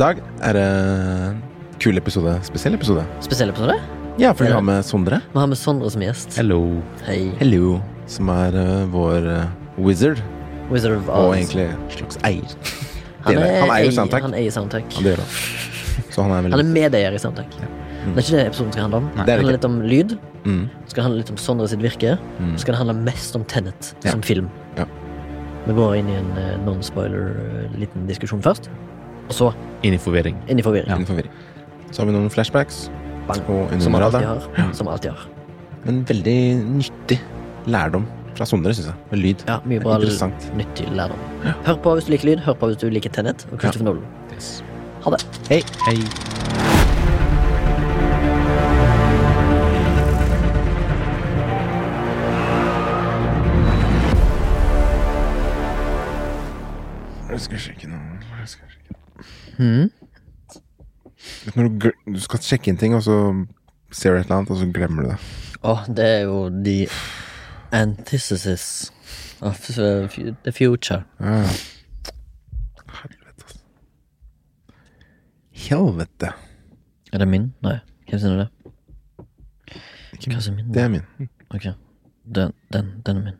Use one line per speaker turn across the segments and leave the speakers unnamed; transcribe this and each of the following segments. Dag, er det kul episode? Spesiell episode?
Spesiell episode?
Ja, for vi har med Sondre.
Vi har med Sondre som gjest.
Hello.
Hei.
Hello. Som er eh, vår eh, wizard,
Wizard of
og
Oz.
egentlig en slags eier. det er
han,
det.
er,
Han eier
eier-
Soundtrack.
Han eier Soundtrack.
Ja, det gjør han. Så han er
Han
veldig
er medeier i Soundtrack. Det er ikke det episoden skal handle om.
det er
handler
det
litt om lyd.
mm.
Det skal handle litt om Sondre sitt virke.
Mm.
Så skal det handle mest om Tenet
Ja.
som film.
Ja.
Vi går inn i en eh, non-spoiler eh, liten diskusjon først. Og så
Inn i forvirring.
inn i forvirring.
Ingen forvirring. Så har vi noen flashbacks,
Bang.
og under
Som man alltid
radaren.
har. Som man alltid har.
Men veldig nyttig lærdom fra Sondre, syns jeg. Med lyd.
Ja,
Det
mye
er
bra
Interessant.
nyttig lærdom. Hør på hvis du liker lyd, hør på hvis du liker Tenet og Christopher Nolan. Ha det.
Hei.
Hei.
Jeg skal sjekke noe. Jeg skal sjekke. Vet du Når du, gl- du skal sjekke inn ting, og så ser du et eller annet, og så glemmer du det.
Å, det er jo the antithesis of uh, fu- the future.
Ja, ja. Helvete, altså. Helvete.
Er det min? Nei. Hvem sin er det? Hva sin er min?
Det er min.
Ok. Den, den, den er min.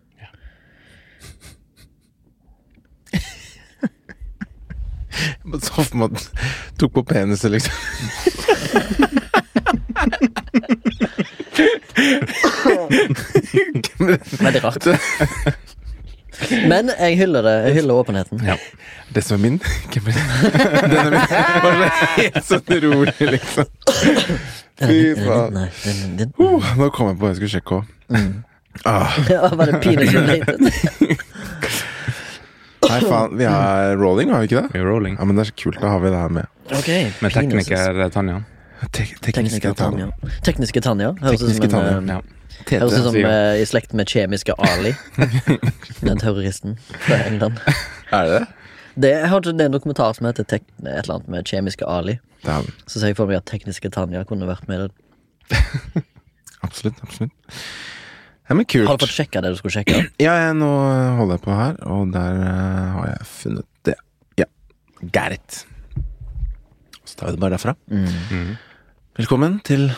Jeg bare så for meg at den tok på penisen, liksom.
Veldig rart. Men jeg hyller det. Jeg hyller åpenheten.
Det som er min Hvem er det? Den er min. Bare helt sånn rolig, liksom. Fy
Den er min.
faen.
Nei, den, den, den.
Uh, Nå kom jeg på hva jeg skulle sjekke òg.
Mm.
Ah,
Ja, var det penis related?
nei, faen. Vi er rolling, har vi ikke det?
We're rolling.
Ja, men det er så kult. Da har vi det her med
Ok.
Med
penises.
tekniker eh, Tanja.
Tek tekniske
Tekniske Tanja.
tall.
Tekniske Tanja. Høres ut som
Tekniske
en,
Tanja,
eh,
Ja.
TT.
Høres ut som
sier-
eh, i slekt med kjemiske Ali. Den terroristen fra England.
Er det det?
Det, jeg hørte det er en dokumentar som heter tek et eller annet med kjemiske Ali.
Det er vi.
Så ser jeg for meg at tekniske Tanja kunne vært med i det.
Absolutt. Absolutt. Ja, men kult.
Har du fått sjekka det du skulle sjekke?
Ja, jeg, nå holder jeg på her, og der eh, har jeg funnet det. Ja. Got it. Så tar vi det bare derfra. Mm. Velkommen til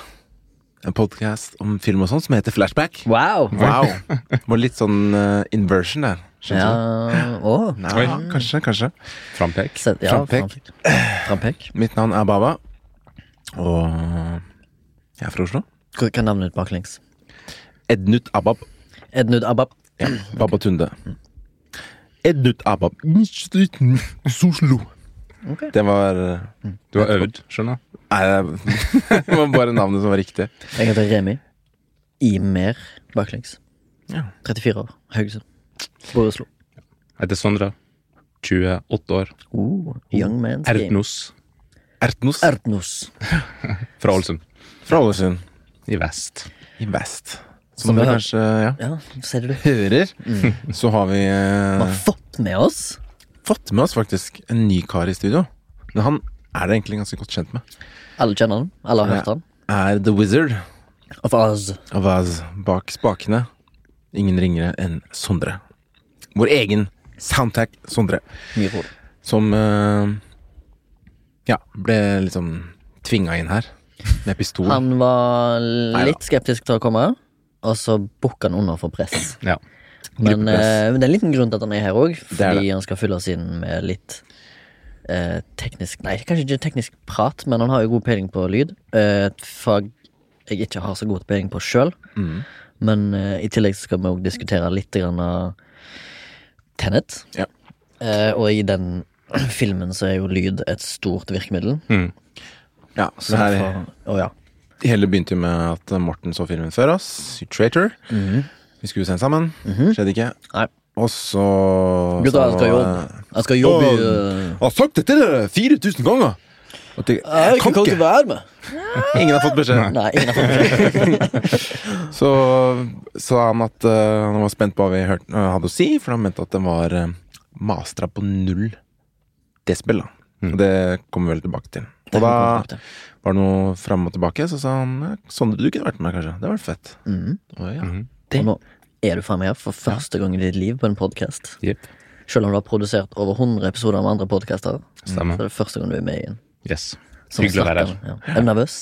en podkast om film og sånn som heter Flashback.
Wow!
Wow! Det var litt sånn eh, inversion der.
Ja,
skjønner du?
å.
Nei, kanskje, kanskje.
Frampek.
Se- ja,
Frampek.
frampek. Frampek.
Mitt navn er Baba, og jeg er fra Oslo.
Hva hva er navnet ditt baklengs?
Ednut Abab.
Ednud Abab.
Ja, Baba Tunde. Ednut Abab. Soslo. Det var eh,
Du har øvd, skjønner jeg.
Nei, det var bare navnet som var riktig.
Jeg heter Remi. Imer baklengs.
Ja.
34 år. Haugesund. Bor i Oslo.
Jeg heter Sondre. 28 år.
Uh.
Oh, young man's game.
Erdnos.
Ertnos
Erdnos.
Fra Ålesund.
fra Ålesund.
I vest.
I vest. Som
Som vi
dere
har-
kanskje ja,
Ja, ser du.
hører, så har vi
Vi
eh,
har fått med oss
fått med oss faktisk en ny kar i studio. Men han er det egentlig ganske godt kjent med.
Alle kjenner han. Alle har hørt han.
Er The Wizard
Of Oz.
av Oz bak spakene. Ingen ringere enn Sondre. Vår egen soundtrack Sondre.
Mye ord.
Som eh, ja, ble liksom tvinga inn her. Med pistol.
Han var
Mm. Neida.
litt skeptisk til å komme, og så bukka han under for press.
Ja.
Men
Gruppepress.
eh, men det er en liten grunn til at han er her òg,
Det er
fordi han skal fylle oss inn med litt eh, teknisk Nei, kanskje ikke teknisk prat, men han har jo god peiling på lyd. Eh, et fag jeg ikke har så god peiling på sjøl.
Mm.
Men eh, i tillegg så skal vi òg diskutere litt grann av Tenet.
Ja.
Eh, og i den filmen så er jo lyd et stort virkemiddel.
Ja, så det Mm. er
for, å ja.
Det hele begynte jo med at Morten så filmen før oss, Traitor. Vi skulle se den sammen. Skjedde ikke.
Mhm. Nei.
Og så
Gutta,
så
jeg skal
var-
jobbe. Jeg skal jobbe i
Jeg har sagt det til dere 4000 ganger! Og det,
Jeg har
jeg kan ikke.
være med.
Ingen har fått beskjed.
Nei, ingen har fått det.
Så sa han at eh, han var spent på hva vi hørte, eh, hadde å si, for han mente at den var uh, mastra på null desibel. da. Og det kommer vi vel tilbake til. Og
Mm. Det kommer
da
vi tilbake til.
var det noe eh, sånn fram Mm. og tilbake, så sa han Sondre, du kunne vært med, kanskje. Det var fett. Og ja,
Og nå er du faen meg her for første gang i ditt liv på en podkast.
Jepp.
Selv om du har produsert over 100 episoder med andre podkaster, så
Stemmer.
er det første gang du er med i en.
Yes.
som
Hyggelig å være her.
snakker. Ja. Er du nervøs?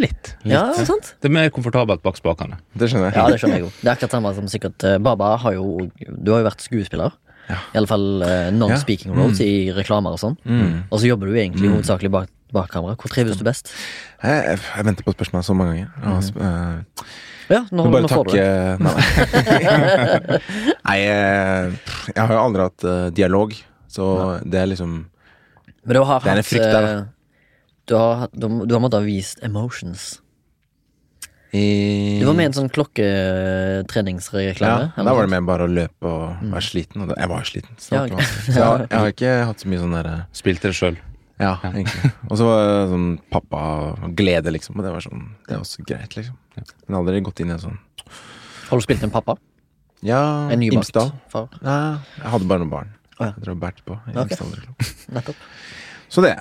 Litt.
Ja, sant?
Det er mer komfortabelt bak spakene.
Det skjønner jeg.
Ja, det skjønner jeg jo. Det er akkurat samme som sikkert eh, Baba har jo Du har jo vært skuespiller. I alle fall eh, non-speaking roles
Mm.
i reklamer og sånn. Og så jobber du egentlig hovedsakelig bak, bak kamera. Hvor trives du best?
Jeg, jeg, jeg venter på et spørsmål så mange ganger. Og, sp- eh,
Ja, nå,
må
nå
bare
får du
takke
det.
Nei, nei. Nei, eh, jeg har jo aldri hatt eh, dialog, så det er liksom
Men du har
Det er en
hatt
frykt der, da.
eh, du har, hatt- du, du har måttet ha vist emotions.
i-
Du var med i en sånn klokketreningsreklame.
Mm. Ja, da var det mer bare å løpe og være sliten. Og da, jeg var jo sliten. Så, det var
Mm. Ja,
ikke vanskelig. så jeg, jeg har ikke hatt så mye sånn derre
Spilte det sjøl.
Ja, egentlig. Og så var det sånn pappa og glede, liksom. Og det var sånn Det er også greit, liksom. Men aldri gått inn i en sånn
Har du spilt en pappa?
Ja,
En nybakt
Imsdal.
far?
Nei, jeg hadde bare noen barn.
Å, ja.
Jeg drev og bært på. i
Ok.
Imsdal.
Nettopp.
Så det.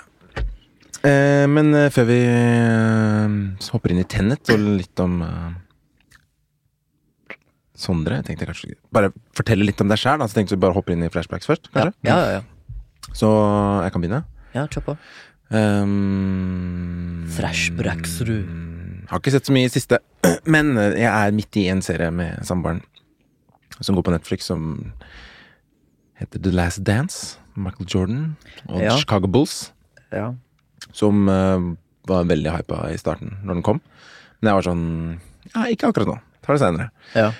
Eh, men eh, før vi eh, så hopper inn i Tennet og litt om eh, Sondre, jeg tenkte jeg kanskje bare fortelle litt om deg sjæl. Så tenkte vi bare hopper inn i flashbacks først,
Ja,
kanskje.
ja, ja. ja.
Så jeg kan begynne. Eh,
ja kjør på.
Um,
Flashbacksrud.
mm, Har ikke sett så mye i siste, men eh, jeg er midt i en serie med samboeren som går på Netflix, som heter The Last Dance. Michael Jordan og
Ja.
Chicago Bulls.
Ja.
Som eh, var veldig hypa i starten, når den kom. Men jeg var sånn Ja, ikke akkurat nå. Tar det seinere.
ja.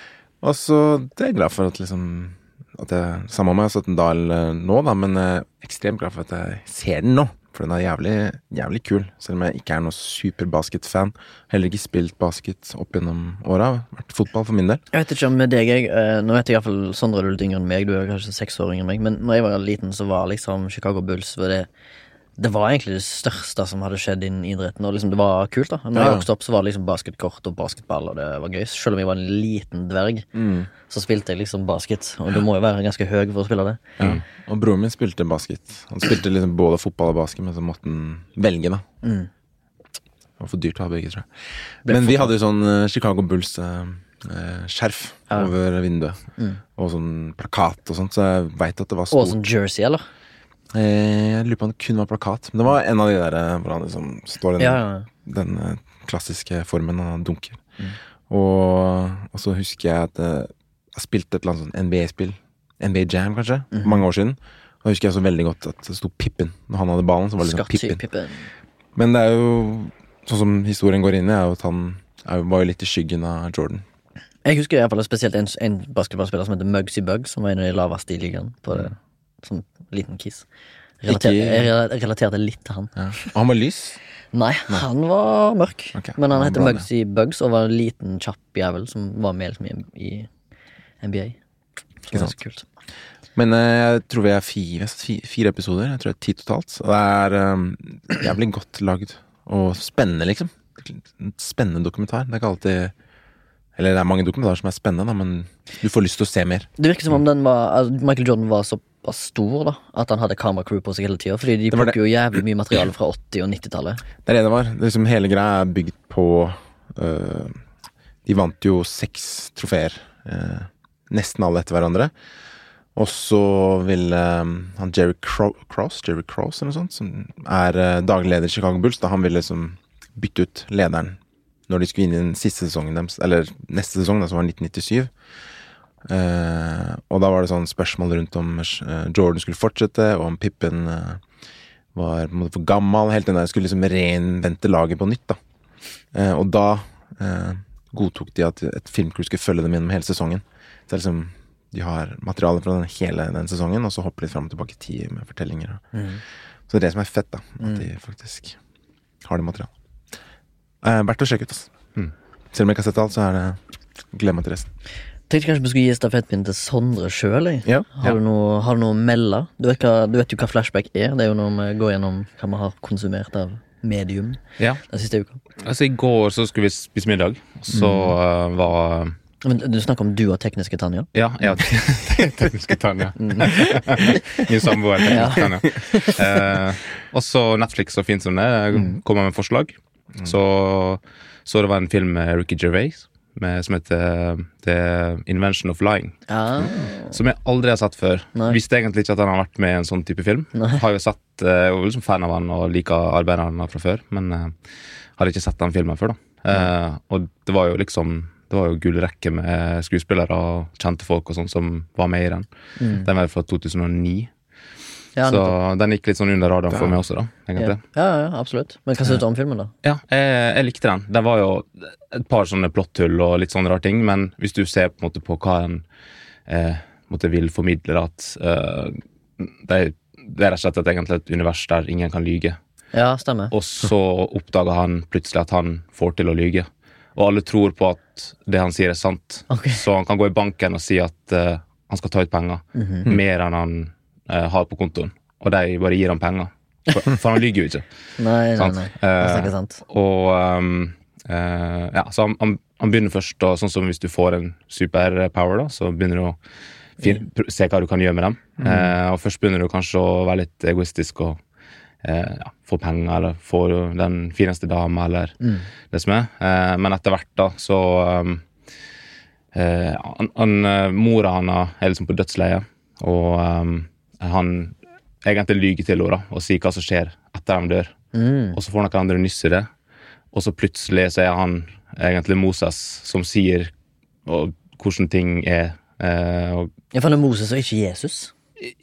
Og så det er jeg glad for at liksom At jeg sammen med meg har sett en dal eh, nå, da, men eh, ekstremt glad for at jeg ser den nå. For den er jævlig, jævlig kul, selv om jeg ikke er noen superbasketfan. Heller ikke spilt basket opp gjennom åra. Vært fotball for min del.
Jeg vet ikke om deg, jeg. eh, Nå vet jeg iallfall Sondre er du litt yngre enn meg. Du er kanskje seks år yngre enn meg. Men når jeg var liten, så var liksom Chicago Bulls var det, det var egentlig det største som hadde skjedd innen idretten. Og liksom, det var kult, da. Når
Ja,
jeg
ja.
vokste opp, så var det liksom basketkort og basketball, og det var gøy. Selv om jeg var en liten dverg, så spilte jeg liksom basket. Og du må jo være ganske høy for å spille det.
Og broren min spilte basket. Han spilte liksom både fotball og basket, men så måtte han velge, da.
Mm.
Det var for dyrt å ha begge, tror jeg. Men vi hadde jo sånn eh, Chicago Bulls-skjerf over vinduet.
Mm.
Og sånn plakat og sånt, så jeg veit at det var
Og
stort.
sånn jersey, eller?
Eh, Jeg lurer på om det kun var plakat. Men det var en av de der eh, hvor han liksom står i den,
Ja, ja, ja.
den eh, klassiske formen og han dunker. Og, og så husker jeg at eh, jeg spilte et eller annet sånn NBA-spill. NBA Jam, kanskje. for Mange år siden. Og jeg husker jeg så veldig godt at det sto Pippin. Når han hadde ballen, så var det liksom
Skatty
Pippin.
sånn Pippen.
Men det er jo sånn som historien går inn i, er jo at han er, jo- var jo litt i skyggen av Jordan.
Jeg husker i hvert fall spesielt en, en basketballspiller som heter Mugsy Bug, som var en av de laveste i ligaen på det, som liten kis. Relater,
Ikke-
jeg rela- relaterte litt til han.
Ja. Og han var lys.
Nei, han var mørk,
Ok,
men han
han
heter
var
Mugsy Bugs og var en liten, kjapp jævel som var med liksom, i, i NBA.
Ikke
Som var
sant.
ganske kult.
Men eh, jeg tror vi er fire, jeg synes fi- fire episoder. Jeg tror det er ti totalt. Og det er eh, jævlig godt lagd og spennende, liksom. En spennende dokumentar. Det er ikke alltid Eller det er mange dokumentarer som er spennende, da, men du får lyst til å se mer.
Det virker som om den var, altså, Michael Jordan var såpass stor da at han hadde kameracrew på seg hele tida. Fordi de
Det var det.
plukker jo jævlig mye materiale fra 80- og 90-tallet.
Det er det det var. Det er liksom hele greia er bygd på øh, De vant jo seks trofeer. øh, nesten alle etter hverandre. Og så ville øh, han Jerry Cro Cross, Jerry Cross eller noe sånt, som er øh, daglig leder i Chicago Bulls, da han ville liksom bytte ut lederen når de skulle inn i den siste sesongen deres, eller neste sesong, da, som var 1997. Eh, og da var det sånn spørsmål rundt om eh, Jordan skulle fortsette, og om Pippen eh, var på en måte for gammel. Helt den der skulle liksom reinvente laget på nytt. da. Eh, og da eh, godtok de at et filmcrew skulle følge dem gjennom hele sesongen. Så det er liksom, de har materiale fra den hele den sesongen, og så hopper de fram og tilbake i tid med fortellinger. Og.
Mm.
Så det er det som er fett, da. At de faktisk har det materialet. Eh, verdt å sjekke ut, altså. Selv om jeg ikke har sett alt, så er det Glem meg til resten.
Tenkte kanskje vi skulle gi stafettpinnen til Sondre sjøl.
Ja, ja.
Har, du noe- har du noe å melde? Du vet, hva, du vet jo hva flashback er. Det er jo når vi går gjennom hva vi har konsumert av medium
Ja.
den siste uka.
Altså, I går så skulle vi spise middag, og så eh, var
Men du snakker om du og tekniske Tanja.
Ja, Mm. jeg har tekniske Tanja. Min samboer tekniske Tanja. Eh, og så Netflix, så Mm. fint som det er, kommer med forslag. Så, så det var en film med Ricky Gervais, med, som heter eh, The Invention of Lying.
Ja.
Som jeg aldri har sett før.
Nei.
Visste egentlig ikke at han har vært med i en sånn type film.
Nei.
Har jo sett, eh, og liksom fan av han og liker arbeidet han har fra før, men eh, hadde ikke sett den filmen før. da. Eh, og det var jo liksom det var jo gullrekke med skuespillere og kjente folk og sånn som var med i den. Den var fra 2009,
Mm. Ja,
så
nettopp.
den gikk litt sånn under radaren for meg også, da. egentlig.
ja. ja, ja, absolutt. Men hva syns du om filmen, da?
Ja, jeg, jeg likte den. Den var jo et par sånne plotthull og litt sånne rare ting, men hvis du ser på en måte på hva en eh, på en måte vil formidle, da, at eh, det, er- det er rett og slett et, egentlig et univers der ingen kan lyge,
Ja, stemmer.
og så oppdager han plutselig at han får til å lyge. Og alle tror på at det han sier, er sant,
Ok.
så han kan gå i banken og si at eh, han skal ta ut penger, mer enn han eh, har på kontoen, og de bare gir ham penger. For, for han lyger jo ikke.
Nei, nei,
Sant.
nei. Jeg
Eh,
snakker sant.
og ehm, eh, ja, så han, han, han begynner først, da, sånn som hvis du får en superpower, da, så begynner du å fin, pr se hva du kan gjøre med dem. Eh, og først begynner du kanskje å være litt egoistisk og eh, ja, få penger, eller få den fineste dama, eller det som er. Eh, men etter hvert, da, så ehm, eh, han, han, eh, Mora hans er liksom på dødsleiet, og ehm, han egentlig lyger til henne da, og sier hva som skjer etter de dør. Og så får noen andre nyss i det. Og så plutselig så er han egentlig Moses som sier og, hvordan ting er. Eh, og,
Jeg fant Moses og ikke Jesus.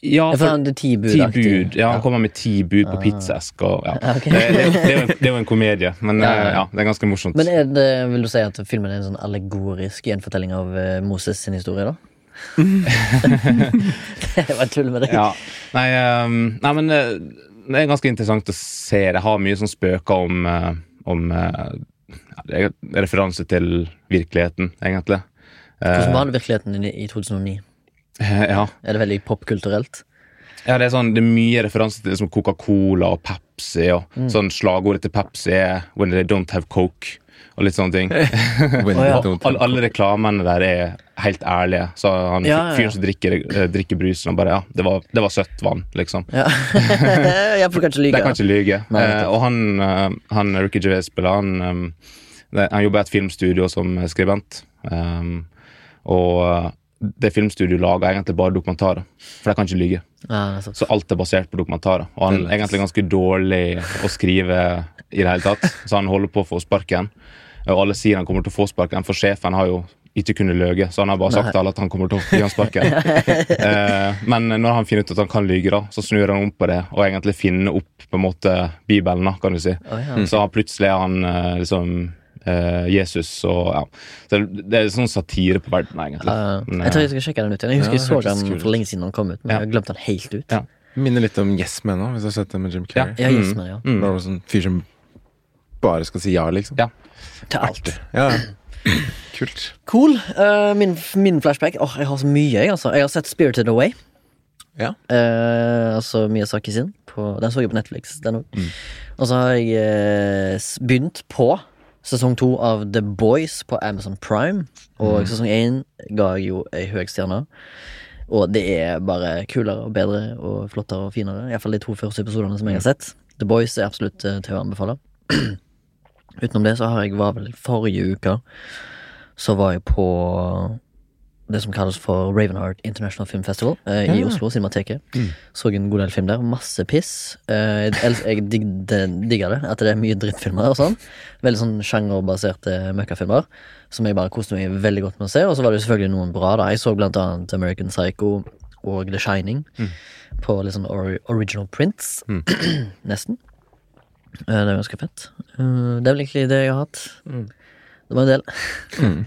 ja,
Jeg
for,
fant det Altså, ti bud.
ti bud. Ja, han kommer med ti bud på pizzaesk. Og, ja.
ok.
det, det, det, er jo en, det er jo en komedie, men eh,
ja.
ja, det er ganske morsomt.
Men er det, vil du si at filmen er en sånn allegorisk gjenfortelling av eh, Moses sin historie, da? det var tull med deg.
ja. nei, ehm, nei, men eh, det er ganske interessant å se. Det har mye sånn spøker om, eh, om eh, ja, det er referanse til virkeligheten, egentlig.
Hvordan var det virkeligheten din i i 2009?
ja.
Er det veldig popkulturelt?
Ja, det er, sånn, det er mye referanser til liksom Coca-Cola og Pepsi. Og
Mm.
sånn Slagordet til Pepsi er 'When they don't have Coke'. Og litt sånne ting.
When
Å, ja.
they don't-
Alle, alle reklamene der er helt ærlige. Så han
Ja, ja, ja.
fyren som drikker, eh, drikker brusen, og bare Ja, det var, det var søtt vann, liksom.
Ja, ja for du kan ikke lyve.
De kan ikke lyge.
Nei,
Eh,
nettopp.
og han, eh, han Ricky Gervais spiller, han, em, det- han jobber i et filmstudio som skribent. Em, og eh, det filmstudioet lager egentlig bare dokumentarer, for de kan ikke lyge.
Ja, nettopp.
Så alt er basert på dokumentarer. Og han er egentlig ganske dårlig å skrive i det hele tatt, så han holder på å få sparken. Og alle sier han kommer til å få sparken, for sjefen har jo ikke kunnet løye, så han har bare sagt til alle at han kommer til å gi han sparken. eh, men når han finner ut at han kan lyge, da, så snur han om på det og egentlig finner opp på en måte Bibelen, da, kan du si.
Å, ja.
Så han plutselig er han eh, liksom eh, Jesus og ja. Så det, det er sånn satire på verden, egentlig.
Ja, ja.
Men,
jeg
eh,
tror jeg skal sjekke den ut igjen. Jeg husker
Ja,
jeg så
det hørtes
den
kult
for lenge siden han kom ut, men
Ja.
jeg glemte den helt ut.
Ja.
Minner litt om Yes Men nå, hvis du har sett det med Jim Carrey.
Ja, yes, men ja.
Mm. Bare sånn fyr som bare skal si ja, liksom.
ja.
Til alt.
Ja. Kult.
Cool. Eh, min, min flashback Åh, Jeg har så mye, jeg. altså Jeg har sett Spirited Away.
Ja.
Eh, altså Miyazaki sin. På, den så jeg på Netflix. Den, også. Og så har jeg eh, s- begynt på sesong to av The Boys på Amazon Prime. Og sesong én ga jeg jo ei høy stjerne. Og det er bare kulere og bedre og flottere og finere. Iallfall de to første episodene som jeg har sett. The Boys er absolutt eh, til å anbefale. Utenom det så har jeg var vel forrige uke så var jeg på det som kalles for Ravenheart International Film Festival eh, i Oslo, Cinemateket. Så en god del film der. Masse piss. Eh, jeg el- jeg digg, det- digger det, at det er mye drittfilmer og sånn. Veldig sånn sjangerbaserte møkkafilmer som jeg bare koste meg veldig godt med å se. Og så var det jo selvfølgelig noen bra. da Jeg så blant annet American Psycho og The Shining på litt sånn ori original prints. Nesten. Eh, det er ganske fett. Eh, det er vel egentlig det jeg har hatt. Det var en del.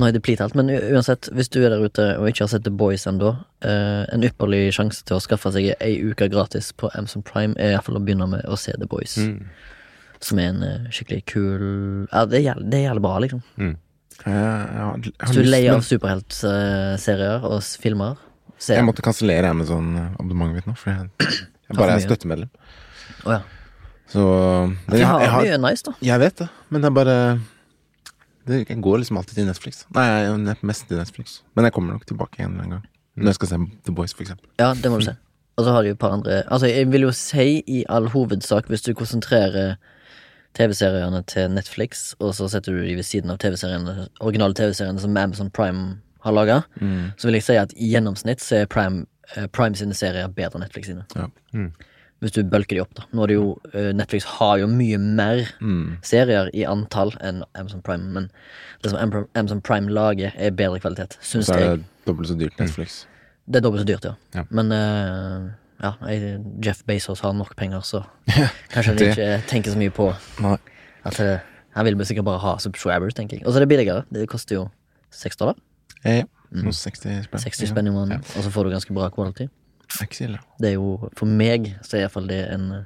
Nå er det plitt alt, men u- uansett, hvis du er der ute og ikke har sett The Boys ennå, eh, en ypperlig sjanse til å skaffe seg ei uke gratis på Amazon Prime er iallfall å begynne med å se The Boys.
Mm.
Som er en eh, skikkelig kul Ja, det er jævlig, det er jævlig bra, liksom.
Jeg, jeg har, jeg har
Hvis du er
lyst,
lei
men-
av superheltserier og s- filmer, se
Jeg
den.
måtte kansellere Amazon-abonnementet eh, mitt nå, for jeg, jeg
for
bare er
mye.
støttemedlem.
Å ja.
Så men
De
jeg,
har
jeg, har,
mye nice, da.
jeg vet det, men jeg bare det, Jeg går liksom alltid til Netflix. Nei, jeg er ne- mest til Netflix. Men jeg kommer nok tilbake igjen en gang. Når jeg skal se The Boys, for eksempel.
Ja, det må du se. Og så har de jo et par andre Altså, jeg vil jo si i all hovedsak, hvis du konsentrerer TV-seriene til Netflix, og så setter du de ved siden av TV-seriene originale TV-seriene som Amazon Prime har laga,
Mm.
så vil jeg si at i gjennomsnitt så er Prime, eh, Prime sine serier bedre enn Netflix sine.
Ja.
Mm.
Hvis du bølker de opp, da. Nå er det jo, eh, Netflix har jo mye mer
Mm.
serier i antall enn Amazon Prime, men det som Am- Amazon Prime lager, er bedre kvalitet, syns
Så er
jeg.
det dobbelt så
Mm.
dyrt Netflix.
Det er dobbelt så dyrt, ja.
Ja.
Men eh, ja, jeg, Jeff Bezos har nok penger, så kanskje han
det-
ikke tenker så mye på
Nei.
at eh, han vil vel sikkert bare ha subscribers, tenker jeg. Og så er det billigere. Det koster jo 6 dollar.
Eh, ja. Noen 60 spenn.
60 Mm. spenn i måneden, og så får du ganske bra
Ja.
quality.
Er ikke så ille.
Det er jo, for meg, så er iallfall det en eh,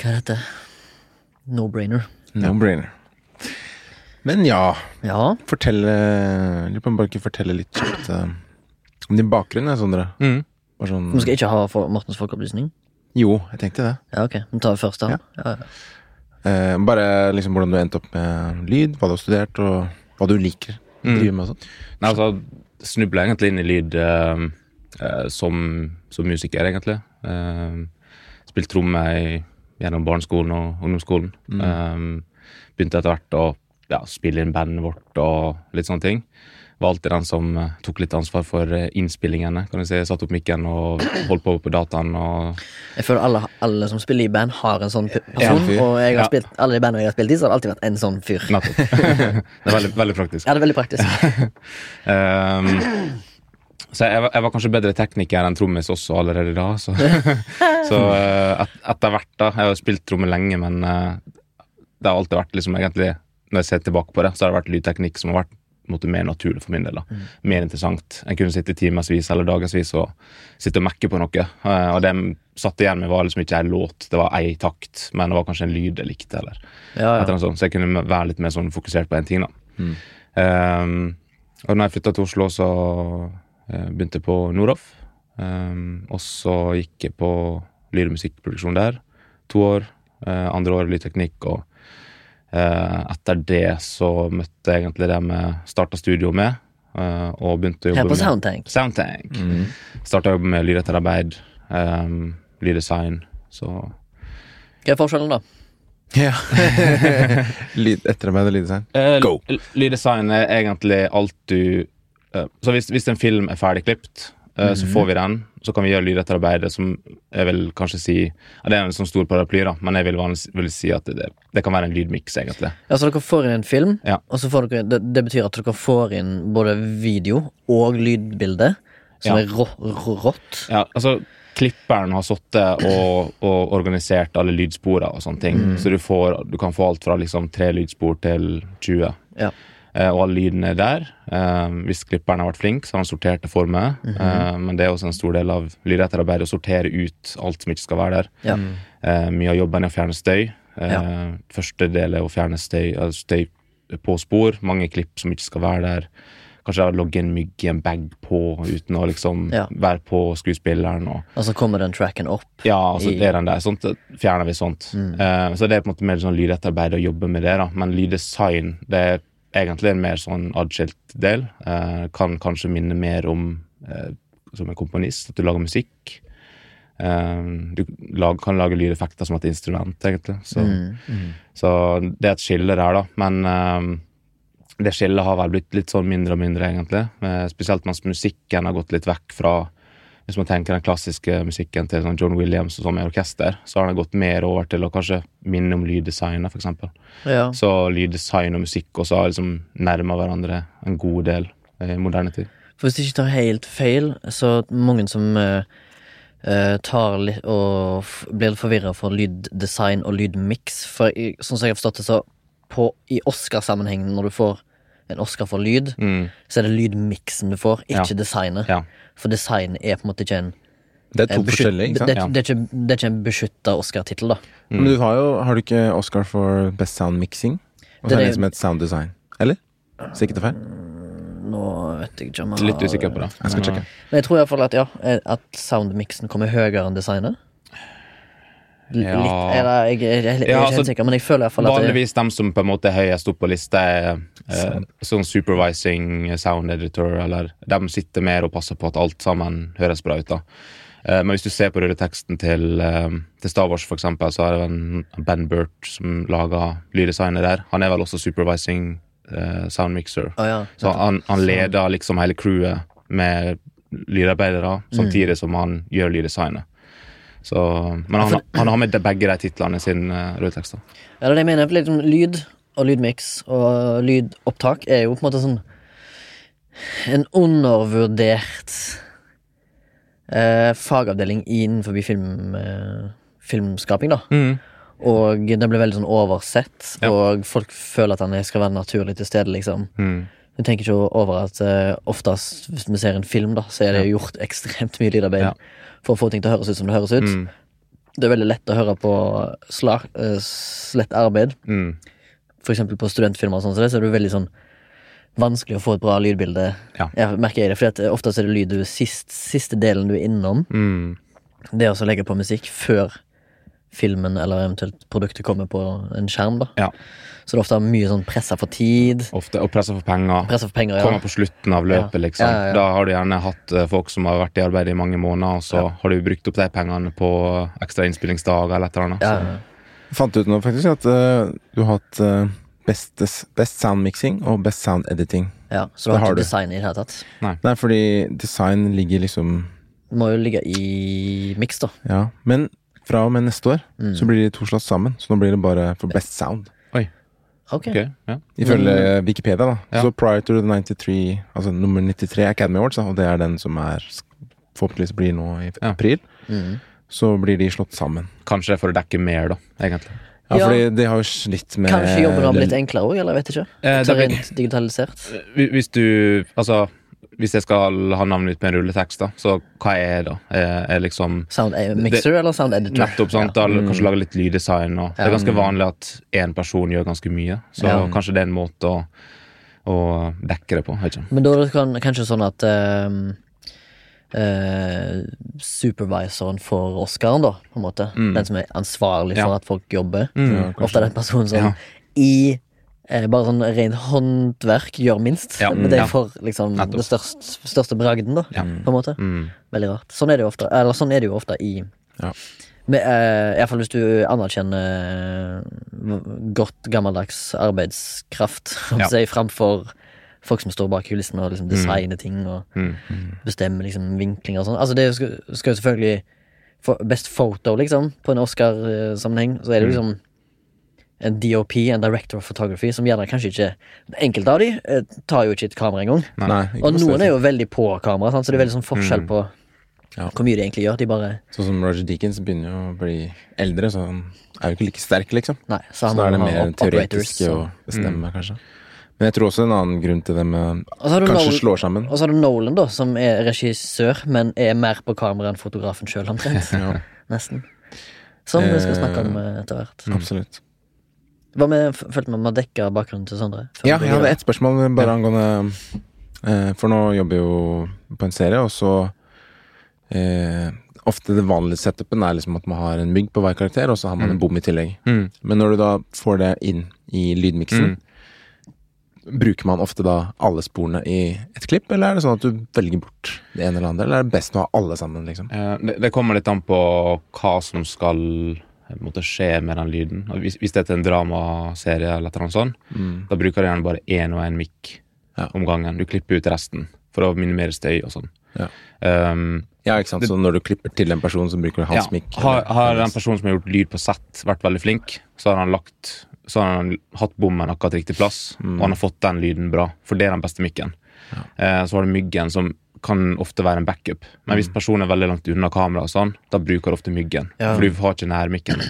Hva er dette? No-brainer.
No-brainer. Men ja,
Ja.
fortelle Lurer på om jeg bare kan fortelle litt kjapt eh, om din bakgrunn, jeg, Sondre.
Mm.
Bare sånn
Vi skal ikke ha for Mortens folkeopplysning?
Jo, jeg tenkte det.
Ja, ok. Vi tar først da.
Ja.
Ja. Ja,
Eh, bare liksom hvordan du endte opp med lyd, hva du har studert, og hva du liker å
Mm.
drive med og sånn.
Nei, altså, snubla egentlig inn i lyd eh, eh, som, som musiker, egentlig. Eh, spilt tromme i- gjennom barneskolen og ungdomsskolen. Eh, begynte etter hvert å ja, spille inn bandet vårt og litt sånne ting. Var alltid den som eh, tok litt ansvar for eh, innspillingene. kan du si. Satt opp mikken og holdt på på dataen. og
Jeg føler alle, alle som spiller i band, har en sånn p- person.
En fyr.
og jeg har
Ja.
spilt, alle de bandene jeg har spilt i, så har det alltid vært en sånn fyr.
Nettopp. det er veldig, veldig praktisk.
Ja, det er veldig praktisk.
Ehm, så jeg, var- jeg var kanskje bedre tekniker enn trommis også allerede da. Så, så eh, et, etter hvert, da. Jeg har jo spilt tromme lenge, men eh, det har alltid vært liksom egentlig Når jeg ser tilbake på det, så har det vært lydteknikk som har vært på en måte, mer naturlig for min del. da Mer interessant. Jeg kunne sitte i timevis eller dagevis og sitte og mekke på noe. eh, og det jeg satt igjen med, var liksom ikke ei låt, det var ei takt, men det var kanskje en lyd jeg likte. eller
Ja, Mm.
et
ja.
eller annet sånt, så jeg kunne være litt mer sånn fokusert på én ting. da. Ehm, og når jeg flytta til Oslo, så eh, begynte jeg på Noroff. Ehm, og så gikk jeg på lyd- og musikkproduksjon der. To år. eh, andre år lydteknikk. Og eh, etter det så møtte jeg egentlig det med starta studio med, eh, og begynte å
Her på
jobbe med
Soundtank. Mm.
Soundtank. Starta å jobbe med lydetterarbeid, um, lyddesign. Så
Hva er forskjellen, da?
Ja. lyd, etterarbeid og lyddesign.
Eh,
Go.
l- Lyddesign er egentlig alt du eh, Så hvis, hvis en film er ferdigklipt, eh, så får vi den. Så kan vi gjøre lydetterarbeidet som jeg vil kanskje si ja, Det er en sånn stor paraply, da, men jeg vil, vanligvis- vil si at det, det kan være en lydmiks, egentlig.
Ja, så dere får inn en film,
Ja.
og så får dere, det, det betyr at dere får inn både video og lydbilde, som
Ja.
er rå, rå, rått.
Ja, altså Klipperen har sittet og, og organisert alle lydsporene og sånne ting. Så du, får, du kan få alt fra liksom tre lydspor til 20.
Ja.
Eh, og alle lydene er der. Eh, hvis klipperen har vært flink, så har han sortert det for meg.
Mhm.
eh, men det er også en stor del av lydetterarbeidet å sortere ut alt som ikke skal være der.
Ja.
Eh, mye av jobben er å fjerne støy. Eh,
Ja.
Første del er å fjerne støy, eh, støy på spor. Mange klipp som ikke skal være der. Kanskje logge en mygg i en bag på uten å liksom
Ja.
være på skuespilleren. og
Og så kommer den tracken opp.
ja, altså
I- Mm.
det er den der, sånt eh, fjerner vi sånt. Eh, så det er på en måte mer sånn lydetterarbeid å jobbe med det, da. Men lyddesign det er egentlig en mer sånn adskilt del. Eh, kan kanskje minne mer om eh, som en komponist, at du lager musikk. Eh, du lag, kan lage lydeffekter som et instrument, egentlig. Så,
Mm.
så det er et skille der, da. Men eh, det skillet har vel blitt litt sånn mindre og mindre, egentlig. Eh, Spesielt mens musikken har gått litt vekk fra Hvis man tenker den klassiske musikken til sånn John Williams og sånn med orkester, så har den gått mer over til å kanskje minne om lyddesignet, f.eks.
Ja.
Så lyddesign og musikk også har liksom nærma hverandre en god del eh, i moderne tid.
For hvis jeg ikke tar helt feil, så mange som eh, eh, tar litt og f blir forvirra for lyddesign og lydmiks. For i, sånn som jeg har forstått det, så på, i Oscar-sammenhengen, når du får en Oscar for lyd,
Mm.
så er det lydmiksen du får, ikke
Ja.
designet.
Ja.
For design er på en måte ikke en
Det er
eh,
to
beskytt-
forskjellige, ikke sant? Mm.
Det, det, det, er ikke, det er ikke en beskytta Oscar-tittel, da.
Men du har jo Har du ikke Oscar for Best Sound Mixing? Og
Det
så
er
er det
det-
en som heter Sound Design. Eller? Sikkert det feil?
Nå vet jeg ikke om jeg
Litt
har-
usikker på det.
Jeg skal sjekke.
Men jeg tror iallfall at ja, eh, at soundmiksen kommer høyere enn designet. L
Ja.
Litt, eller, jeg, jeg, jeg, jeg, er
Ja,
ikke helt
altså,
sikker, men jeg føler iallfall at det,
Vanligvis dem som på en måte er høyest opp på lista, er eh, sånn supervising sound editor, eller de sitter mer og passer på at alt sammen høres bra ut. da. Eh, Men hvis du ser på rulleteksten til, eh, til Star Wars, for eksempel, så er det en Ben Burt som lager lyddesignet der. Han er vel også supervising eh, sound mixer.
Å ja.
Så han, han leder liksom hele crewet med lydarbeidere, samtidig som han gjør lyddesignet. Så, men han, han har med de- begge de titlene i sin uh,
Ja,
rødtekst.
det er det jeg mener. for Liksom, lyd og lydmiks og lydopptak er jo på en måte sånn En undervurdert eh, fagavdeling innenfor film, eh, filmskaping, da.
Mm.
Og den blir veldig sånn oversett,
Ja.
og folk føler at den skal være naturlig til stede, liksom.
Mm.
Jeg tenker ikke over at eh, oftest hvis vi ser en film, da, så er det gjort ekstremt mye lydarbeid
Ja.
for å få ting til å høres ut som det høres ut.
Mm.
Det er veldig lett å høre på sla, eh, slett arbeid.
Mm.
For eksempel på studentfilmer og sånn, så, det, så er det veldig sånn vanskelig å få et bra lydbilde.
Ja.
Jeg merker jeg det, fordi at eh, oftest er det lyd du sist, siste delen du er innom.
Mm.
Det å så legge på musikk før filmen eller eventuelt produktet kommer på en skjerm, da.
Ja.
Så det er ofte mye sånn pressa for tid,
Ofte. Og presser for penger.
pressa for penger,
Kommer
ja.
på slutten av løpet,
Ja.
liksom.
Ja, ja, ja.
Da har du gjerne hatt eh, folk som har vært i arbeid i mange måneder, og så har du brukt opp de pengene på eh, ekstra innspillingsdager eller et eller annet.
ja.
Så-
Jeg fant ut nå faktisk at eh, du har hatt eh, bestes, best soundmixing og best sound editing.
Ja, så
Det
du har
har du.
ikke design i det hele tatt.
Nei, fordi design ligger liksom
Det må jo ligge i miks, da.
Ja. Men fra og med neste år
Mm.
så blir de to slått sammen, så nå blir det bare for best sound.
Ok.
Ok, ja.
Ifølge
Mm.
Wikipedia, da.
Ja.
Så prior to the 93, altså nummer 93 Academy Awards, da, og det er den som er forhåpentligvis blir nå i
Ja.
april,
Mm.
så blir de slått sammen.
Kanskje det er for å dekke mer, da, egentlig.
Ja,
Ja.
fordi de har jo slitt med
Kanskje jobben har blitt enklere òg, eller jeg vet ikke.
Eh, det
Så
er Eh, blitt-
Rent digitalisert.
Hvi- Hvis du Altså, hvis jeg skal ha navnet mitt med en rulletekst, da, så hva er jeg da? Er, er liksom
Sound eh, mixer eller sound editor?
Nettopp, sant? Da, Kanskje lage litt lyddesign og Det er
Ja.
ganske vanlig at én person gjør ganske mye, så
Ja.
kanskje det er en måte å, å dekke det på. Vet ikke.
Ja. Men da er det kan, kanskje sånn at ehm, eh, supervisoren for Oscaren, da, på en måte. Den som er ansvarlig for
Mm. Ja. Mm.
at folk jobber.
Ja, kanskje.
Ofte er det en person som
Ja.
i eh, bare sånn rent håndverk gjør minst.
Ja.
Men de
Ja.
får liksom
Nettopp.
det størst, største bragden, da.
Ja.
På en måte.
Mm.
Veldig rart. Sånn er det jo ofte, eller sånn er det jo ofte i
Ja.
Men, eh, i hvert fall hvis du anerkjenner eh, godt gammeldags arbeidskraft
Ja.
ja. si, framfor folk som står bak kulissene og
Mm.
liksom designer ting og
Mm.
bestemmer liksom vinklinger og sånn. Altså, det skal skal jo selvfølgelig for, Best photo, liksom, på en Oscar-sammenheng, så er det
Mm.
jo liksom en DOP, en director of photography, som gjerne kanskje ikke Enkelte av de eh, tar jo ikke et kamera engang.
Nei, ikke på
Og noen
stedet. Mm.
er jo veldig på kamera, sant? så det er veldig sånn forskjell på
Ja.
hvor mye de egentlig gjør. De bare
Sånn som Roger Deakins begynner jo å bli eldre, så han er jo ikke like sterk, liksom.
Nei, så
Så
han
da er det
må ha
mer
op- operators. Mm.
teoretiske å bestemme, kanskje. Men jeg tror også en annen grunn til det med
Og så har du
Kanskje
Nolan-
slår sammen.
Og så har du Nolan, da, som er regissør, men er mer på kamera enn fotografen sjøl, omtrent.
Ja.
Nesten. Som vi skal
Eh,
snakke om eh, etter hvert.
mm.
Absolutt.
Hva med, f- følte vi med å dekke bakgrunnen til Sondre? Før
Ja,
vi
jeg hadde
går
ett spørsmål bare angående eh, For nå jobber jeg jo på en serie, og så eh, Ofte det vanlige setupen er liksom at man har en mygg på hver karakter, og så har man en bom i tillegg.
Mm.
Men når du da får det inn i lydmiksen,
Mm.
bruker man ofte da alle sporene i et klipp, eller er det sånn at du velger bort det ene eller andre, eller er det best å ha alle sammen, liksom?
Eh, Det, det kommer litt an på hva som skal eh, måtte skje med den lyden. Og Hvis, hvis det er til en dramaserie, eller et eller annet sånt,
Mm.
da bruker du gjerne bare én og én mikk
Ja.
om gangen. Du klipper ut resten for å minimere støy og sånn.
Ja.
Um,
Ja, ikke sant. Så når du klipper til en person, så bruker du hans
ja,
mikk.
Har,
eller-
har den personen som har gjort lyd på sett, vært veldig flink, så har han lagt så har han hatt bommen akkurat riktig plass,
Mm.
og han har fått den lyden bra. For det er den beste mikken. Eh, så har du myggen, som kan ofte være en backup. Men
Mm.
hvis personen er veldig langt unna kameraet, og sånn, da bruker du ofte myggen.
Ja.
For du har ikke nærmikken.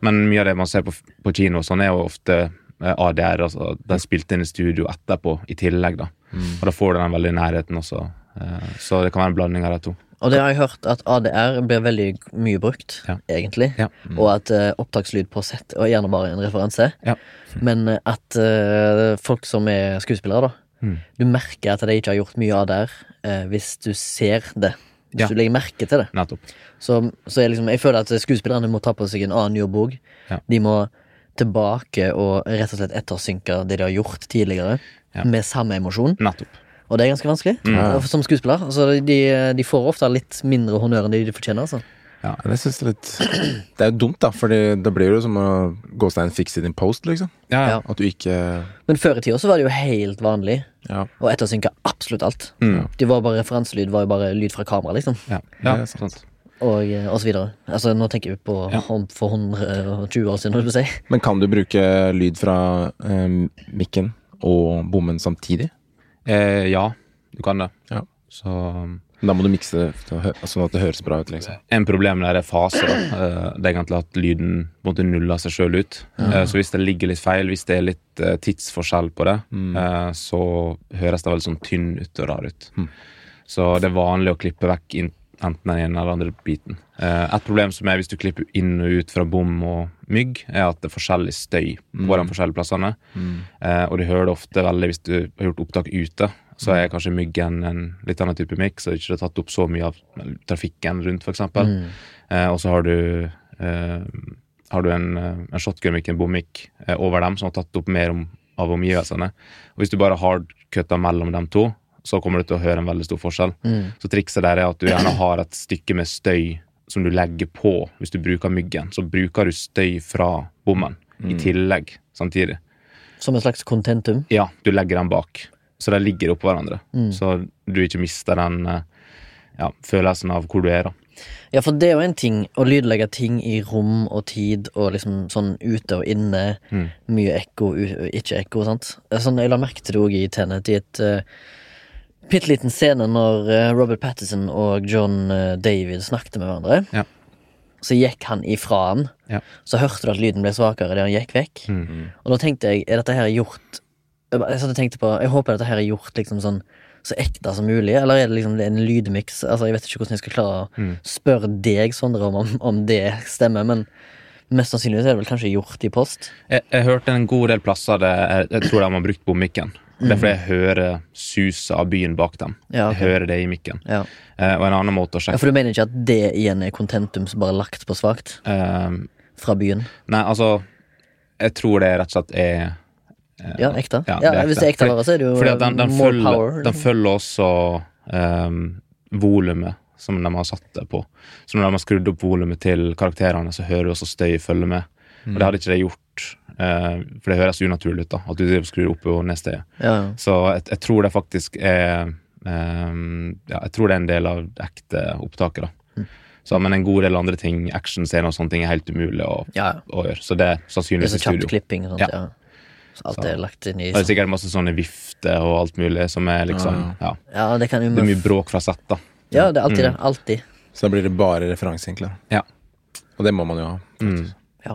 Men mye av det man ser på, på kino, og sånn er jo ofte eh, ADR, altså den spilte inn i studio etterpå i tillegg. da.
Mm.
Og da får du den veldig i nærheten også. Eh, så det kan være en blanding av de to.
videre? Og det har jeg hørt at ADR blir veldig mye brukt,
Ja.
egentlig.
Ja.
Og at eh, opptakslyd på sett og gjerne bare en referanse.
Ja.
Men eh, at eh, folk som er skuespillere, da
Mm.
Du merker at de ikke har gjort mye ADR eh, hvis du ser det. Hvis
Ja.
du legger merke til det.
Nettopp.
Så, så jeg, liksom, jeg føler at skuespillerne må ta på seg en annen jobb òg.
Ja.
De må tilbake og rett og slett ettersynke det de har gjort tidligere,
Ja.
med samme emosjon.
Nettopp. Mm.
Og det er ganske vanskelig eh, som skuespiller. Altså, de, de får ofte litt mindre honnør enn de de fortjener. Altså.
Men jeg synes det er litt Det er jo dumt, da, Fordi det blir jo som å gåstein fix it in post, liksom.
Ja, ja.
Ja.
At du ikke
Men før i tida så var det jo helt vanlig
Ja.
å ettersynke absolutt alt.
Mm.
Det var bare Referanselyd var jo bare lyd fra kamera, liksom.
ja.
Ja,
ja,
sant.
sant.
Og, eh, og så videre. Altså, nå tenker vi på
Ja.
om for 120 år siden, holdt jeg på å si.
Men kan du bruke lyd fra eh, mikken og bommen samtidig?
Eh, ja, du kan det.
Ja.
Så
Da må du mikse det til å hø- sånn at det høres bra ut, liksom.
eh, En problem der er fase. Da. Eh, Det er egentlig at lyden på en måte nuller seg sjøl ut. Eh, Så hvis det ligger litt feil, hvis det er litt eh, tidsforskjell på det,
Mm.
eh, så høres det veldig sånn tynn ut og rar ut. Så det er vanlig å klippe vekk inn- enten den ene eller andre biten. Eh, Et problem som er hvis du klipper inn og ut fra bom og mygg, er at det er forskjellig støy på de forskjellige plassene.
Mm.
Eh, Og du hører det ofte veldig hvis du har gjort opptak ute. Så er kanskje myggen en litt annen type mikk, så det ikke er tatt opp så mye av trafikken rundt, f.eks. eksempel Eh, Og så har du eh, har du en, eh, en shotgun-mikk, en bommikk, eh, over dem, som har tatt opp mer om, av omgivelsene. Og hvis du bare hardcutter mellom dem to, så kommer du til å høre en veldig stor forskjell. Så trikset der er at du gjerne har et stykke med støy som du legger på hvis du bruker myggen. Så bruker du støy fra bommen i tillegg samtidig.
Som en slags contentum.
Ja, du legger den bak. Så de ligger oppå hverandre. Så du ikke mister den eh, ja, følelsen av hvor du er, da.
Ja, for det er jo en ting å lydlegge ting i rom og tid og liksom sånn ute og inne.
Mm.
Mye ekko, u- ikke ekko, sant. Sånn, jeg la merke til det òg i Tenet, i et uh, bitte liten scene når eh, Robert Patterson og John eh, David snakket med hverandre.
Ja.
Så gikk han ifra han.
Ja.
Så hørte du at lyden ble svakere idet han gikk vekk.
Mm.
Og da tenkte jeg, er dette her gjort Jeg bare- jeg satt og tenkte på, jeg håper dette her er gjort liksom sånn så ekte som mulig, eller er det liksom det er en lydmiks? Altså, jeg vet ikke hvordan jeg skal klare å
Mm.
spørre deg, Sondre, om- om, om det stemmer, men mest sannsynlig så er det vel kanskje gjort i post.
Jeg, jeg hørte en god del plasser det, jeg, jeg tror de har brukt bommikken. Det er fordi jeg hører suset av byen bak dem.
Ja, ok.
Jeg hører det i mikken.
Ja.
Eh, og en annen måte å
ja,
sjekke
For du mener ikke at det igjen er contentum som bare er lagt på svakt
eh,
fra byen?
Nei, altså Jeg tror det rett og slett er
Ja, ekte?
Ja,
Ja,
det er
Hvis
ekte.
det er ekte
Fordi-
vare, så er det jo
Fordi at den, den,
more
følger,
power. liksom.
den følger også um, volumet som de har satt det på. Så når de har skrudd opp volumet til karakterene, så hører du også støy følge med.
Mm.
Og det hadde ikke det gjort, eh, for det høres unaturlig ut da, at du driver og skrur opp og ned støyet.
ja.
Så jeg, jeg tror det faktisk er ehm, ja, Jeg tror det er en del av det ekte opptaket,
Mm.
da. Så, men en god del andre ting, actionscener og sånne ting, er helt umulig å,
ja.
å gjøre. Så det er
Det er
sannsynligvis
så
i
kjapt
studio.
klipping og sånt, ja. Så alt er lagt inn i
Det er sikkert masse sånne vifter og alt mulig som er liksom ja.
Ah, Ja, det kan jo
Det er mye bråk Mm. fra sett, da.
Ja, det er alltid det. Alltid.
Så da blir det bare referanse, egentlig.
Ja.
Og det må man jo ha.
Ja.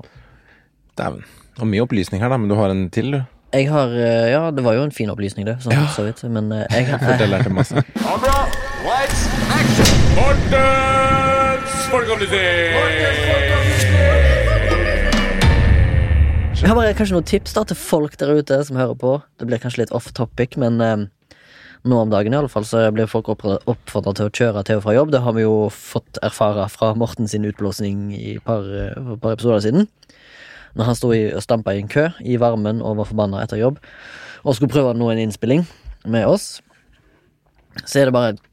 Dæven. Og mye opplysning her, da, men du har en til, du.
Jeg har eh, Ja, det var jo en fin opplysning, det, sånn, så vidt, men eh, jeg har
Jeg lærte masse.
Kamera, lights, action!
Mortens folkeopplysning!
Jeg har bare kanskje noen tips da til folk der ute som hører på. Det blir kanskje litt off topic, men eh, nå om dagen i alle fall så blir folk oppfordra til å kjøre til og fra jobb. Det har vi jo fått erfare fra Morten sin utblåsning i et par, eh, for et par episoder siden. Når han sto i, og stampa i en kø i varmen og var forbanna etter jobb og skulle prøve nå en innspilling med oss, så er det bare et,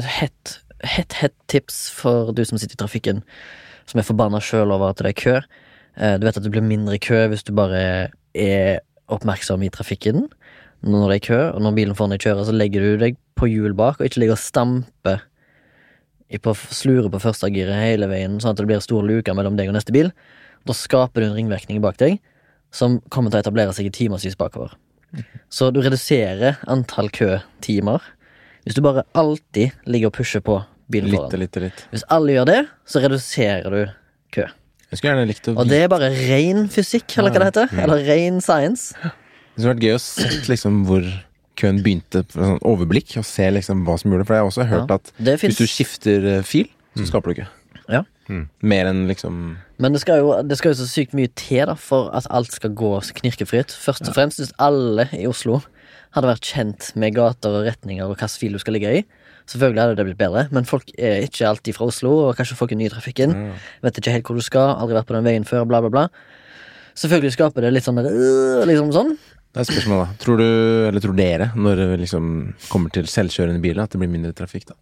et hett, hett, hett tips for du som sitter i trafikken, som er forbanna sjøl over at det er kø. Eh, Du vet at det blir mindre kø hvis du bare er oppmerksom i trafikken når det er kø, og når bilen foran deg kjører, så legger du deg på hjul bak, og ikke ligger og stamper i på slure på førstegiret hele veien, sånn at det blir stor luke mellom deg og neste bil. Da skaper du en ringvirkning bak deg som kommer til å etablere seg i timevis bakover. Så du reduserer antall køtimer hvis du bare alltid ligger og pusher på bilen
Litt,
foran.
litt, litt.
Hvis alle gjør det, så reduserer du kø.
Jeg skulle gjerne likt å
Og det er bare ren fysikk, eller hva det heter. Eller ren science.
Det skulle vært gøy å se liksom, hvor køen begynte, for sånn overblikk, og se liksom, hva som gjorde det. For jeg har også hørt
Ja,
at
det finnes. Mm.
hvis du skifter eh, fil, så skaper du ikke.
Ja.
Mer enn liksom
Men det skal, jo, det skal jo så sykt mye til da for at alt skal gå så knirkefritt. Først og fremst hvis alle i Oslo hadde vært kjent med gater og retninger og hvilken fil du skal ligge i. Selvfølgelig hadde det blitt bedre, men folk er ikke alltid fra Oslo, og kanskje folk er nye i trafikken. Vet ikke helt hvor du skal, aldri vært på den veien før, bla, bla, bla. Selvfølgelig skaper det litt sånn øh, liksom sånn.
Det er et spørsmål, da. Tror du, eller tror dere, når det liksom kommer til selvkjørende biler, at det blir mindre trafikk, da?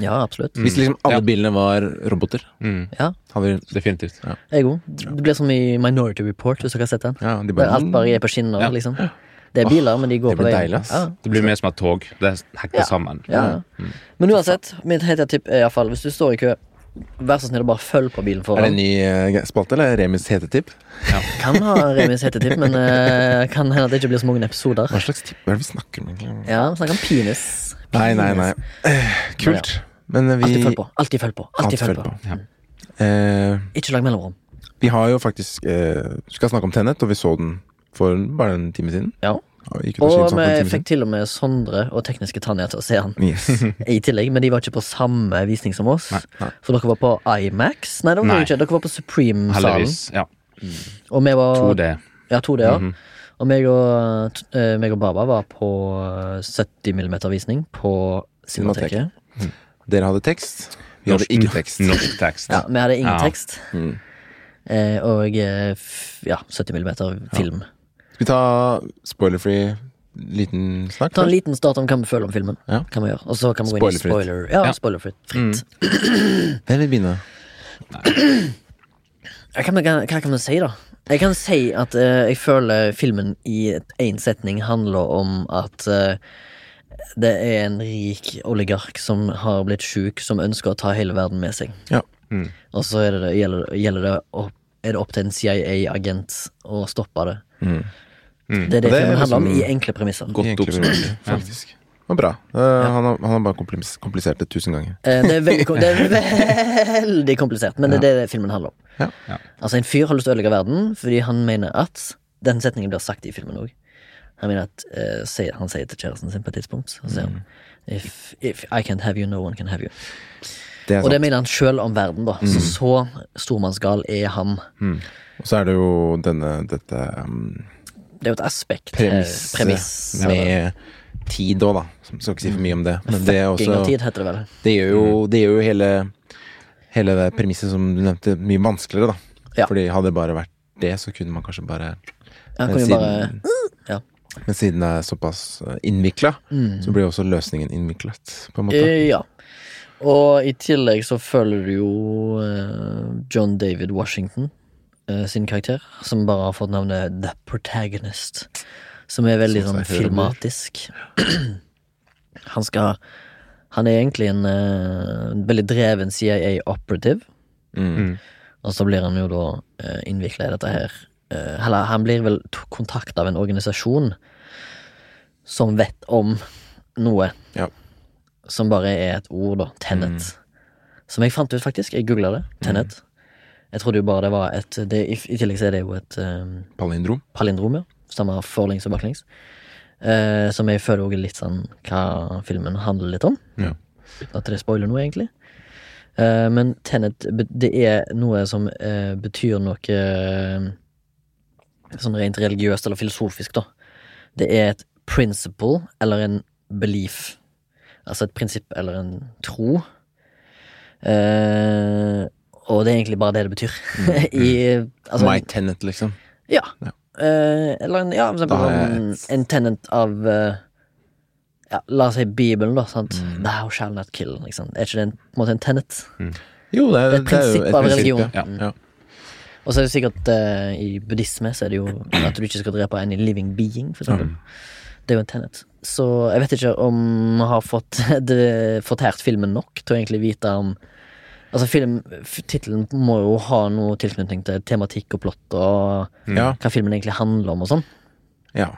Ja, absolutt.
Hvis liksom alle
Ja.
bilene var roboter,
Mm,
Ja,
hadde vi
definitivt.
jeg òg. Det blir som i Minority Report, hvis dere har sett den.
Ja, de
Der
bare
alt bare er på skinner,
Ja.
liksom. Det er biler, men de går
det
på
blir
veien.
deilig, ass. Mm.
Ja.
Det blir mer som et tog. Det hekker
Ja.
sammen.
Ja. Men uansett, mitt hete tipp er iallfall hvis du står i kø, vær så snill og bare følg på bilen
Er det en
foran.
ny eh, spalte, eller Remis hetetipp?
Kan ha Remis hete tipp, men eh, kan hende at det ikke blir så mange episoder.
Hva slags tipp hva er det vi snakker om, egentlig?
Ja, vi snakker om penis.
Nei, nei, nei. Eh, Kult. Men eh, vi
Alltid følg på. Alltid følg på. Alltid
Alltid
følg
følg
på.
på. Eh,
Ikke lag mellomrom.
vi har jo faktisk eh, Vi skal snakke om Tennet, og vi så den for bare en time siden.
Ja.
Ja, vi gikk ut og
Og
syntes den for en
vi
time
fikk til og med Sondre og tekniske Tanja til å se han
siden. Yes.
i tillegg, men de var ikke på samme visning som oss. For dere var på Imax? Nei, det var
Nei.
dere ikke. Dere var på Supreme-salen.
Heldigvis. Ja.
Og vi var
2D.
Ja, to det, ja. Og meg og, t- eh, meg og Baba var på eh, 70 mm-visning på Cinemateket.
Dere hadde tekst, vi hadde
Norsk-
ikke tekst.
Norsk tekst.
Ja, vi hadde ingen
Ja.
tekst. Eh, og eh, f ja, 70 mm film.
Skal vi ta spoilerfree liten snakk?
Ta en
først?
liten start om hva vi føler om filmen.
Ja.
Kan vi gjøre Og så kan vi gå inn i
Spoilerfritt.
spoiler Ja,
Ja.
spoilerfritt. Fritt.
Hvem vil begynne?
Ja, hva, kan- hva kan vi si, da? Jeg kan si at eh, jeg føler filmen i én setning handler om at eh, det er en rik oligark som har blitt sjuk, som ønsker å ta hele verden med seg.
Ja.
Og så er det, det- gjelder, gjelder det opp, er det opp til en CIA-agent å stoppe det. Det er det,
Mm. Og det er
filmen handler om
liksom-
i enkle premisser.
Egentlig
oppsummert.
veldig, Faktisk. Det var bra. Eh, han, har, han har bare komplis- komplisert det tusen ganger.
Eh, Det er veldig, kom- det er veldig komplisert, men det er det filmen handler om.
Ja.
Ja.
Altså En fyr har lyst til å ødelegge verden fordi han mener at Den setningen blir sagt i filmen òg. Han mener at eh, sier- Han sier til kjæresten sin på et tidspunkt så sier han, if, if I can't have you, no one can have you.
Mm. Det er
Og det
sant. Mm.
mener han sjøl om verden, da. Så, så stormannsgal er han.
Og så er det jo denne, dette um,
Det er jo et aspekt. eh,
premisset
premiss
med tid òg, da. Så Skal ikke si for mye om det. Men det, er
Fucking av
også,
tid, heter det vel.
det, gjør, jo,
Mm.
det gjør jo hele, hele det premisset som du nevnte, mye vanskeligere, da.
Ja.
Fordi hadde det bare vært det, så kunne man kanskje bare
Han
Men
kan jo
eh, siden-
bare ja.
Men siden det er såpass innvikla,
mm.
så blir også løsningen innviklet, på en måte.
Eh, ja. Og i tillegg så følger du jo eh, John David Washington eh, sin karakter, som bare har fått navnet The Protagonist. Som er veldig
Som
sånn
seg hører
filmatisk. Han skal Han er egentlig en eh, veldig dreven CIA-operative. Eh,
Mm.
Og så blir han jo da uh, innvikla i dette her. Eh, eller han blir vel kontakta av en organisasjon som vet om noe
Ja.
som bare er et ord, da. Tenet. Som jeg fant ut, faktisk. Jeg googla det. Tenet. Jeg trodde jo bare det var et det, i, I tillegg så er det jo et eh,
Palindrom.
palindrom, ja. Stammer forlengs og baklengs. Eh, som jeg føler også er litt sånn hva filmen handler litt om.
Ja.
At det spoiler noe, egentlig. Eh, men Tenet, be- det er noe som eh, betyr noe eh, sånn rent religiøst eller filosofisk, da. Det er et principle eller en belief. Altså et prinsipp eller en tro. Eh, og det er egentlig bare det det betyr. I, altså,
My tenant, liksom.
ja.
Ja.
Eh, eller en, ja, for eksempel
Da er
en, en tenant av eh, ja, La oss si Bibelen, da. Sant? Thou shall not kill. Ikke sant? liksom. Er ikke det en, på en måte en tenant?
Jo, det er,
Det er et prinsipp av religion.
Ja.
Mm.
Ja.
Og så er det sikkert eh, i buddhisme så er det jo at du ikke skal drepe any living being, for eksempel. Det er jo en tenet. Så jeg vet ikke om vi har fått det- fortært filmen nok til å egentlig vite om Altså film, f- Tittelen må jo ha noe tilknytning til tematikk og plott og
Ja.
hva filmen egentlig handler om og sånn.
ja.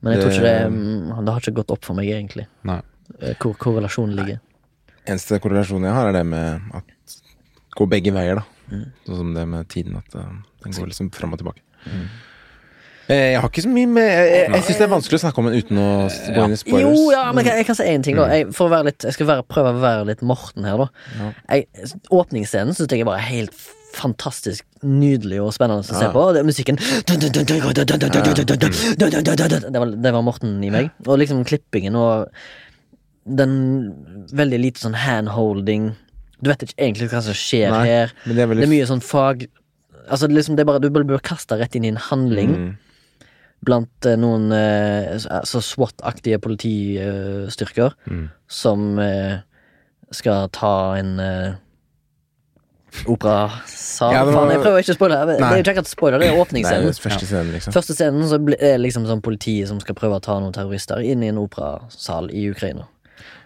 Men jeg tror ikke
Det-
det mm, Det har ikke gått opp for meg, egentlig,
Nei.
eh, hvor korrelasjonen ligger.
Eneste korrelasjonen jeg har, er det med at gå begge veier, da. Sånn som det med tiden, at eh, den går liksom fram og tilbake. Eh, Jeg har ikke så mye med Jeg, jeg, jeg syns det er vanskelig å snakke om den uten å s- gå inn i
Jo,
spoilers.
ja, men jeg, jeg kan si én ting, da. Jeg, for å være litt, jeg skal være, prøve å være litt Morten her, da. Jeg, åpningsscenen syns jeg er bare helt fantastisk nydelig og spennende å se på. Og det, musikken det var, det var Morten i meg. Og liksom klippingen og den veldig lite sånn handholding. Du vet ikke egentlig hva som skjer
Nei,
her.
men det er veldig Mm.
Det er mye sånn fag Altså det er liksom det er bare Du bare blir kasta rett inn i en handling blant eh, noen eh, s- altså SWAT-aktige politistyrker
Mm.
som eh, skal ta en eh, operasal.
Ja, det var-
Faen, jeg prøver ikke å spoile. Det
Nei.
er jo ikke akkurat spoiler, det er
Det er
åpningsscenen.
jo første scenen, liksom.
Første scenen så ble- er liksom sånn politiet som skal prøve å ta noen terrorister inn i en operasal i Ukraina.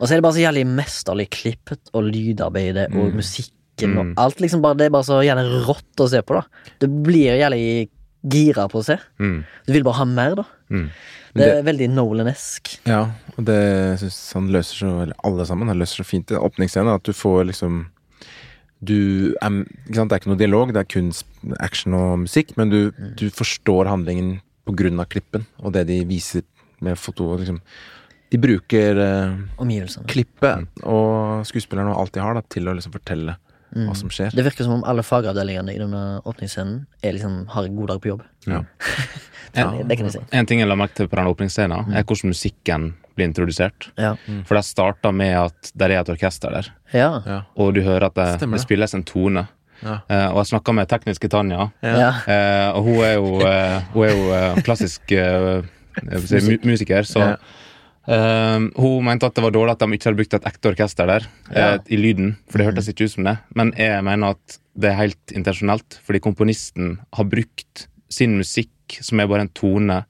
Og så er det bare så jævlig mesterlig klippet, og lydarbeidet
Mm.
og musikken og alt. liksom bare, Det er bare så jævlig rått å se på, da. Du blir jævlig gira på å se.
Mm.
Du vil bare ha mer, da.
Mm.
Det er veldig Nolan-esk.
Ja, og det syns han løser så Eller alle sammen han løser så fint i åpningsscenen. At du får liksom Du er ikke sant, Det er ikke noe dialog, det er kun sp- action og musikk, men du, du forstår handlingen på grunn av klippen og det de viser med foto. og Liksom. De bruker eh,
Omgivelsene.
klippet og skuespillerne og alt de har, da, til å liksom fortelle hva som skjer.
Det virker som om alle fagavdelingene i denne åpningsscenen er liksom, har en god dag på jobb.
Ja.
Det, det kan jeg si.
En ting jeg la merke til på den åpningsscenen, er hvordan musikken blir introdusert.
Ja.
For det starta med at der er et orkester der,
Ja.
Ja.
og du hører at det,
Stemmer
det
det.
spilles en tone.
Ja.
Eh, og jeg snakka med tekniske Tanja,
Ja.
eh, og hun er jo, eh, hun er jo eh, klassisk eh, jeg vil si, mu musiker, så
Ja.
eh, hun mente at det var dårlig at de ikke hadde brukt et ekte orkester der, eh, i lyden, for det hørtes ikke ut som det. Men jeg mener at det er helt intensjonelt, fordi komponisten har brukt sin musikk, som er bare en tone,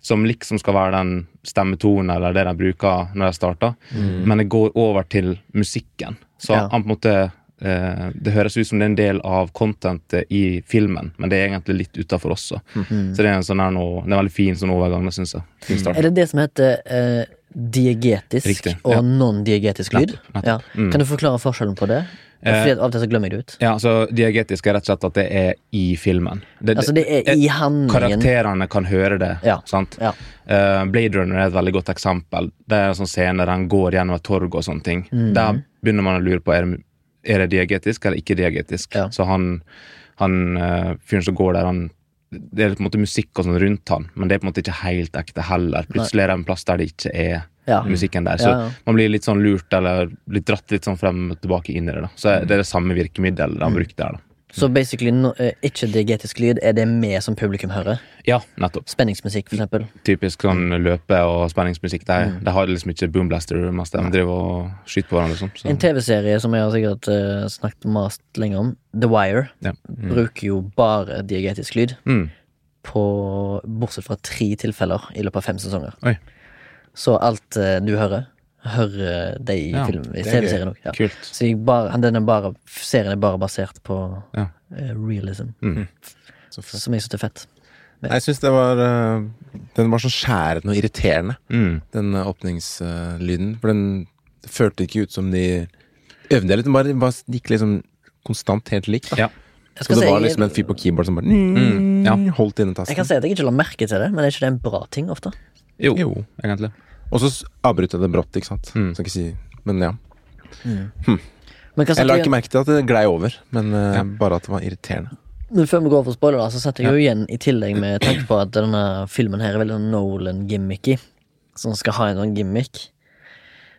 som liksom skal være den stemmetonen eller det de bruker når de starter, men det går over til musikken. Så
Mm. Ja.
han på en måte eh, Det høres ut som det er en del av contentet i filmen, men det er egentlig litt utafor også.
Mhm.
Så det er en sånn her nå, det er en veldig fin sånn overgang, det syns jeg. Fin start.
Er det det som heter eh, diegetisk
Riktig,
og
ja.
non-diegetisk lyd?
Nettopp, nettopp.
Ja. Kan du forklare forskjellen på det?
Eh,
Fordi at Av og til så glemmer jeg det ut.
Ja, så Diegetisk er rett og slett at det er i filmen. Det-
Altså, det
eh,
er i handlingen.
Karakterene kan høre det.
Ja.
sant?
Ja.
Eh, Blade Runner er et veldig godt eksempel. Det er en sånn scene der han går gjennom et torg og sånne ting.
Mm.
Der begynner man å lure på er det, er det diegetisk eller ikke diegetisk.
Ja.
Så han, han eh, fyren som går der, han det er på en måte musikk og sånn rundt han, men det er på en måte ikke helt ekte heller. Plutselig er det en plass der det ikke er
Ja.
musikken der. Så
Ah. Ja, ja.
man blir litt sånn lurt, eller litt dratt litt sånn frem og tilbake inn i det. da. Så
Mm.
det er det samme virkemiddelet han brukte der. da.
Så basically no, eh, ikke diegetisk lyd er det vi som publikum hører.
Ja, nettopp.
Spenningsmusikk, for eksempel.
typisk sånn løpe- og spenningsmusikk. De,
Mm.
de har liksom ikke boomblaster, mest de driver og skyter på hverandre. og sånn,
En
Så.
TV-serie som jeg har sikkert eh, snakket mast lenge om, The Wire,
Ja.
bruker jo bare diegetisk lyd.
Mm.
På, bortsett fra tre tilfeller i løpet av fem sesonger.
Oi.
Så alt eh, du hører, hører de i,
Ja,
film- i
det er gøy.
TV-serien òg. Ja.
Kult.
Så jeg bare, den er bare, serien er bare basert på
Ja. Mm.
eh, realism,
Mm. Så fett.
som jeg syns er fett.
Nei, Jeg syns det var eh, Den var så skjærende og irriterende,
Mm.
den eh, åpningslyden. For den det følte ikke ut som de øvde litt. Den bare, bare gikk liksom konstant helt lik. Da.
Ja.
Jeg,
Så
skal
det
si-
var liksom en fyr på keyboard som bare mm,
ja.
holdt inne
jeg kan
tasten.
si at jeg ikke la merke til det, men er ikke det en bra ting ofte?
Jo,
Jo.
egentlig.
Og så s- avbrøt jeg det brått, ikke sant.
Mm.
Skal ikke si Men ja.
Men, hva satt
Jeg la
du igjen-
ikke merke til at det glei over, men eh,
Ja.
bare at det var irriterende.
men før vi går for spoiler, da, så satt jeg jo igjen i tillegg med tanke på at denne filmen her er veldig sånn Nolan-gimmicky. Som skal ha en sånn gimmick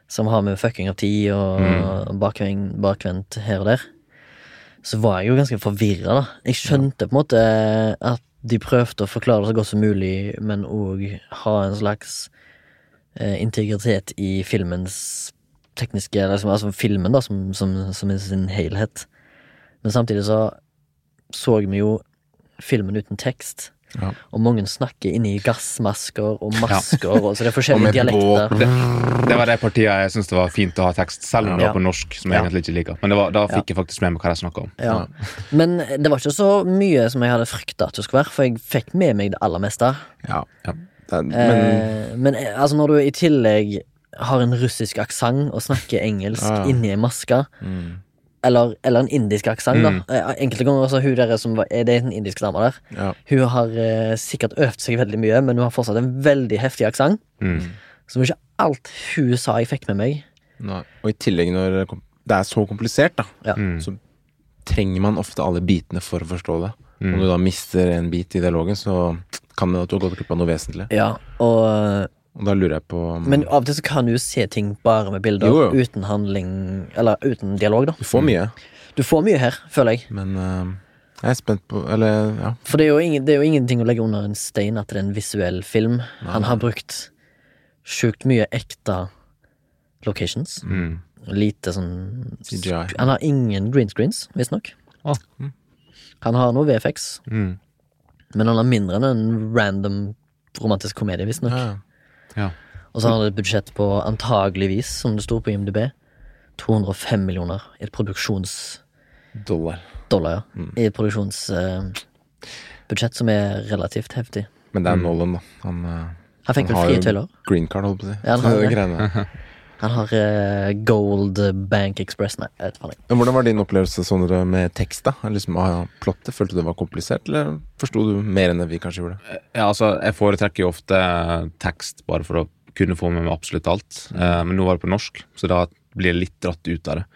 som har med fucking av tid og
Mm.
bakvendt, bakvendt her og der. Så var jeg jo ganske forvirra, da. Jeg skjønte på en måte eh, at de prøvde å forklare det så godt som mulig, men òg ha en slags eh, integritet i filmens tekniske liksom, Altså filmen, da, som, som, som i sin helhet. Men samtidig så så vi jo filmen uten tekst.
Ja.
Og mange snakker inni gassmasker og masker, og så det er forskjellige
med
dialekter.
båt.
Det, det var det partiet jeg syntes det var fint å ha tekst, selv om det var på norsk, som jeg
Ja.
egentlig ikke liker. Men det var, da fikk jeg faktisk med meg hva de snakka om.
Ja. Men det var ikke så mye som jeg hadde frykta at det skulle være, for jeg fikk med meg det aller meste.
Ja. Det er,
Men,
men
eh, men eh, altså når du i tillegg har en russisk aksent og snakker engelsk
Ja, ja.
inni ei maske, Mm. eller, eller en indisk aksent, da. Eh, Enkelte ganger også hun der som var, er det er en indisk dame der.
ja.
Hun har eh, sikkert øvd seg veldig mye, men hun har fortsatt en veldig heftig aksent. Så det var ikke alt hun sa jeg fikk med meg.
Nei. Mm. Og i tillegg når det kom- det er så komplisert, da,
Ja.
så trenger man ofte alle bitene for å forstå det. Om du da mister en bit i dialogen, så kan det at du har gått glipp av noe vesentlig.
Ja, og
Og da lurer jeg på um, om
Men av og til så kan du se ting bare med bilder,
Jo, jo.
uten handling Eller uten dialog, da.
Du får mye, Mm.
Du får mye her, føler jeg.
men eh, Jeg er spent på Eller, ja.
For det er, jo ingen, det er jo ingenting å legge under en stein at det er en visuell film. Han har brukt sjukt mye ekte locations.
Mm.
Lite sånn
CGI.
Han har ingen green screens, visstnok.
Ah.
Han har noe VFX,
Mm.
men han har mindre enn en random romantisk komedie, visstnok.
ja, ja.
Ja.
Og så har han et budsjett på antageligvis, som det sto på IMDb, 205 millioner i et produksjons...
Dollar.
dollar, ja.
Mm.
I et produksjonsbudsjett som er relativt heftig.
Men det er Nolan, da. Han, eh,
Han fikk
han
vel
har
frie
jo
tøyler.
green card, holdt på å si.
Ja, han har
Så det
det.
greiene der.
Han har eh, Gold Bank Express, nei, jeg vet faen ikke.
Men Hvordan var din opplevelse Sondre, med tekst? da? Liksom, ah, Plottet? Følte du det var komplisert, eller forsto du mer enn det vi kanskje gjorde?
Ja, altså, jeg foretrekker jo ofte eh, tekst bare for å kunne få med meg absolutt alt. Eh, men nå var det på norsk, så da blir jeg litt dratt ut av det.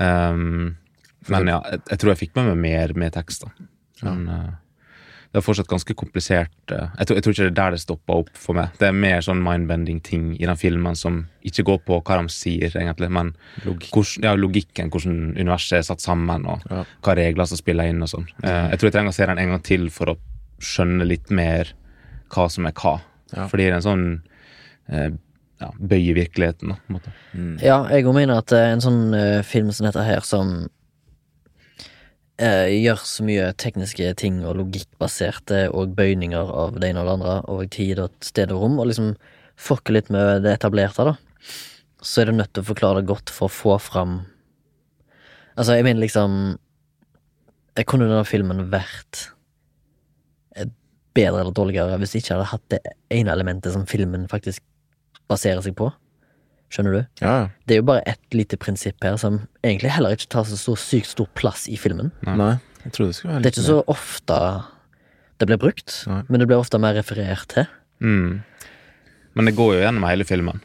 Um, men ja, jeg, jeg tror jeg fikk med meg mer med tekst, da. Men eh, det er fortsatt ganske komplisert. eh, jeg, tror, jeg tror ikke det er der det stopper opp for meg. Det er mer sånn mindbending-ting i den filmen som ikke går på hva de sier, egentlig, men hvordan- ja, logikken, hvordan universet er satt sammen, og
Ja.
hva regler som spiller inn og sånn. Eh, jeg tror jeg trenger å se den en gang til for å skjønne litt mer hva som er hva.
Ja.
Fordi det er en sånn eh, ja, bøy i virkeligheten, da, på en måte.
Ja, jeg òg mener at eh, en sånn eh, film som dette her, som eh, gjør så mye tekniske ting og logikkbaserte, eh, og bøyninger av det ene og det andre, og tid og sted og rom, og liksom fucker litt med det etablerte, da, så er du nødt til å forklare det godt for å få fram Altså, jeg mener liksom eh, Kunne denne filmen vært eh, bedre eller dårligere hvis de ikke hadde hatt det ene elementet som filmen faktisk baserer seg på? Skjønner du?
Ja, ja.
Det er jo bare ett lite prinsipp her som egentlig heller ikke tar så stor, sykt stor plass i filmen.
Nei. jeg trodde det skulle være
Det er
litt
ikke så ofte det blir brukt,
Nei.
men det blir ofte mer referert til.
Mm. Men det går jo gjennom hele filmen.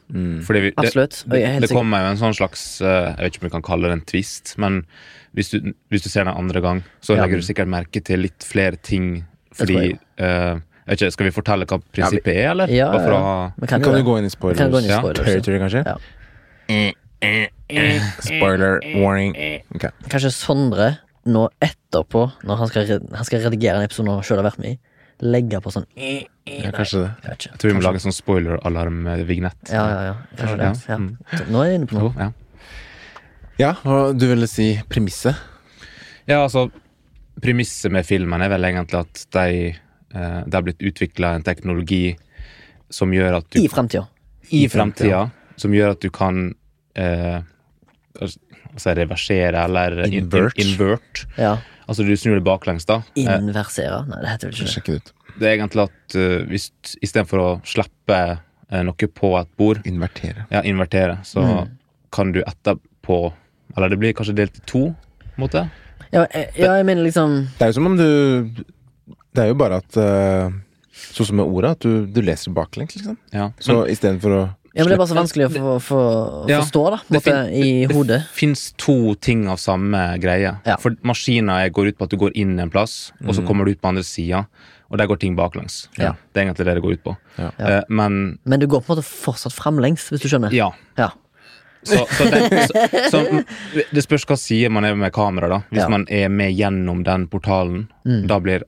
Fordi vi, det,
Absolutt. Og jeg er
det,
helt
det
sikker-
kommer jo en sånn slags eh, Jeg vet ikke om vi kan kalle det en twist, men hvis du, hvis du ser den andre gang, så
Ja.
legger du sikkert merke til litt flere ting fordi
tror jeg.
eh, jeg vet ikke, Skal vi fortelle hva prinsippet er, eller?
Ja,
Bare for å
ja.
ha
Men
Kan, kan
jo det.
du gå inn i
Vi kan gå
spoilers?
inn i
Ja,
spoilers.
Territory, kanskje?
Ja.
Spoiler warning. Ok.
Kanskje Sondre nå etterpå, når han skal, re- han skal redigere en episode han sjøl har vært med i, legge på sånn Jeg
Ja, kanskje det.
vet ikke.
Jeg tror vi må lage en sånn spoiler-alarm-vignett.
Ja, ja, ja. Kanskje det.
Ja. Mm.
Ja. Nå er jeg inne på noe.
Jo, ja.
Ja, og du ville si premisset?
Ja, altså Premisset med filmen er vel egentlig at de, eh, det har blitt utvikla en teknologi som gjør at du
I framtida.
i fremtida som gjør at du kan eh, altså reversere eller in-
Invert.
In, invert.
Ja.
Altså du snur det baklengs, da. Eh,
Inversere. Nei, det heter vel ikke det.
Sjekk det ut.
det er egentlig at uh, hvis istedenfor å slippe eh, noe på et bord,
Invertere.
ja, invertere, så kan du etterpå Eller det blir kanskje delt i to, på en måte.
Ja, jeg, ja, jeg mener liksom
Det er jo som om du Det er jo bare at eh, Sånn som med ordet, at du, du leser baklengs, liksom.
Ja.
Så istedenfor å
Mm. Ja, men Det er bare så vanskelig å få, få,
Ja,
forstå, da, på en
det
måte,
fin-
i hodet.
Det fins to ting av samme greie.
Ja. Mm.
For maskiner går ut på at du går inn en plass, og så kommer du ut på andre sida, og der går ting baklengs.
Ja.
Det er egentlig det det går ut på.
Ja.
Eh, men
Men du går på en måte fortsatt framlengs, hvis du skjønner.
ja.
Ja.
Så, så, det, så, så det spørs hva side man er med kamera, da. Hvis
Ja. Mm.
man er med gjennom den portalen, da blir alt,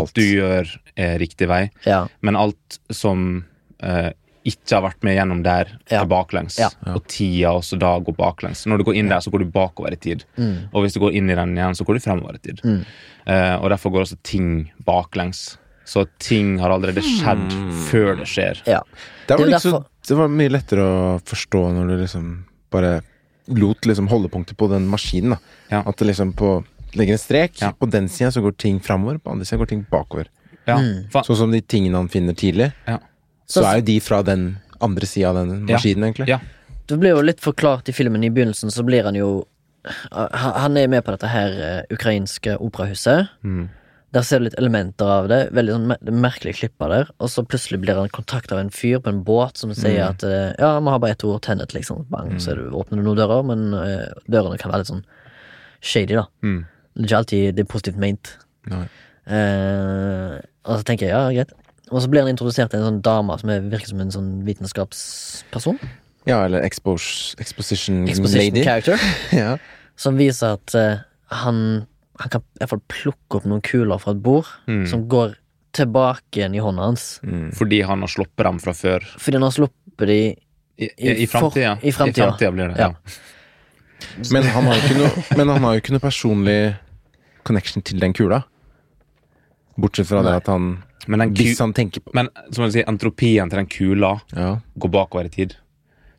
Alt.
du gjør, eh, riktig vei.
Ja.
Men alt som eh, ikke har vært med gjennom der,
Ja.
er baklengs.
Ja.
Og tida også da går baklengs. Når du går inn der, så går du bakover i tid.
Mm.
Og hvis du går inn i den igjen, så går du fremover i tid. Eh, og derfor går også ting baklengs. Så ting har allerede skjedd
Mm.
før det skjer.
ja.
Det var,
Det er
liksom,
derfor-
det var mye lettere å forstå når du liksom bare lot liksom holdepunktet på den maskinen. da.
Ja.
At det liksom på legger en strek,
Ja.
på den sida så går ting framover, på andre sida går ting bakover.
Ja,
Mm.
fa-
Sånn som de tingene han finner tidlig,
ja.
så
Så-
er jo de fra den andre sida av den
Ja.
maskinen, egentlig.
ja.
Det blir jo litt forklart i filmen. I begynnelsen så blir han jo Han han er med på dette her eh, ukrainske operahuset. Der ser du litt elementer av det. Veldig sånn mer- merkelig klippa der. Og så plutselig blir han kontakta av en fyr på en båt som sier at eh, ja, vi har bare ett ord, tennet, liksom. Bang, så er du, åpner du noen dører, men eh, dørene kan være litt sånn shady, da.
Mm.
Det er ikke alltid det er positivt ment.
Nei.
Eh, og så tenker jeg ja, greit. Og så blir han introdusert til en sånn dame som er, virker som en sånn vitenskapsperson.
Ja, eller expos, exposition,
Exposition
lady.
character.
Ja.
Som viser at eh, han Han kan i hvert fall plukke opp noen kuler fra et bord som går tilbake igjen i hånda hans.
Fordi han har sluppet dem fra før.
Fordi han har sluppet de I
I, i, i
for-
framtida.
i fremtiden.
blir det.
Ja.
Ja.
Men han har jo ikke noe, men han har jo ikke noe personlig connection til den kula. Bortsett fra det at han
Men, den ku,
Hvis han tenker på
men som man sier, entropien til den kula
Ja.
går bakover i tid.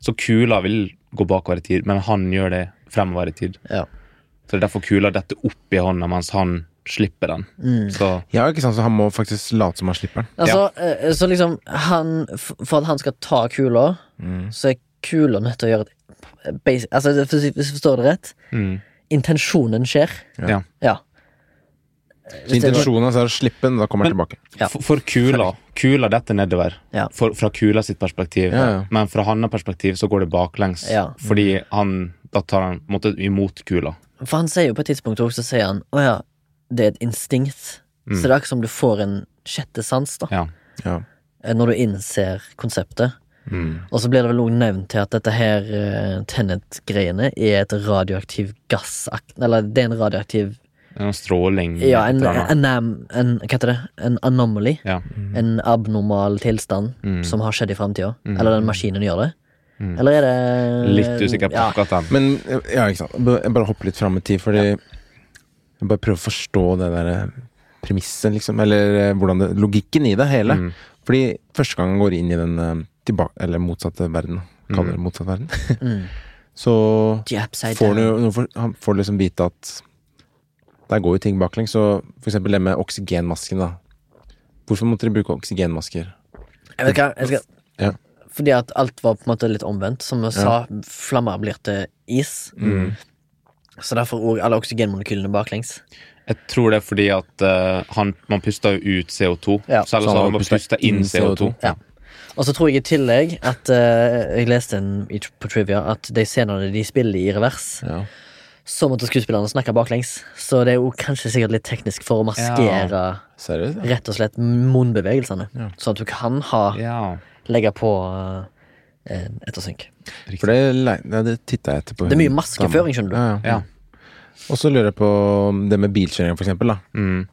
Så kula vil gå bakover i tid, men han gjør det fremover i tid.
Ja.
Så det er derfor kula detter opp i hånda mens han slipper den. Så
ja, ikke sant, så han må faktisk late som han slipper den.
Altså, eh, Så liksom han, f- For at han skal ta kula, så er kula nødt til å gjøre et basic, altså, Hvis hvis jeg forstår det rett,
mm,
intensjonen skjer.
ja.
Ja.
Så intensjonen hans er å slippe den, da kommer han
Men-
tilbake.
Ja.
For, for kula Kula detter nedover.
Ja.
For, fra kula sitt perspektiv.
Ja, ja.
Men fra hans perspektiv så går det baklengs.
Ja.
Fordi han da tar han på en måte imot kula.
For han sier jo på et tidspunkt også, så sier han Å ja, det er et instinkt. Så det er akkurat som du får en sjette sans, da.
Ja.
Ja.
eh, Når du innser konseptet.
Mm.
Og så blir det vel også nevnt til at dette her eh, Tenet-greiene er et radioaktiv gassakt Eller det er en radioaktiv
Det er noe stråling
Ja, en,
et eller annet. Mm.
en, am- en Hva heter det? En anomaly.
ja.
En abnormal tilstand
Mm.
som har skjedd i framtida. Eller den maskinen gjør det. Eller er det
Litt usikker på
Ja.
akkurat den.
Men ja, ikke sant. Jeg bare hopper litt fram i tid, fordi Jeg bare prøver å forstå det der eh, premisset, liksom. Eller eh, hvordan det, logikken i det hele.
Mm.
Fordi første gang han går inn i den eh, tilba- eller motsatte verden,
Mm.
kaller det motsatt verden, så
The upside
får han
down.
jo nå får- Han får liksom vite at der går jo ting baklengs. Så for eksempel det med oksygenmasken, da. Hvorfor måtte de bruke oksygenmasker?
Jeg vet hva, jeg skal
Ja.
Fordi at alt var på en måte litt omvendt. Som vi sa, flammer blir til is.
Mm.
Så derfor òg alle oksygenmolekylene baklengs.
Jeg tror det er fordi at eh, han, man puster jo ut CO2.
Ja.
Så
Så
ellers
han
hadde man
puster
pusta inn
inn
CO2.
CO2.
Ja. Og så tror jeg i tillegg at eh, Jeg leste en, i- på trivia at de scenene de spiller i revers,
Ja.
så måtte skuespillerne snakke baklengs. Så det er jo kanskje sikkert litt teknisk for å maskere
Seriøst? Ja.
rett og slett munnbevegelsene. Sånn at du kan ha
Ja.
legge på uh, ettersynk.
Mm.
For det, le- ja, det titta jeg etter på.
Det er mye
hun dama.
maskeføring, skjønner du.
Ja, ja.
ja.
Og så lurer jeg på det med bilkjøring, for eksempel. Da.
Mm.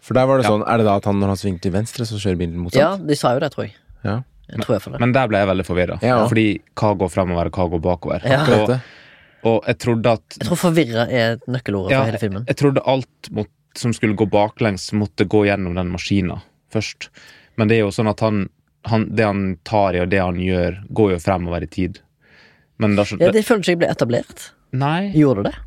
For der var det
Ja.
sånn, er det da at han når han svinger til venstre, så kjører bilen
Ja,
motsatt?
de sa jo det, tror jeg.
Ja.
Jeg tror i hvert fall det.
Men der ble jeg veldig forvirra.
Ja.
Fordi hva går fremover, og hva går bakover?
Ja.
Akkurat
Og,
det.
og jeg trodde at
Jeg tror forvirra er nøkkelordet
Ja,
for hele filmen.
Jeg trodde alt mot, som skulle gå baklengs, måtte gå gjennom den maskina først. Men det er jo sånn at han, han, det han tar i, og det han gjør, går jo fremover i tid. Men da skjøn-
Ja, det føles ikke ble etablert.
Nei
Gjorde det?
Ja,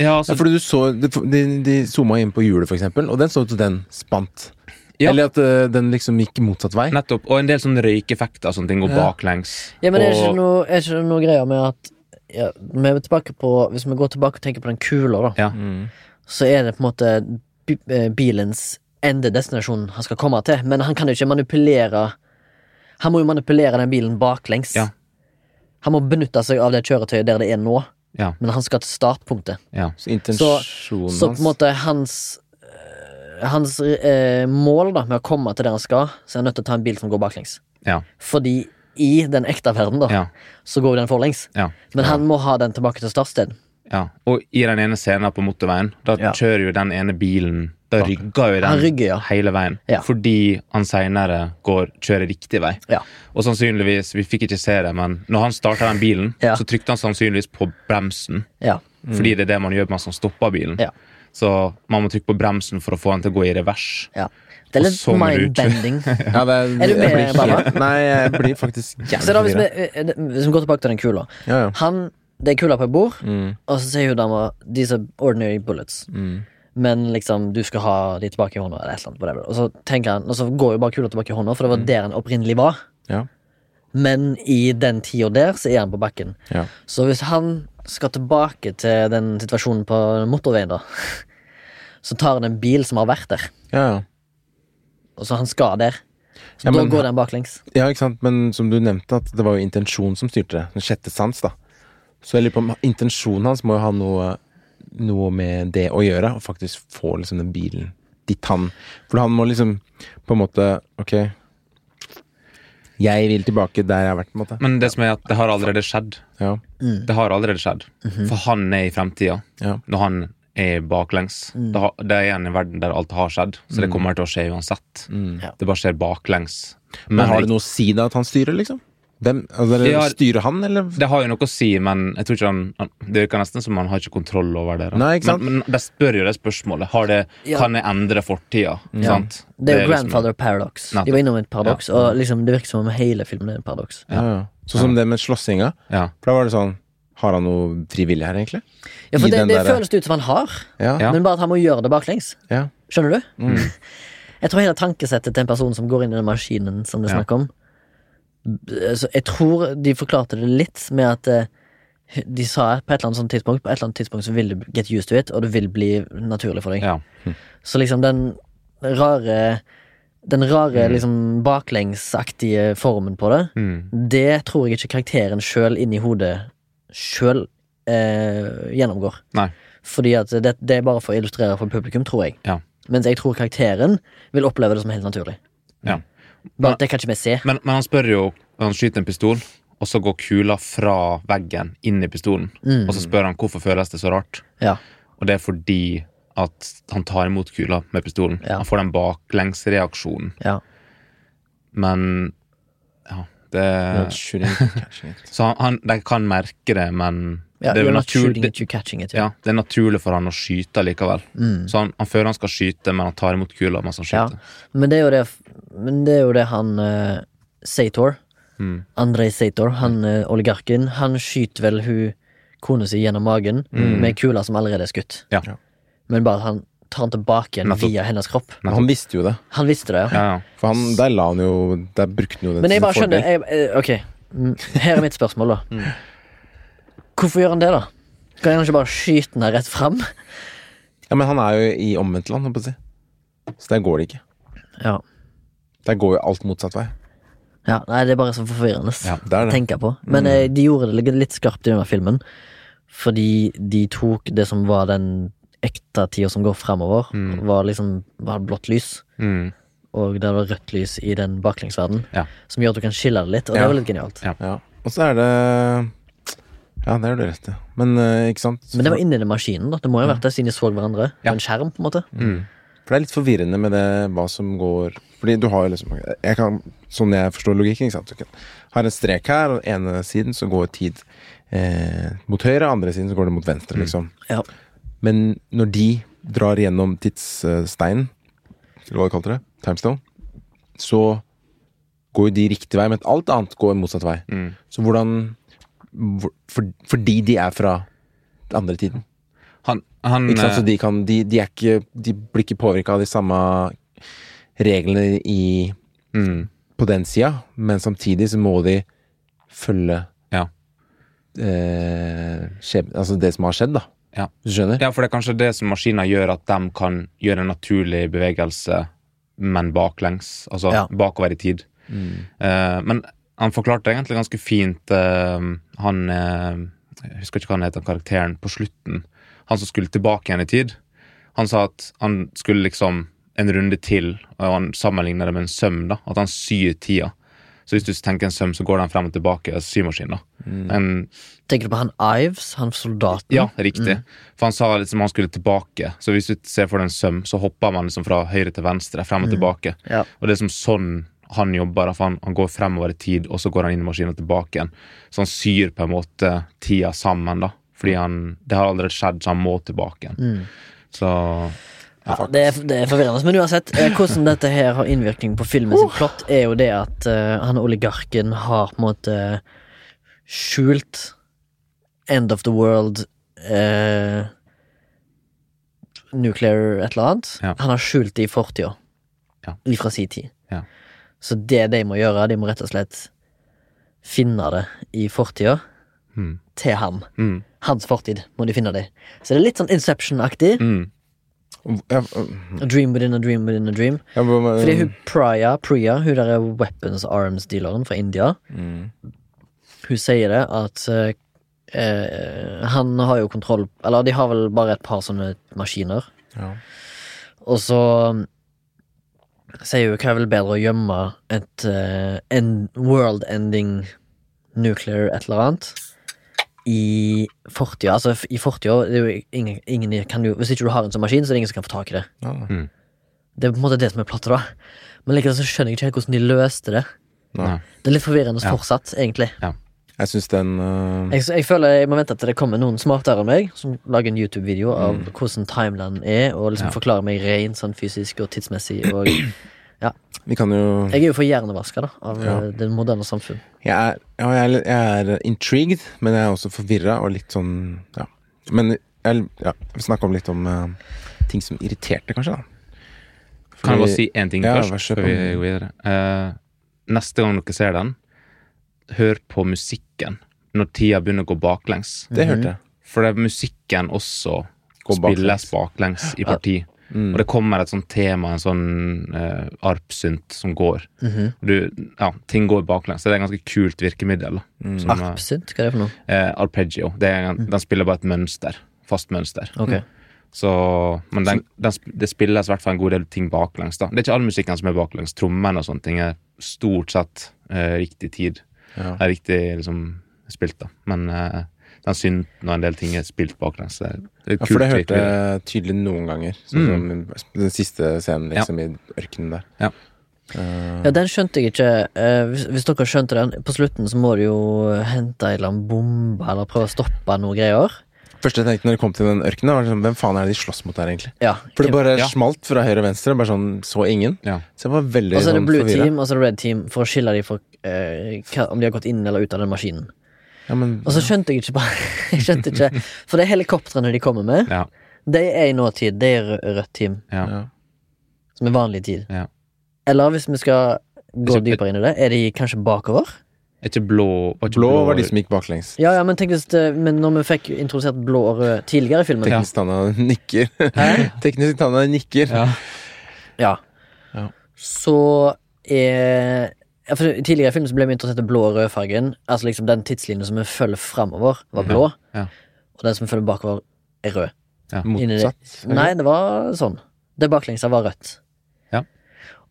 Ja,
altså,
fordi du så, de, de, de zooma inn på hjulet, for eksempel, og den så ut som den spant.
Ja.
Eller at ø, den liksom gikk motsatt vei.
nettopp. Og en del sånn røykeffekter og sånne ting går
Ja.
baklengs.
Ja, men er det ikke
Og-
noe, er det ikke noe greier med at ja, vi er tilbake på, Hvis vi går tilbake og tenker på den kula, da,
ja.
så er det på en måte bi- eh, bilens endedestinasjon han skal komme til. Men han kan jo ikke manipulere Han må jo manipulere den bilen baklengs.
Ja.
Han må benytte seg av det kjøretøyet der det er nå,
Ja.
men han skal til startpunktet.
ja.
Så intensjonen
Så på en måte hans eh, Hans eh, mål da med å komme til der han skal, så er han nødt til å ta en bil som går baklengs.
Ja.
Fordi i den ekte verden, da,
Ja.
så går jo den forlengs.
Ja.
Men han må ha den tilbake til startstedet.
Ja. Og i den ene scenen på motorveien, da
Ja.
kjører jo den ene bilen Da rygger jo den
Han rygger, ja.
hele veien.
Ja.
Fordi han seinere kjører riktig vei.
Ja.
Og sannsynligvis, vi fikk ikke se det, men når han starta den bilen,
Ja.
så trykte han sannsynligvis på bremsen.
Ja.
Fordi det er det man gjør mens man stopper bilen.
Ja.
Så man må trykke på bremsen for å få den til å gå i revers.
ja. Det er
Og
litt
så må du ut.
mind-bending.
ja, det,
Er du
jeg
med,
blir
Baba?
helt- Nei, jeg blir faktisk
Så da hvis vi,
forvirret.
eh, hvis vi går tilbake til den kula
Ja, Mm. ja.
Han, Det er kula på et bord, og så sier hun dama These are ordinary bullets.
Mm.
Men liksom, du skal ha de tilbake i hånda, eller et eller annet. whatever. Og så, tenker han, og så går jo bare kula tilbake i hånda, for det var
Mm.
der han opprinnelig var.
Ja,
Men i den tida der, så er han på bakken.
ja.
Så hvis han skal tilbake til den situasjonen på motorveien, da, så tar han en bil som har vært der.
Ja, ja.
Og så han skal der. Så
Ja,
da
men-
går den baklengs.
Ja, ikke sant? Men som du nevnte, at det var jo intensjonen som styrte det. Den sjette sans, da. Så jeg lurer på om intensjonen hans må jo ha noe, noe med det å gjøre, og faktisk få liksom den bilen dit han For han må liksom på en måte Ok, jeg vil tilbake der jeg har vært, på en måte.
Men det som er at det har allerede skjedd.
Mm.
Ja.
Mhm.
Det har allerede skjedd. For han er i fremtida,
Ja.
når han er baklengs.
Mm.
Det, har, det er en i verden der alt har skjedd, så det kommer til å skje uansett.
Ja.
Det bare skjer baklengs.
Mm. Men har det
det,
noe å si da at han styrer, liksom? Hvem, altså, dere
Ja.
Styrer han, eller?
har jo noe å si, men jeg tror ikke han, han Det virker nesten som han har ikke kontroll over det. da.
Nei, ikke sant?
Men, men de spør jo det spørsmålet. Har det,
Ja.
Kan jeg endre fortida? Sant?
Det er jo
liksom-
grandfather paradox.
Nettopp.
De var innom et paradoks, og liksom, det virker som om hele filmen er en paradoks.
Ja, ja. Sånn som det med slåssinga.
ja.
For da var det sånn Har han noe frivillig her, egentlig?
Ja, for
I
det,
den
det
der-
føles det ut som han har,
Ja.
Ja.
men bare at han må gjøre det baklengs.
Ja.
Skjønner du? Jeg tror hele tankesettet til en person som går inn i den maskinen som det er
Ja.
snakk om b- så Jeg tror de forklarte det litt med at eh, de sa på et eller annet sånt tidspunkt På et eller annet tidspunkt så vil du get used to it, og det vil bli naturlig for deg.
Ja.
Så liksom den rare Den rare liksom baklengsaktige formen på det,
Mm.
det tror jeg ikke karakteren sjøl inni hodet sjøl eh, gjennomgår.
Nei.
Fordi at det, det er bare for å illustrere for publikum, tror jeg.
Ja.
Mens jeg tror karakteren vil oppleve det som helt naturlig.
Ja.
Bare at det kan ikke vi se.
Men, men han spør jo Han skyter en pistol, og så går kula fra veggen inn i pistolen.
Mm.
Og så spør han hvorfor føles det så rart.
Ja.
Og det er fordi at han tar imot kula med pistolen.
Ja.
Han får den baklengsreaksjonen.
ja.
Men ja, det Så han, han, de kan merke det, men
ja
det, er
you're
jo
not
natur,
shooting
det,
it, you're catching it.
ja, det er naturlig for han å skyte likevel. Så han, han føler han skal skyte, men han tar imot kula mens han
Ja.
skyter.
Men, det er jo det, men det er jo det han eh, Sator,
Mm.
Andrej Sator, han eh, oligarken, han skyter vel hun kona si gjennom magen med kula som allerede er skutt.
Mm. Ja.
Men bare at han tar den tilbake igjen
Nettopp.
via hennes kropp.
Men han visste jo det.
Han visste det, ja.
Ja, ja.
For han, der la han jo Der brukte han jo det
Men jeg
til
bare
sin fordel.
skjønner jeg, eh, Ok, Mm, her er mitt spørsmål da
Mm.
Hvorfor gjør han det da? Kan han ikke bare skyte den her rett frem?
Ja, Men han er jo i omvendt land, holdt på å si. Så der går det ikke.
Ja,
Der går jo alt motsatt vei.
ja nei, det er bare så forvirrende
Ja, det er
å
det. Mm.
tenke på Men eh, de gjorde det litt- litt skarpt i denne filmen Fordi de tok det som var den ekte tida som går fremover
Mm.
Var liksom, var blått lys
Mm.
Og det var rødt lys i den baklengsverden
Ja.
Som gjør at du kan skille det litt Og
Ja.
det var litt genialt
Ja.
Ja. Og så er det Ja, det er du rett i. Men eh, ikke sant?
Men det var inni den maskinen da Det må jo ha
Mm.
vært det siden de så hverandre På en skjerm på en måte
For det er litt forvirrende med det hva som går Fordi du har jo liksom jeg kan, Sånn jeg forstår logikken, ikke sant? Du kan, har en strek her, og ene siden så går tid eh, mot høyre, andre siden så går det mot venstre, liksom.
Ja,
Men når de drar gjennom tidssteinen, eller hva de kalte det, timestone, så går jo de riktig vei, men alt annet går motsatt vei.
mm.
Så hvordan hvor, for, Fordi de er fra den andre tiden.
Han, han,
Ikke sant? Så
eh,
de, kan, de, de, er ikke, de blir ikke påvirka av de samme reglene i,
mm,
på den sida, men samtidig så må de følge
ja.
eh, skjeb, altså det som har skjedd, da.
Ja.
Hvis du skjønner?
eh, Ja, for det er kanskje det som maskiner gjør, at de kan gjøre en naturlig bevegelse, men baklengs. Altså
Ja.
bakover i tid.
Mm.
Eh, men han forklarte egentlig ganske fint eh, Han eh, Jeg husker ikke hva han het, den karakteren på slutten. Han som skulle tilbake igjen i tid. Han sa at han skulle liksom en runde til, og han sammenligner det med en søm. da, At han syr tida. Så hvis du tenker en søm, så går den frem og tilbake. Symaskin, da. En
Tenker du på han Ives, han soldaten?
Ja, riktig. For han sa liksom han skulle tilbake. Så hvis du ser for deg en søm, så hopper man liksom fra høyre til venstre, frem og tilbake.
Ja.
Og det er som sånn han jobber. da, For han, han går fremover i tid, og så går han inn i maskinen og tilbake igjen. Så han syr på en måte tida sammen, da. Fordi han, det har allerede skjedd, så han må tilbake igjen.
Mm.
Så
Ja, det, er, det er forvirrende. Men uansett, eh, hvordan dette her har innvirkning på filmens plott, er jo det at eh, han oligarken har på en måte skjult End of the World eh, Nuclear et eller annet.
Ja.
Han har skjult det i fortida.
Ja.
Ifra si tid.
Ja.
Så det de må gjøre, de må rett og slett finne det i fortida
Mm.
til ham.
mm,
Hans fortid må de finne det i. Så det er litt sånn Inception-aktig.
mm,
Ja,
Hmm.
A dream within a dream within a dream.
ja, men-
Fordi hun Priya, Priya hun der er weapons arms-dealeren fra India,
Mm.
hun sier det at eh, eh, han har jo kontroll Eller de har vel bare et par sånne maskiner.
Ja.
Og så mm, sier hun hva er vel bedre å gjemme et eh, en world-ending nuclear et eller annet i fortida. Altså, f- i fortida det er jo ingen, ingen kan jo, Hvis ikke du har en sånn maskin, så er det ingen som kan få tak i det.
Ja,
Det er på en måte det som er plottet, da. Men likevel så skjønner jeg ikke helt hvordan de løste det.
Nei.
Det er litt forvirrende
Ja.
fortsatt, egentlig.
Jeg syns den eh,
Jeg, jeg føler jeg må vente til det kommer noen smartere enn meg, som lager en YouTube-video av
Mm.
hvordan timelinen er, og liksom forklarer meg ren sånn fysisk og tidsmessig. Og jeg
Vi kan jo
er jo for hjernevaska da, av
Ja.
eh, det moderne samfunn.
Jeg er, ja, jeg er, litt- jeg er intrigued, men jeg er også forvirra og litt sånn Ja. Men jeg ja, vi snakker om litt om eh, ting som irriterte, kanskje, da. Fordi-
Kan jeg bare si én ting
Ja, vær så
først? Før vi
god.
går videre Eh, Neste gang dere ser den, hør på musikken når tida begynner å gå baklengs.
Det hørte jeg.
For det er musikken også
Går
spilles baklengs i parti. Mhm.
Mm.
Og det kommer et sånt tema, en sånn eh, arpsynt som går.
Mhm.
Og du, ja, ting går baklengs. Så det er et ganske kult virkemiddel. da.
Mm.
Som, eh,
Absynt, hva er det for noe?
eh, arpeggio. Det er, Den spiller bare et mønster. Fast mønster.
Mm.
Ok.
Så, men den, den, sp- det spilles i hvert fall en god del ting baklengs. da. Det er ikke all musikken som er baklengs. Trommene og sånne ting er stort sett eh, riktig tid.
Ja.
Er riktig liksom, spilt, da. Men eh, den synten og en del ting er spilt baklengs. Det er, det er
Ja, for det
kult Mhm.
hørte
virkemiddel.
jeg tydelig noen ganger. Sånn som den siste scenen liksom i ørkenen der. Mm.
Ja, den skjønte jeg ikke. Eh, hvis, hvis dere skjønte den, på slutten så må du jo hente en eller annen bombe, eller prøve å stoppe noe greier.
Første jeg tenkte når jeg kom til den ørkenen, var sånn, hvem faen er det de slåss mot der, egentlig?
Ja.
For det bare
Ja.
smalt fra høyre og venstre. Bare sånn, så ingen.
Ja.
Så jeg var veldig
Og så er det
sånn
blue
forvirra.
team og så er det red team, for å skille dem fra eh, hva- om de har gått inn eller ut av den maskinen.
Ja, men
Og så skjønte jeg ikke bare Jeg skjønte ikke For det er helikoptrene de kommer med,
Ja,
de er i nåtid. De er rø- rødt team,
ja.
ja.
som er vanlig tid.
Ja.
Eller hvis vi skal gå
Ikke-
dypere inn i det, er de kanskje bakover?
Er ikke blå var ikke
Blå var de som gikk baklengs.
Ja, ja, men tenk hvis det, Men når vi fikk introdusert blå og rød tidligere i filmen
Teknisk Tanna nikker. Teknisk Tanna nikker.
ja.
Ja.
Ja.
Så er ja, for Tidligere i filmen så ble vi interessert i blå og rødfargen. Altså liksom Den tidslinjen som vi følger framover, var blå.
Ja.
Og den som følger bakover, er rød. Inni det.
Motsatt.
Nei, det var sånn. Det baklengsa var rødt.
Ja.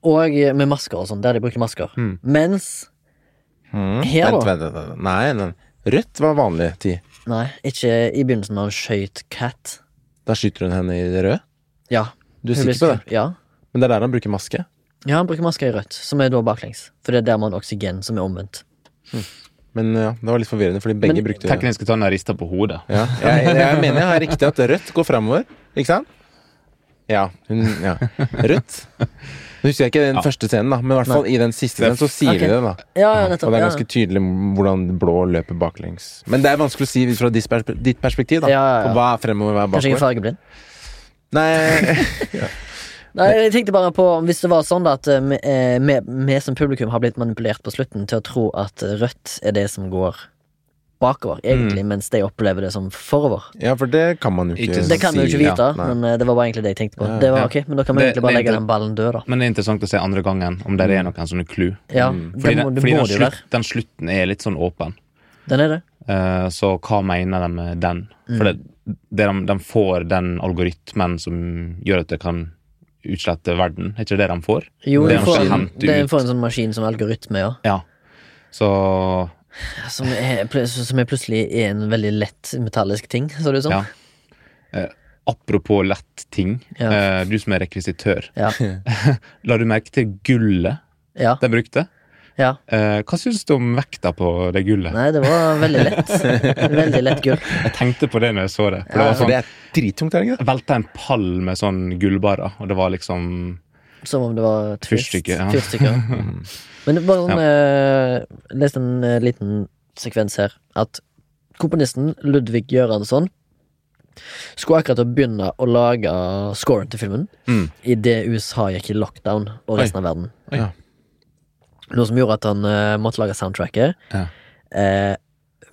Og med masker og sånn, der de bruker masker.
Mm.
Mens
Mm.
Her,
vent,
da?
vent, vent, vent. Nei, nei. Rødt var vanlig tid.
Nei, ikke i begynnelsen når han skøyt Cat.
Da skyter hun henne i det røde.
Ja.
Du er
hun ble
sikker på det?
skutt. Ja.
Men det er der han bruker maske.
ja, han bruker masker i rødt, som er da baklengs. For det er der man har oksygen, som er omvendt.
Men ja, det var litt forvirrende, fordi begge
Men
brukte
Tekniske tanner rista på hodet.
ja. jeg, jeg mener jeg har riktig at rødt går framover, ikke sant? Ja. Hun, ja. Rødt. Nå husker jeg ikke den første scenen, da, men i hvert fall i den siste scenen så sier
Ok.
de det. da
Ja, ja,
Og
nettopp.
det er
ja.
ganske tydelig hvordan blå løper baklengs. Men det er vanskelig å si ut fra ditt perspe- ditt perspektiv, da.
Ja, ja, ja.
Og hva er fremover, hva er
Kanskje jeg er
bakover?
fargeblind?
Nei,
Nei, jeg tenkte bare på Hvis det var sånn da at eh, vi- eh, vi vi som publikum har blitt manipulert på slutten til å tro at eh, rødt er det som går bakover, egentlig, mens de opplever det som forover.
ja, for det kan man jo
Ikke
ikke
sant.
Det kan vi jo ikke
sier-
vite,
Mm. ja,
nei.
men eh, det var bare egentlig det jeg tenkte på.
Ja,
Det var
ja.
ok, Men da kan vi
Det-
egentlig bare
det-
legge
det- Mm,
den ballen død, da.
Men det er interessant å se andre gangen om det er noen sånne clue.
Ja, Mm. det
Fordi,
må
den,
det
fordi
må
den,
det jo
slutt,
være.
den slutten er litt sånn åpen.
Den er det.
Eh, så hva mener de med den?
Mm.
For det, det de, de får den algoritmen som gjør at det kan utslette verden. Er ikke det de får?
Jo,
det
den
de
får,
skal
en,
hente
den
ut.
får en sånn maskin som algoritme, ja.
Ja. Så
Som er, pl- som er plutselig er en veldig lett metallisk ting, så det sånn. ut som.
Ja. apropos lett ting.
Ja.
eh, du som er rekvisitør.
Ja.
La du merke til gullet
Ja.
de brukte?
ja.
Eh, hva syns du om vekta på det gullet?
Nei, det var veldig lett. Veldig lett gull.
Jeg tenkte på det når jeg så det. For det var
For det
sånn,
er drittungt, er det ikke det?
velta en pall med sånn gullbarer, og det var liksom
Som om det var twist-
Fyrstikker, ja.
fyrstikker. Mm. Men det var sånn eh, Les en eh, liten sekvens her. At komponisten Ludvig Göransson skulle akkurat å begynne å lage scoren til filmen
Mm.
idet USA gikk i lockdown og resten av verden.
Oi.
Ja.
Noe som gjorde at han eh, måtte lage soundtracket
Ja.
eh,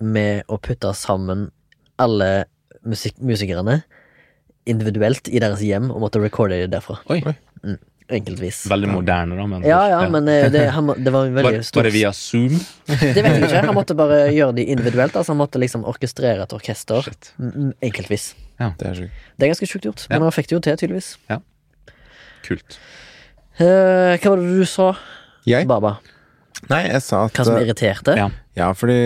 med å putte sammen alle musik musikerne individuelt i deres hjem og måtte recorde det derfra.
Oi.
Enkeltvis.
Veldig moderne, da. Men,
Ja, ja, men eh, det, han, må- det var en
Var,
veldig
var
stor
det via Zoom?
Det vet jeg ikke. Han måtte bare gjøre de individuelt. Altså Han måtte liksom orkestrere et orkester
Shit.
m- enkeltvis.
Det er sjukt.
Det er ganske sjukt gjort, men
Ja.
han fikk det jo til, tydeligvis.
Kult.
Eh, hva var det du sa,
Jeg?
Baba?
Nei, jeg sa at
Hva som irriterte?
Ja.
Ja, fordi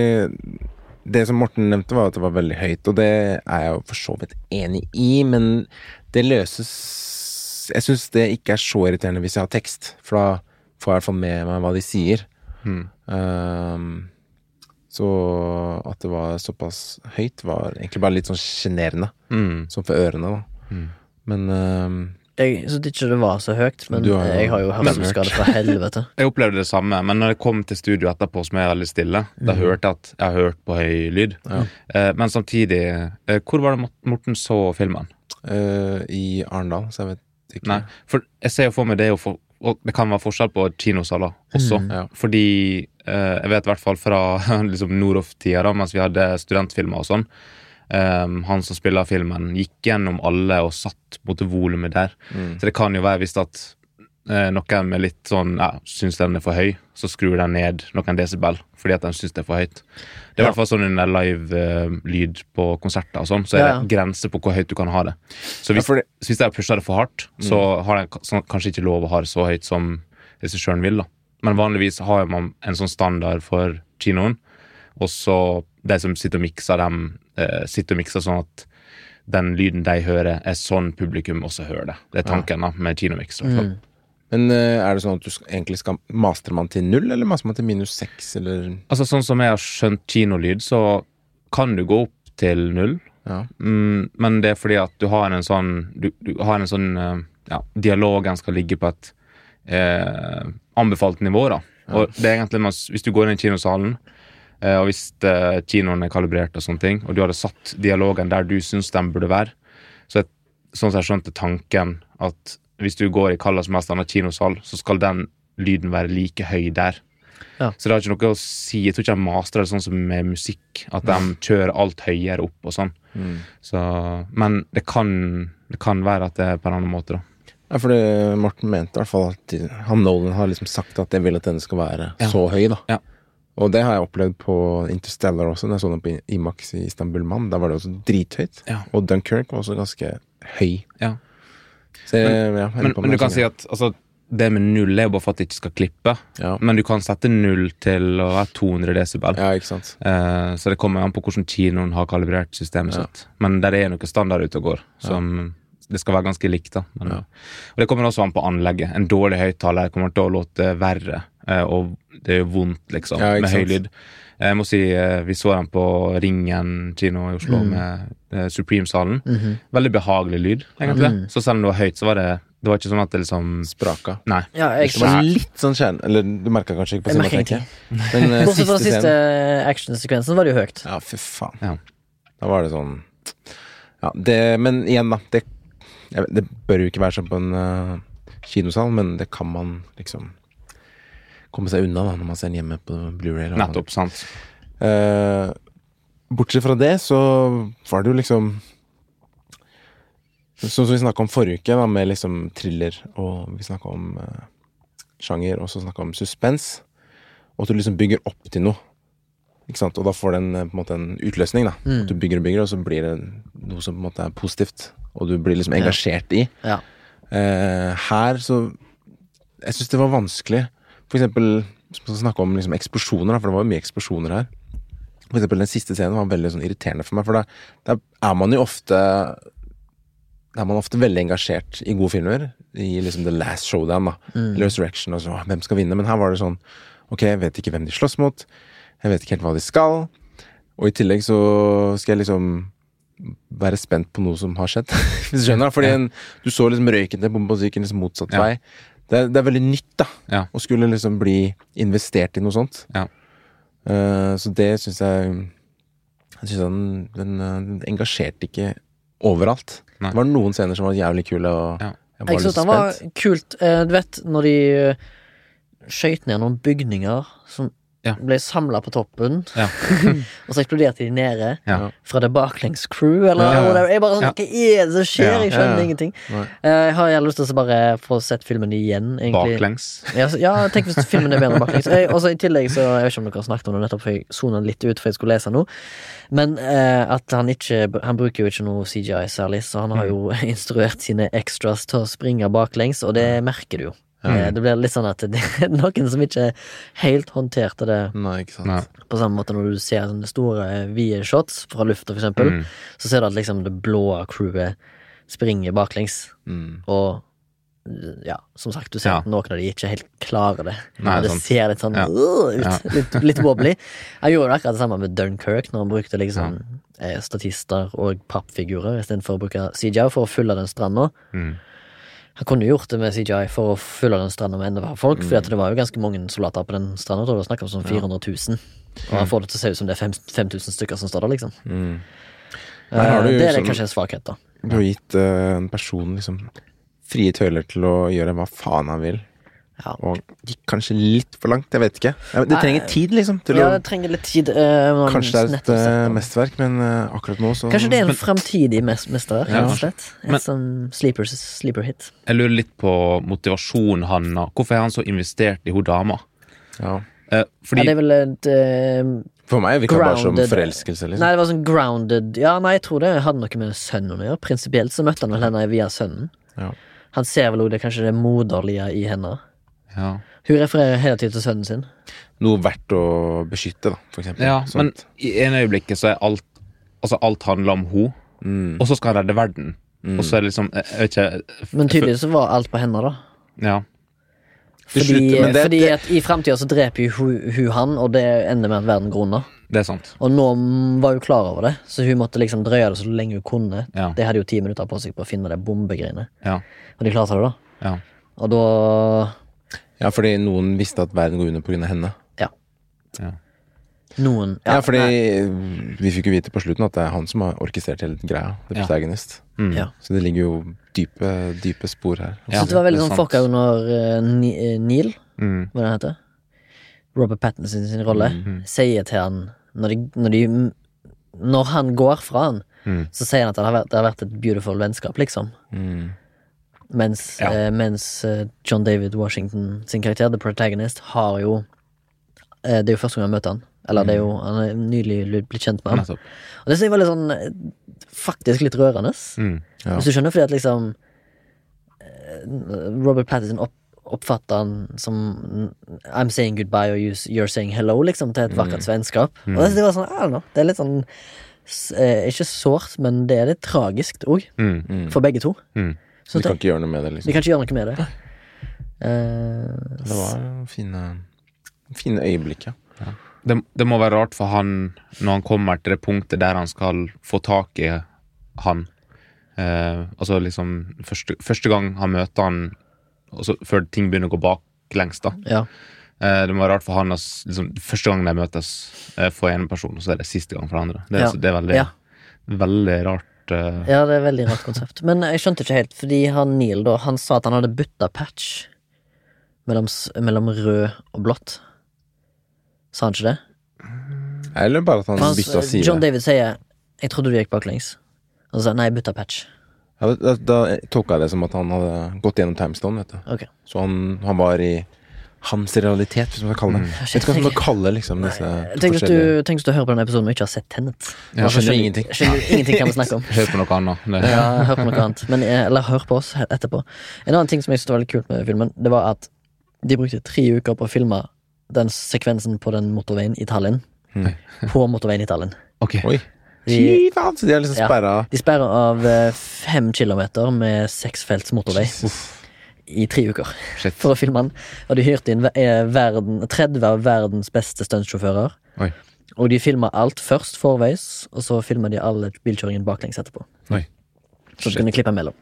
det som Morten nevnte, var at det var veldig høyt, og det er jeg jo for så vidt enig i, men det løses Jeg syns det ikke er så irriterende hvis jeg har tekst, for da får jeg i hvert fall med meg hva de sier. Ehm, så at det var såpass høyt, var egentlig bare litt sånn sjenerende.
Mm.
Sånn for ørene, da. Men ehm,
Jeg syns ikke det var så høyt, men
Du har jo
jeg har jo hørselsskade fra helvete.
Jeg opplevde det samme, men når jeg kom til studio etterpå, som er veldig stille, da hørte jeg at jeg har hørt på høy lyd. Eh, men samtidig eh, Hvor var det Mort- Morten så filmen?
eh, i Arendal, så jeg vet ikke.
Nei, for jeg ser jo for meg det er jo for, og Det kan være forskjell på kinosaler også.
Mm. Ja.
Fordi eh, jeg vet i hvert fall fra liksom Noroff-tida, da, mens vi hadde studentfilmer og sånn eh, Han som spiller filmen, gikk gjennom alle og satt mot volumet der. Så det kan jo være visst at eh, noen med litt sånn ja, syns den er for høy, så skrur den ned noen desibel fordi at den syns det er for høyt. Det er i hvert fall sånn under live-lyd på konserter og sånn, så er
Ja, ja.
det grenser på hvor høyt du kan ha det. Så hvis,
Ja, for det- Mm.
så hvis jeg pusher det for hardt, så har jeg ka- sånn, kanskje ikke lov å ha det så høyt som regissøren vil. da. Men vanligvis har man en sånn standard for kinoen, og så de som sitter og mikser, dem eh, sitter og mikser sånn at den lyden de hører, er sånn publikum også hører det. Det er tanken da, med kinomiks. i hvert fall.
Men eh, er det sånn at du sk- egentlig skal Master man til null, eller master man til minus seks, eller
Altså Sånn som jeg har skjønt kinolyd, så kan du gå opp til null.
Ja.
Mm, men det er fordi at du har en sånn Du, du har en sånn eh, ja, Dialogen skal ligge på et eh, anbefalt nivå, da. Og det er egentlig man, s- Hvis du går inn i kinosalen, eh, og hvis eh, kinoen er kalibrert og sånne ting, og du hadde satt dialogen der du syns den burde være, så jeg, sånn som jeg skjønte tanken at hvis du går i hva som helst annen kinosal, så skal den lyden være like høy der.
Ja.
Så det har ikke noe å si. Jeg tror ikke de master det sånn som med musikk, at de kjører alt høyere opp og sånn.
Mm.
Så, men det kan, det kan være at det er på en annen måte, da.
Ja, for det, Morten mente i hvert fall at de- han Nolan har liksom sagt at jeg vil at denne skal være
Ja.
så høy, da.
Ja.
Og det har jeg opplevd på Interstellar også, når jeg så den på I- Imax i Istanbul Man. Da var det også drithøyt.
Ja.
Og Dunkerque var også ganske høy.
Ja.
Så jeg, men, ja, jeg
Men,
lurer på om
men du
det er
kan
sånn,
si
ja.
at altså, det med null er jo bare for at det ikke skal klippe.
Ja.
Men du kan sette null til å være 200 desibel.
Ja, ikke sant.
Eh, så det kommer an på hvordan kinoen har kalibrert systemet sitt. Men der er noe standard ute og går. Som Det skal være ganske likt. da men, Og Det kommer også an på anlegget. En dårlig høyttaler kommer til å låte verre, eh, og det gjør vondt liksom
Ja, ikke
med høy
sant.
lyd. Jeg må si eh, Vi så den på Ringen kino i Oslo med eh, Supreme-salen. Veldig behagelig lyd, egentlig. Så selv om det var høyt, så var det Det var ikke sånn at det liksom
Spraka.
Nei.
Ja, jeg,
Det var litt sånn kjerne Eller du merka kanskje ikke på
Jeg merket
cinemateket. Men eh,
bortsett fra
siste
siste
scenen
actionsekvensen var det jo høyt.
Ja, fy faen.
Ja.
Da var det sånn Ja, det Men igjen, da. Det, jeg vet- det bør jo ikke være sånn på en eh, kinosal, men det kan man liksom komme seg unna da når man ser den hjemme på Blu-ray. eller hva man-
Nettopp, sant.
Eh, bortsett fra det, så var det jo liksom Sånn som vi snakka om forrige uke, da, med liksom thriller, og vi snakka om eh, sjanger, og så snakka om suspens. Og at du liksom bygger opp til noe. Ikke sant? Og da får den eh, på en måte en utløsning. da At Du bygger og bygger, og så blir det noe som på en måte er positivt. Og du blir liksom engasjert i.
Ja.
Eh, her så Jeg syns det var vanskelig. For eksempel å snakke om liksom eksplosjoner, da, for det var jo mye eksplosjoner her. For eksempel den siste scenen var veldig sånn irriterende for meg, for da, da er man jo ofte Da er man ofte veldig engasjert i gode filmer, i liksom The Last Showdown, da. Eller Resurrection og så, «Åh, hvem skal vinne? Men her var det sånn Ok, jeg vet ikke hvem de slåss mot, jeg vet ikke helt hva de skal, og i tillegg så skal jeg liksom være spent på noe som har skjedd. Hvis du skjønner, da. Fordi en, du så liksom røyken til bomba, så gikk den liksom motsatt
Ja.
vei. Det er, det er veldig nytt, da.
Ja.
Å skulle liksom bli investert i noe sånt.
Ja.
Eh, så det syns jeg Jeg syns den, den, eh, den engasjerte ikke overalt.
Nei.
Det var noen scener som var jævlig kule, og
Ja.
jeg
Jeg
var
synes
litt
den var
spent.
kult. Eh, Du vet når de eh, skøyt ned noen bygninger som
Ja.
ble samla på toppen,
Ja.
og så eksploderte de nede
Ja.
fra det baklengs crew, eller
Ja, ja.
whatever. Jeg bare sånn,
Ja.
Hva er det som skjer?
Ja,
Jeg skjønner
ja, ja.
ingenting.
Nei.
Eh, Jeg har jævlig lyst til å bare få sett filmen igjen, egentlig.
Baklengs.
Ja, så- ja, tenk hvis filmen er bedre baklengs. Jeg- Og så I tillegg så, jeg vet ikke om dere har snakket om det nettopp, for jeg sona litt ut for jeg skulle lese nå. Men eh, at han ikke Han bruker jo ikke noe
Mm.
CGI særlig, så han har jo instruert sine extras til å springe baklengs, og det merker du jo. Eh, Det blir litt sånn at det er noen som ikke helt håndterte det
Nei, ikke sant.
Nei.
på samme måte når du ser sånne store vide shots fra lufta, for eksempel,
Mm.
så ser du at liksom det blå crewet springer baklengs,
Mm.
og ja, som sagt, du ser
Ja.
at noen av de ikke helt klarer det.
Nei,
Og det
sant.
ser litt sånn
Ja.
«Åh», ut,
Ja.
litt, litt wobbly. Han gjorde akkurat det samme med Dunkerque, når han brukte liksom eh, statister og pappfigurer istedenfor å bruke CJI for å fylle den stranda.
Mm.
Han kunne gjort det med CJI for å fylle den stranda med enda flere folk, Fordi
Mm.
at det var jo ganske mange soldater på den stranda. Det var snakk om sånn 400 000. Og
Mm.
han får det til å se ut som det er fem- 5000 stykker som står der, liksom. Eh,
Her har du
det er
sånn-
kanskje en svakhet, da.
Du har gitt eh, en person liksom frie tøyler til å gjøre hva faen han vil.
Ja.
Og gikk kanskje litt for langt, jeg vet ikke. Ja, men Det trenger tid, liksom. Til
ja,
å,
det trenger litt tid. eh, når han
kanskje det er
nettopp
et eh,
setter-
mesterverk, men eh, akkurat nå så
Kanskje det er en fremtidig mes- mesterverk,
Ja.
rett og slett.
Men-
Et sånn sleeper, sleeper hit.
Jeg lurer litt på motivasjonen han har. Hvorfor er han så investert i hun dama?
ja.
Eh, fordi
Ja, det er vel et eh,
For meg virker det bare som
Grounded.
forelskelse, liksom.
Nei, det var sånn grounded Ja, nei, jeg tror det hadde noe med sønnen å gjøre. Prinsipielt så møtte han vel henne via sønnen.
Ja.
Han ser vel også det kanskje det moderlige i henne.
ja.
Hun refererer hele tiden til sønnen sin.
Noe verdt å beskytte, da, for eksempel. Sånn
ja, men
Sånt.
i ene øyeblikket så er alt Altså alt handler om hun,
Mm.
og så skal han redde verden. Og så er det liksom Jeg, jeg vet ikke
Men tydeligvis så var alt på henne, da.
Ja.
Til
Fordi,
slutt, men det-
fordi
det-
at i framtida så dreper jo hun, hun han, og det ender med at verden grunner.
Det er sant.
Og nå var hun klar over det, så hun måtte liksom drøye det så lenge hun kunne.
Ja.
De hadde jo ti minutter på seg på å finne det bombegreiene,
Ja.
og de klarte det, da.
ja.
Og da
ja, fordi noen visste at verden går under på grunn av henne.
Ja.
Ja.
Noen
Ja, fordi
nei,
vi fikk jo vite på slutten at det er han som har orkestrert hele greia. The
Ja.
protagonist.
Mm.
ja.
Så det ligger jo dype, dype spor her.
Ja,
Så det var veldig
det er
sånn
sant.
fucka under eh, Ni- eh, Neil,
Mm.
hva det heter. Robert Pattinson sin rolle.
Mhm.
Sier til han når de, når de Når han går fra han,
Mm.
så sier han at det har vært, det har vært et beautiful vennskap, liksom.
Mm.
Mens,
Ja.
eh, mens eh, John David Washington sin karakter, The Protagonist, har jo eh, Det er jo første gang jeg møter han. Eller det er jo,
Mm.
han er nylig blitt kjent med han.
Nettopp.
Og det synes jeg var litt sånn eh, Faktisk litt rørende.
Mm.
Ja.
Hvis du skjønner, fordi at liksom eh, Robert Pattinson opp, oppfatter han som mm, I'm saying goodbye or you, you're saying hello, liksom, til
Mm.
et vakkert vennskap. Og det, det var sånn, I don't know, det er litt sånn s- eh, Ikke sårt, men det er litt tragisk òg,
Mm.
for begge to.
Mm.
Du
Så
kan
det,
ikke gjøre noe med det,
vi
liksom.
kan ikke gjøre noe med det. Eh,
Det var fine, fine øyeblikk, ja.
Det, det må være rart for han når han kommer til det punktet der han skal få tak i han. Eh, altså liksom første, første gang han møter han og så før ting begynner å gå baklengs, da.
ja.
Eh, det må være rart for han å s- liksom, første gang de møtes eh, for en person, og så er det siste gang for den andre. Det, er-
Ja.
det er veldig,
Ja.
veldig rart. eh,
Ja, det er et veldig rart konsept. Men jeg skjønte ikke helt, fordi han Neil da, han sa at han hadde bytta patch mellom, s- mellom rød og blått. Sa han ikke det?
Eller bare at han
Han s-
bytta side.
John David sier 'jeg trodde du gikk baklengs'. Og så sa han, nei, jeg bytta patch.
Ja, da, da, da tolka jeg det som at han hadde gått gjennom timestone, vet du.
Ok.
Så han, han var i hans realitet, hvis man skal
Mm.
kalle det. Vet ikke hva man skal kalle liksom disse
Tenk hvis,
forskjellige
du, tenk hvis du hører på denne episoden og ikke har sett Tennet.
Man skjønner ingenting.
Skjønner ingenting hva vi snakker om.
Hør på noe annet. Det,
Ja, hør på noe annet. Men, eh, eller hør på oss he- etterpå. En annen ting som jeg syntes var veldig kult med filmen, det var at de brukte tre uker på å filme den sekvensen på den motorveien i Tallinn.
Hmm.
På motorveien i Tallinn.
Ok.
Oi. Fy
De,
faen, så de er liksom
Ja.
sperra.
de sperrer av eh, fem kilometer med seksfelts motorvei i tre uker
Shit.
for å filme den. Og de hyrte inn ve- eh, verden, 30 av verdens beste stuntsjåfører.
Oi.
Og de filma alt først forveis, og så filma de alle bilkjøringen baklengs etterpå.
Oi.
Så
Shit.
du kunne klippe imellom.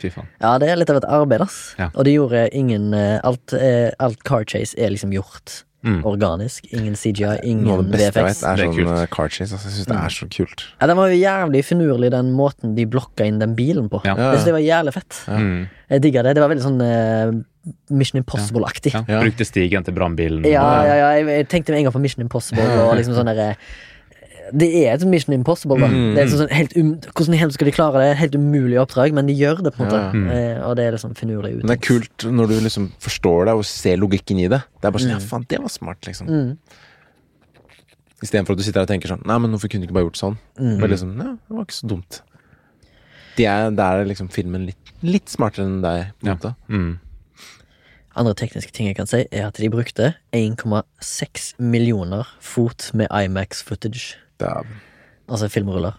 Fy faen.
Ja, det er litt av et arbeid, ass.
Ja.
Og det gjorde ingen eh, alt, eh, alt car chase er liksom gjort organisk. Ingen CGI,
Mm. Noe av
ingen Mm.
det beste jeg vet,
VFX.
er
Det er
sånn
kult.
eh, car chase. Altså, jeg syns det er så kult.
Ja, den var jo jævlig finurlig, den måten de blokka inn den bilen på.
Ja.
Jeg synes det var jævlig fett.
Mm.
Jeg digga det. Det var veldig sånn eh, Mission Impossible-aktig.
Ja.
Ja.
Ja.
Brukte stigen til brannbilen.
Ja, ja, Jeg, jeg tenkte med en gang på Mission Impossible og liksom sånn derre det er et Mission Impossible. Da.
Mm.
Det er sånn helt um, hvordan i helvete skal de klare det? Helt umulig oppdrag, men de gjør det. på en måte
Ja.
eh, Og det er liksom finurlig.
Men det er kult når du liksom forstår det og ser logikken i det. Det er bare sånn, ja faen, det var smart, liksom.
Mm.
Istedenfor at du sitter her og tenker sånn, nei, men hvorfor kunne du ikke bare gjort sånn?
Mm.
Men liksom, ja, det var ikke så dumt. Det er, der er liksom filmen litt, litt smartere enn deg, på en
Ja.
måte.
Mm.
Andre tekniske ting jeg kan si, er at de brukte 1,6 millioner fot med Imax-footage.
Dæven.
Altså filmruller.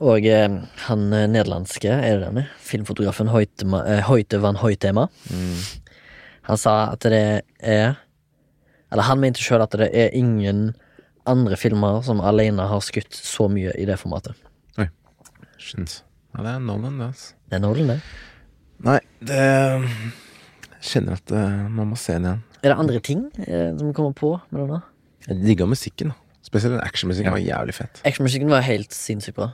Og eh, han eh, nederlandske er det denne, filmfotografen Hoitema, eh, Hoite van Hoitema Han sa at det er Eller han mente sjøl at det er ingen andre filmer som alene har skutt så mye i det formatet.
Skjønt.
Ja, det er Nolan, det, altså.
Det er Nolan, det.
Nei, det Jeg kjenner at eh, man må se den igjen.
Er det andre ting eh, som kommer på med denne?
Jeg digga musikken, da. Spesielt den actionmusikken var jævlig fett.
Actionmusikken var helt sinnssykt bra.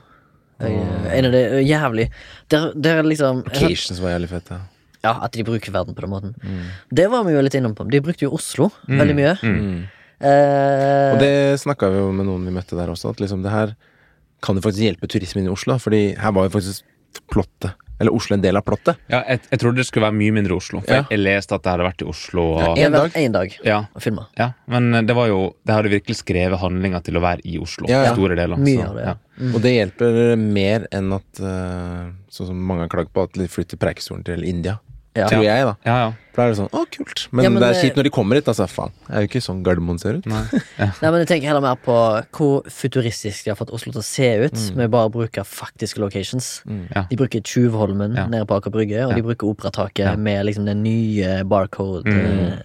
Jeg, En av det er jævlig Der, der er liksom
Cations var jævlig fett, ja.
Ja, at de bruker verden på den måten.
Mm.
Det var vi jo litt innom på. De brukte jo Oslo veldig mye. Eh,
Og det snakka vi jo med noen vi møtte der også, at liksom det her kan jo faktisk hjelpe turismen i Oslo. Fordi her var jo faktisk plottet, eller Oslo en del av plottet.
Ja, jeg, jeg trodde det skulle være mye mindre Oslo. For
Ja.
jeg, jeg leste at det hadde vært i Oslo. Og,
Ja,
en
ja.
en
dag.
dag.
En dag
Ja,
å filme.
Men eh, det var jo Det hadde virkelig skrevet handlinga til å være i Oslo.
Ja, ja.
Store deler.
Mye av det, ja.
ja.
Og det hjelper mer enn at eh, Sånn som mange har klagd på, at de flytter Preikestolen til India.
Ja.
Tror jeg, da.
Ja, ja.
For da er det sånn Å, kult. Men,
Ja, men
det er
det-
kjipt når de kommer hit. Altså, faen. Det er jo ikke sånn Gardermoen ser ut.
Nei, men jeg tenker heller mer på hvor futuristisk de har fått Oslo til å se ut
Mm.
med bare å bruke faktiske locations.
Ja.
De bruker Tjuvholmen
Mm. Ja.
nede på Aker Brygge, og de bruker Operataket med liksom det nye barcode
Mm.
eh,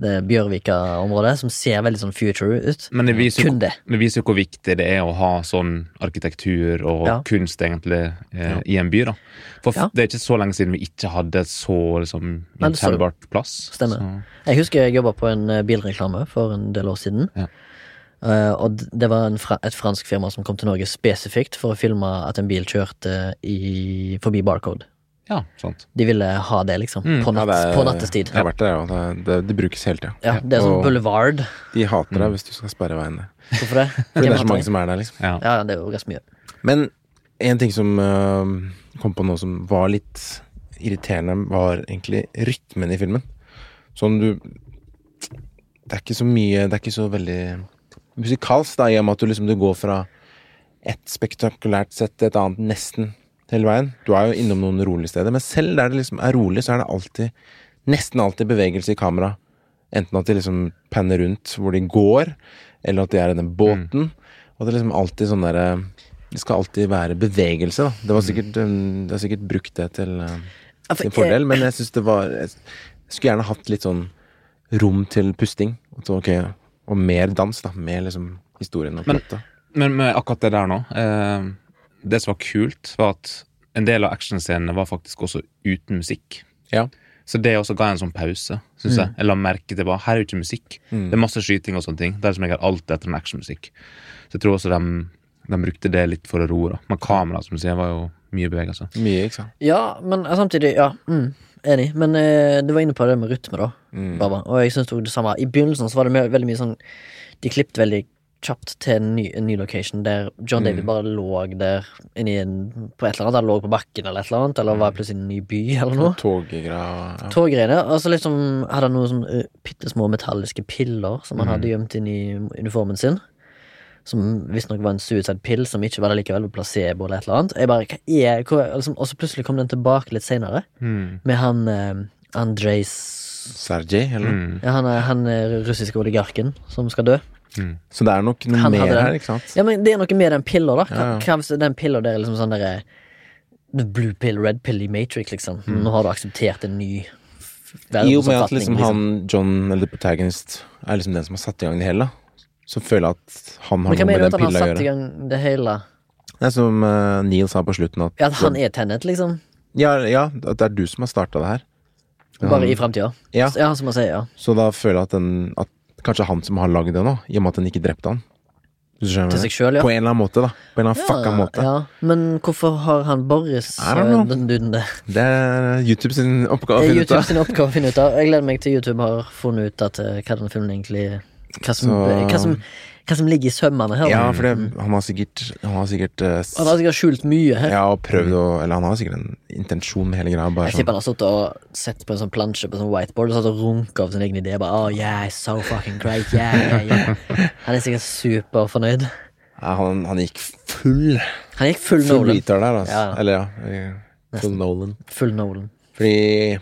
Det Bjørvika-området, som ser veldig sånn future ut.
Men det viser, jo,
Kun det.
det viser jo hvor viktig det er å ha sånn arkitektur og
Ja.
kunst egentlig eh, i en by. da For f-
Ja.
det er ikke så lenge siden vi ikke hadde så liksom,
Nei, det står-
gjenkjennbart plass.
Stemmer.
Så-
Jeg husker jeg jobba på en eh, bilreklame for en del år siden.
Ja.
Eh, og d- det var en fra, et fransk firma som kom til Norge spesifikt for å filme at en bil kjørte i, forbi barcode.
Ja, sant.
De ville ha det, liksom.
Mm.
på,
Ja,
natt,
det er-
på nattestid.
Jeg har vært der, ja. Det, er- det, det brukes hele tida.
Ja, det er sånn
Og-
boulevard.
De hater deg hvis du skal sperre veien der.
Hvorfor det?
Fordi det
Hvem
er så
hater
mange som er der, liksom.
Ja.
Ja, ja, det er jo ganske mye.
Men en ting som eh, kom på nå som var litt irriterende, var egentlig rytmen i filmen. Sånn du Det er ikke så mye Det er ikke så veldig musikalsk, da, i og med at du liksom du går fra et spektakulært sett til et annet nesten hele veien. Du er jo innom noen rolige steder, men selv der det liksom er rolig, så er det alltid nesten alltid bevegelse i kamera. Enten at de liksom panner rundt hvor de går, eller at de er i den båten. Og det er liksom alltid sånn derre Det skal alltid være bevegelse, da. Det var sikkert um, Det er sikkert brukt det til eh,
Ja, for
sin
jeg-
fordel, men jeg syns det var Jeg skulle gjerne hatt litt sånn rom til pusting. Og, så, ok, og mer dans, da. Med liksom historien og
Men-
plottet.
Men med akkurat det der nå eh, Det som var kult, var at en del av actionscenene var faktisk også uten musikk.
Ja.
Så det også ga en sånn pause, synes
Mm.
jeg. Jeg la merke til bare, her er jo ikke musikk. Det er masse skyting og sånne ting. Det er som jeg har alltid etter en actionmusikk. Så jeg tror også de, de brukte det litt for å roe, da. Men kameraet, som du sier, var jo mye altså. bevegelse.
Mye, ikke sant.
Ja, men eh, samtidig, ja. Mm, enig. Men eh, du var inne på det med rytme, da.
Mm.
Baba. Og jeg synes det var det samme. I begynnelsen så var det mye- veldig mye sånn De klippet veldig kjapt til en ny, en ny location der John David bare lå der inni en På et eller annet. Han lå på bakken eller et eller annet, eller var plutselig i en ny by eller noe.
Og toggreier og ja.
Toggreiene. Og så liksom hadde han noen sånn eh, bittesmå metalliske piller som han hadde gjemt inn i uniformen sin. Som visstnok var en suicide pill som ikke var det likevel placebo eller et eller annet. Jeg bare, hva er, hva, er- liksom, og så plutselig kom den tilbake litt seinere, med han eh, Andrejs
Sergej, eller noe.
ja, han, er- han er russiske oligarken som skal dø.
Så det er nok noe
Han hadde
mer
den.
her, ikke sant.
Ja, men Det er noe med den pilla, da. Hva,
Ja, ja.
hva hvis den pilla der er liksom sånn derre Blue pill, red pill i Matrix, liksom. Nå har du akseptert en ny f-
I og med Hmm. at
verdensoppfatning.
liksom
liksom.
han, John, eller the protagonist, er liksom den som har satt i gang det hele, da. så føler jeg at han har
Men hva
noe med
mener du at
den
han har
pilla å
satt i
gjøre.
gang det hele?
Det er som eh, Neil sa på slutten, at
Ja, At han er Tennet, liksom?
ja, ja, at det er du som har starta det her.
Bare i framtida?
Ja.
ja, som han sier, ja.
Så da føler jeg at, den, at kanskje han som har lagd det nå, i og med at han ikke drepte han. Hvis du skjønner hva
Til
jeg
seg selv,
mener.
ja.
På en eller annen måte, da. På en eller annen fucka måte.
Ja, Men hvorfor har han Boris
I don't know.
eh, den duden der?
Det er YouTube sin oppgave å
Det er
finne ut
YouTube
av.
sin oppgave å finne ut av. Jeg gleder meg til YouTube har funnet ut at, eh, hva den filmen egentlig Hva som,
Så-
hva som, hva som ligger i sømmene her. da.
Ja, for det, han har sikkert, han har sikkert eh, s-
Han har sikkert skjult mye her.
ja, og prøvd å Eller han har sikkert en intensjon med hele greia. Bare
Jeg
sånn
tipper han har sittet og sett på en sånn plansje på en sånn whiteboard og satt og runka av sin egen idé. Bare, oh, yeah, so fucking great, yeah, yeah, yeah. Han er sikkert superfornøyd.
Ja, han, han gikk full
Han gikk full
Full
Nolan.
retard der, altså.
Ja, ja.
Eller ja. eh, Full Nolan.
Full Nolan.
Fordi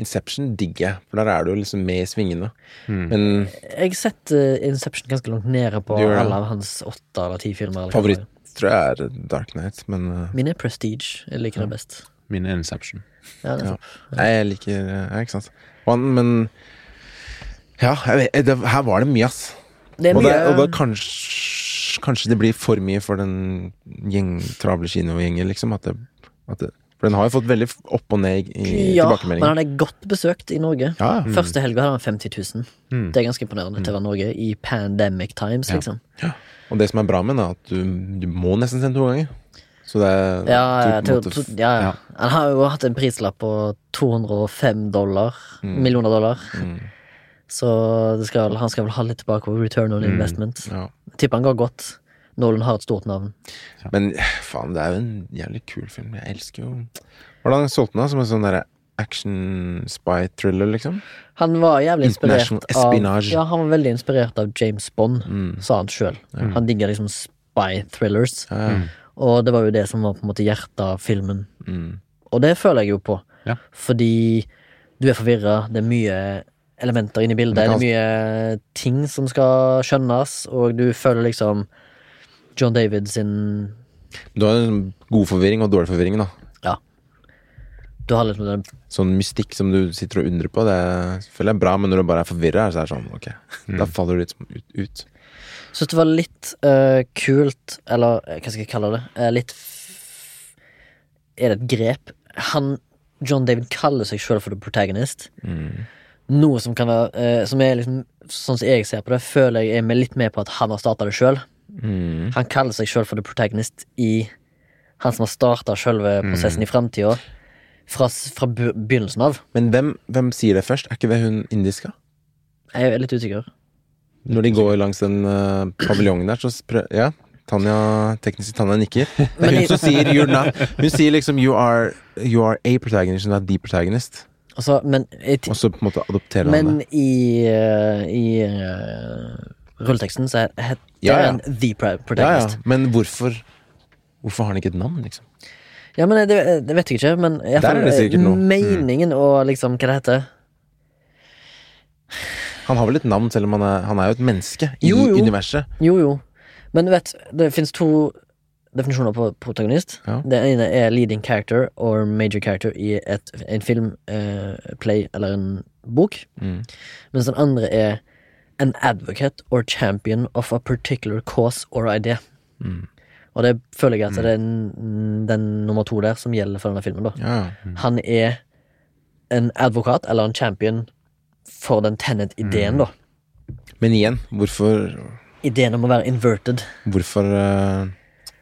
Inception digger jeg, for der er du liksom med i svingene. Men
Jeg setter Inception ganske langt nede på
Du gjør det.
alle av hans åtte eller ti filmer. Eller hva det
favoritt
var.
tror jeg er Dark Knight, men eh,
Min er Prestige. Jeg liker den best.
Min er Inception.
Ja, det er
ja.
sant.
Nei, jeg liker eh, Ja, ikke sant. Og han, men Ja, jeg vet, det, her var det mye, ass.
Det er
og,
mye
det, og da kanskje, kanskje det blir for mye for den gjeng, travle kinogjengen, liksom. At det, at det, for den har jo fått veldig opp og ned i
ja, men
tilbakemeldinger.
han er godt besøkt i Norge.
Ja, ja. Mm.
Første helga hadde han 50 000. Det er ganske imponerende til å være Norge i pandemic times, liksom.
Og det som er bra med den, er at du, du må nesten sende to ganger. Så det er
Ja, ja,
du på en
to,
måte
to, ja, ja.
ja.
Han har jo hatt en prislapp på 205 dollar,
Mm.
millioner dollar. Så det skal, han skal vel ha litt tilbake på return
Mm.
on investment.
ja.
Tipper han går godt. Nolan har et stort navn.
Men faen, det er jo en jævlig kul film. Jeg elsker jo Hvordan solgte den da? Som en sånn derre action spy thriller, liksom?
Han var jævlig
International
inspirert av
espionage.
Ja, han var veldig inspirert av James Bond,
Mm.
sa han sjøl. Han digger liksom spy thrillers. Og det var jo det som var på en måte hjertet av filmen.
Mm.
Og det føler jeg jo på.
Ja.
Fordi du er forvirra, det er mye elementer inne i bildet,
Men kan-
det er mye ting som skal skjønnes, og du føler liksom John David sin
Du har en god forvirring og dårlig forvirring, da.
Ja. Du har litt med den
Sånn mystikk som du sitter og undrer på, det føler jeg er bra, men når du bare er forvirra, så er det sånn, ok, da faller du litt sånn ut. ut.
Syns det var litt eh, kult, eller eh, hva skal jeg kalle det? Eh, litt f Er det et grep? Han, John David kaller seg sjøl for the protagonist. Noe som kan være eh, Som er liksom Sånn som jeg ser på det, føler jeg er med litt med på at han har starta det sjøl.
Mm.
Han kaller seg sjøl for the protagonist i Han som har starta sjølve
Mm.
prosessen i framtida. Fra, s- fra bu- begynnelsen av.
Men hvem, hvem sier det først? Er ikke det hun indiska?
Jeg er litt usikker.
Når de går langs den eh, paviljongen der, så prø- Ja. Tanja, teknisk sett, Tanja nikker. Det er
Men
hun
i-
som sier you're not Hun sier liksom you are, you are a protagonist, not the protagonist.
Altså, men jeg,
Og så på en måte adopterer han
Men
det.
i, eh, i eh, rulleteksten så het- heter
Ja, ja.
han The Pro-
Ja, ja.
Protagonist. Ja,
Men hvorfor Hvorfor har han ikke et navn, liksom?
men det, det vet jeg ikke, men i hvert
Der er
fall,
det sikkert
eh,
noe. Mm.
meningen og liksom hva det heter
Han har vel et navn, selv om han er, han er jo et menneske i
Jo, jo.
universet.
Jo, jo. Men du vet, det fins to definisjoner på protagonist.
Ja.
Det ene er leading character or major character i et, en film, eh, play eller en bok.
Mm,
Mens den andre er an advocate or champion of a particular cause or idea.
mm,
Og det føler jeg at det er den, den nummer to der som gjelder for denne filmen. da
Ja, ja.
han er en advokat eller en champion for den Tenet-ideen, da.
Men igjen, hvorfor
Ideen om å være inverted.
Hvorfor, eh,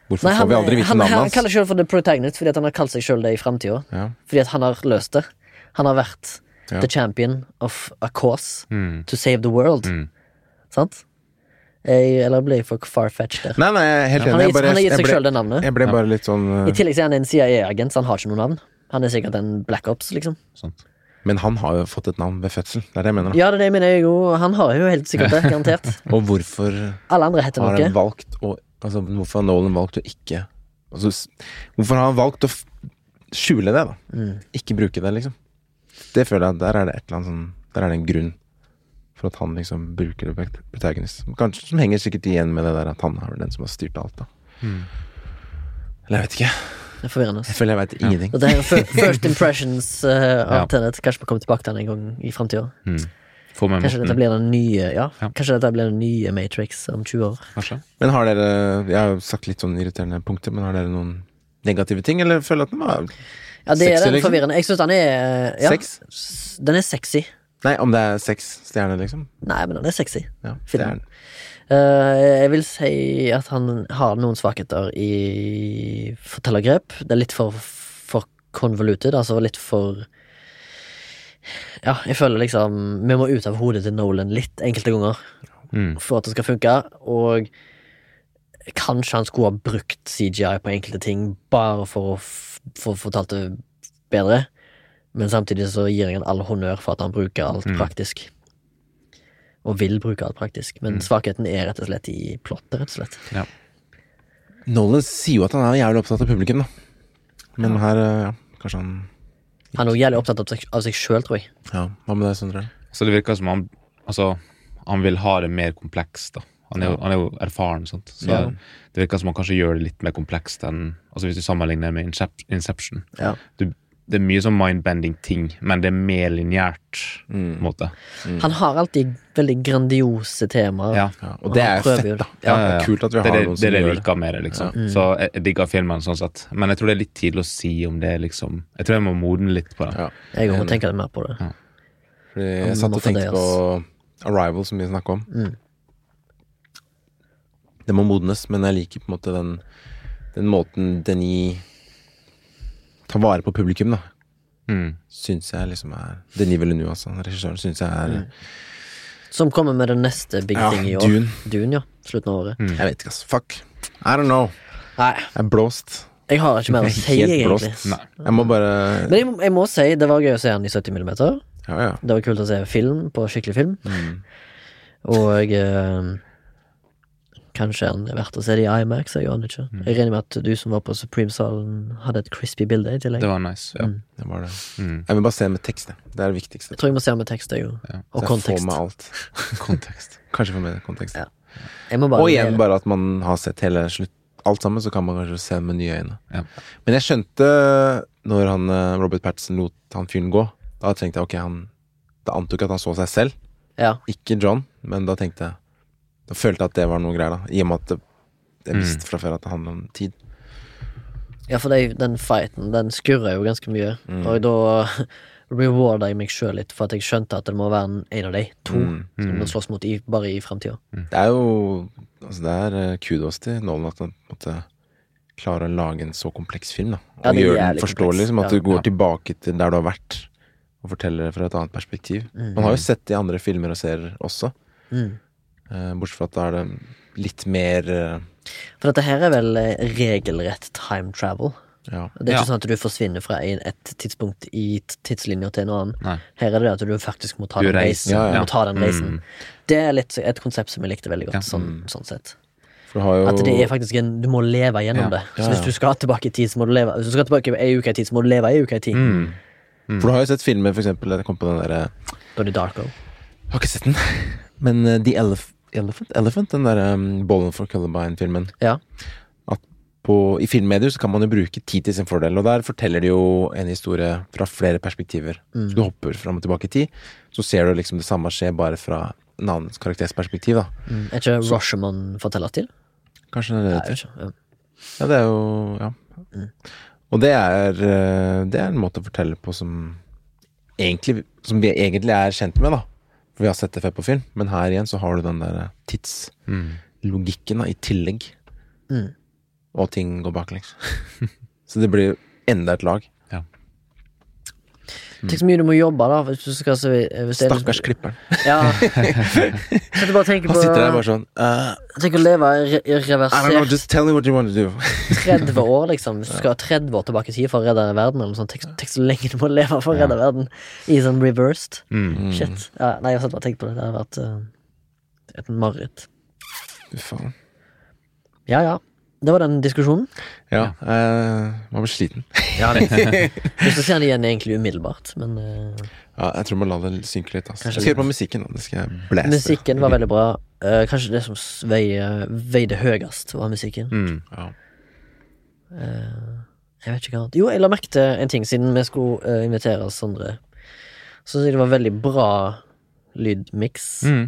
hvorfor
Nei,
får vi aldri vite
han,
navnet
han
hans?
kaller seg selv for The Protagonist fordi at han har kalt seg selv det i fremtiden
Ja.
Fordi at han har løst det. Han har vært
Ja.
the champion of a cause
Mm.
to save the world.
Mm.
Sant? Jeg, eller ble jeg for farfetched der?
Nei, nei, jeg er helt enig.
Han har
Jeg
gitt,
bare,
han har gitt
jeg
seg
ble,
selv det navnet.
jeg ble bare litt sånn
I
eh,
tillegg så er han en CIA-agent, så han har ikke noe navn. Han er sikkert en Black Ops, liksom.
Sånt.
Men han har jo fått et navn ved fødsel. Det er det jeg mener. da.
Ja, det er det jeg mener. jeg jo. Han har jo helt sikkert det, garantert.
Og hvorfor
Alle andre heter
har
noe.
han valgt å Altså, hvorfor har Nolan valgt å ikke altså, s- Hvorfor har han valgt å f- skjule det, da?
Mm.
Ikke bruke det, liksom. Det føler jeg Der er det et eller annet sånn Der er det en grunn for at han liksom bruker det prot- protagonist. Som Kanskje som henger sikkert igjen med det der at han er den som har styrt alt, da. Eller jeg vet ikke.
Det er forvirrende.
Jeg føler jeg veit ingenting.
Dette her er fir- First Impressions eh, av
Ja.
Tenet. Kanskje vi kommer tilbake til den en gang i framtida.
Få med
Kanskje dette
Morten,
blir den nye ja,
Ja.
Kanskje dette blir den nye Matrix om 20 år.
kanskje?
Men har dere Jeg har jo sagt litt sånn irriterende punkter, men har dere noen negative ting, eller føler at den var
Ja, det
Sexy,
er den
liksom?
forvirrende. Jeg syns den er eh, ja,
Sex?
s- Den er sexy.
Nei, om det er seks stjerner, liksom?
Nei, men den er sexy.
Ja, det
Film.
er den.
Eh, jeg vil si at han har noen svakheter i fortellergrep. Det er litt for, for convoluted, altså litt for Ja, jeg føler liksom Vi må ut av hodet til Nolan litt enkelte ganger
Mm.
for at det skal funke, og kanskje han skulle ha brukt CGI på enkelte ting bare for å f- få fortalt det bedre, men samtidig så gir jeg han all honnør for at han bruker alt
Mm.
praktisk. Og vil bruke alt
Mm.
praktisk, men svakheten er rett og slett i plottet, rett og slett.
Nolan sier jo at han er jævlig opptatt av publikum, da. Men her, eh, ja, kanskje han
Han er jo jævlig opptatt av seg, av seg sjøl, tror jeg.
Ja, Hva med deg, Sondre?
Så det virker som han Altså, han vil ha det mer komplekst, da. Han er jo, han er jo erfaren, sant. Så
Ja.
det virker som han kanskje gjør det litt mer komplekst enn Altså hvis du sammenligner med Incep- Inception.
Ja.
Du, det er mye sånn mindbending ting, men det er mer lineært, på
Mm.
en måte.
Han har alltid veldig grandiose temaer.
Ja.
Ja, og det er
Han
jo
prøver
fett,
jo
da.
det.
Ja, det er kult at vi
det
har
er det,
noen
det
som
er det jeg
gjør det.
liker med det, liksom.
Mm.
Så jeg, jeg digger filmen sånn sett. Men jeg tror det er litt tidlig å si om det, liksom. Jeg tror jeg må modne litt på det.
Ja.
Jeg
Mm.
må tenke litt mer på det.
Fordi
Ja,
jeg satt
må
og tenkte
fordøyes.
på Arrival, som vi snakka om.
Mm.
Det må modnes, men jeg liker på en måte den, den måten den gir Tar vare på publikum, da.
Mm.
Syns jeg liksom er Denis Villeneuve, altså. Regissøren syns jeg er
Mm. Som kommer med den neste big
Ja,
thing i år.
Dune. Mm.
ja. Slutten av året.
Jeg vet ikke, ass. Fuck. I don't know.
Nei,
Jeg er blåst.
jeg har ikke mer å
Jeg er
si,
Helt
egentlig.
blåst. Jeg må bare
Men jeg, må- jeg må si, det var gøy å se han i 70 millimeter.
Ja, ja.
Det var kult å se film på skikkelig film. Og eh, kanskje han er verdt å se det i IMAX. Jeg aner ikke. Jeg regner med at du som var på Supreme-salen, hadde et crispy bilde i tillegg.
Det var nice. Ja.
Det var det.
Mm.
Jeg vil bare se med tekst, jeg. Det er det viktigste.
Jeg tror jeg må se han med tekst, jeg jo.
Så
Og
jeg får
kontekst.
med alt.
Kontekst.
Kanskje får med kontekst.
Ja. Jeg må bare,
Og igjen bare at man har sett hele slutt alt sammen, så kan man kanskje se med nye øyne.
Ja.
Men jeg skjønte når han, eh, Robert Patterson lot han fyren gå, da tenkte jeg ok, han Da antok jeg at han så seg selv,
Ja.
ikke John, men da tenkte jeg Da følte jeg at det var noe greier, da. I og med at det, jeg visste fra før at det handler om tid.
Ja, for det, er jo- den fighten, den skurrer jo ganske mye. Og da rewarder jeg meg sjøl litt, for at jeg skjønte at det må være en- en av de to
Mm.
som må slåss mot i, bare i framtida.
Det er jo Altså, det er eh, kudos til Nolan at han måtte klare å lage en så kompleks film, da. Og
Ja, det er
gjøre den
jævlig
forståelig,
kompleks.
liksom, at
Ja.
du går tilbake til der du har vært, og forteller det fra et annet perspektiv.
Mhm.
Man har jo sett det i andre filmer og serier også,
Mm.
Eh, bortsett fra at da er det litt mer eh,
For dette her er vel eh, regelrett time travel.
Ja.
Det er ikke
Ja.
sånn at du forsvinner fra en, et tidspunkt i t- tidslinja til en annen.
Nei.
Her er det at du faktisk må ta
Du
den
reiser, Mm.
reisen.
ja, ja.
Du må ta den reisen. Det er litt, et konsept som jeg likte veldig godt, sånn, sånn sett.
For du har jo
At det er faktisk en, du må leve gjennom
Ja.
det. Så
Ja, ja.
hvis du skal tilbake i tid, så må du leve Hvis du skal tilbake ei uke i tid, så må du leve ei uke i tid.
Mm.
For du har jo sett filmer, for eksempel Jeg kom på den eh, derre
Donnie Darko.
Jeg har ikke sett den, men eh, The Elef Elephant? Elephant? Den derre um, Ballen for Columbine-filmen.
Ja.
at på, i filmmedier så kan man jo bruke tid til sin fordel, og der forteller de jo en historie fra flere perspektiver. Så du hopper fram og tilbake i tid, så ser du liksom det samme skje bare fra en annen karakters perspektiv, da.
Mm. Er ikke Rashomon fortellerstil?
Kanskje det er det det
Jeg
heter.
vet ikke. Ja.
Ja, det er jo Ja. Mm. Og det er, eh, det er en måte å fortelle på som egentlig, som vi egentlig er kjent med, da. For vi har sett det før på film, men her igjen så har du den der eh,
Mm.
tidslogikken da, i tillegg.
Mm.
Og ting går baklengs. så det blir jo enda et lag.
Tenk så mye du må jobbe, da. Hvis du skal, så, hvis det er-
Stakkars klipperen.
Ja. Så du bare tenker på
Han sitter der bare sånn eh,
Tenk å leve i re- i
I don't know,
reversert
just tell me what you want to do.
30 år, liksom. Hvis du skal ha 30 år tilbake i tid for å redde verden, eller noe sånt. Tenk, tenk så lenge du må leve for å redde verden i sånn reversed.
Mm.
Mm.
Shit. Ja, nei, jeg har bare tenkt på det. Det har vært eh, et mareritt.
Fy faen.
Ja, ja. Det var den diskusjonen.
Ja, eh, man blir sliten.
Hvis du ser den igjen, egentlig umiddelbart, men eh,
Ja, jeg tror man lar det synke litt. Altså.
Kanskje
Jeg skal høre på musikken, da. Det skal jeg blaste.
Musikken var veldig bra. Eh, kanskje det som s- veide, veide høyest, var musikken.
Mm.
Ja.
Jeg vet ikke hva annet. Jo, jeg la merke til en ting siden vi skulle eh, invitere Sondre. Så synes jeg det var veldig bra lydmiks.
Mm.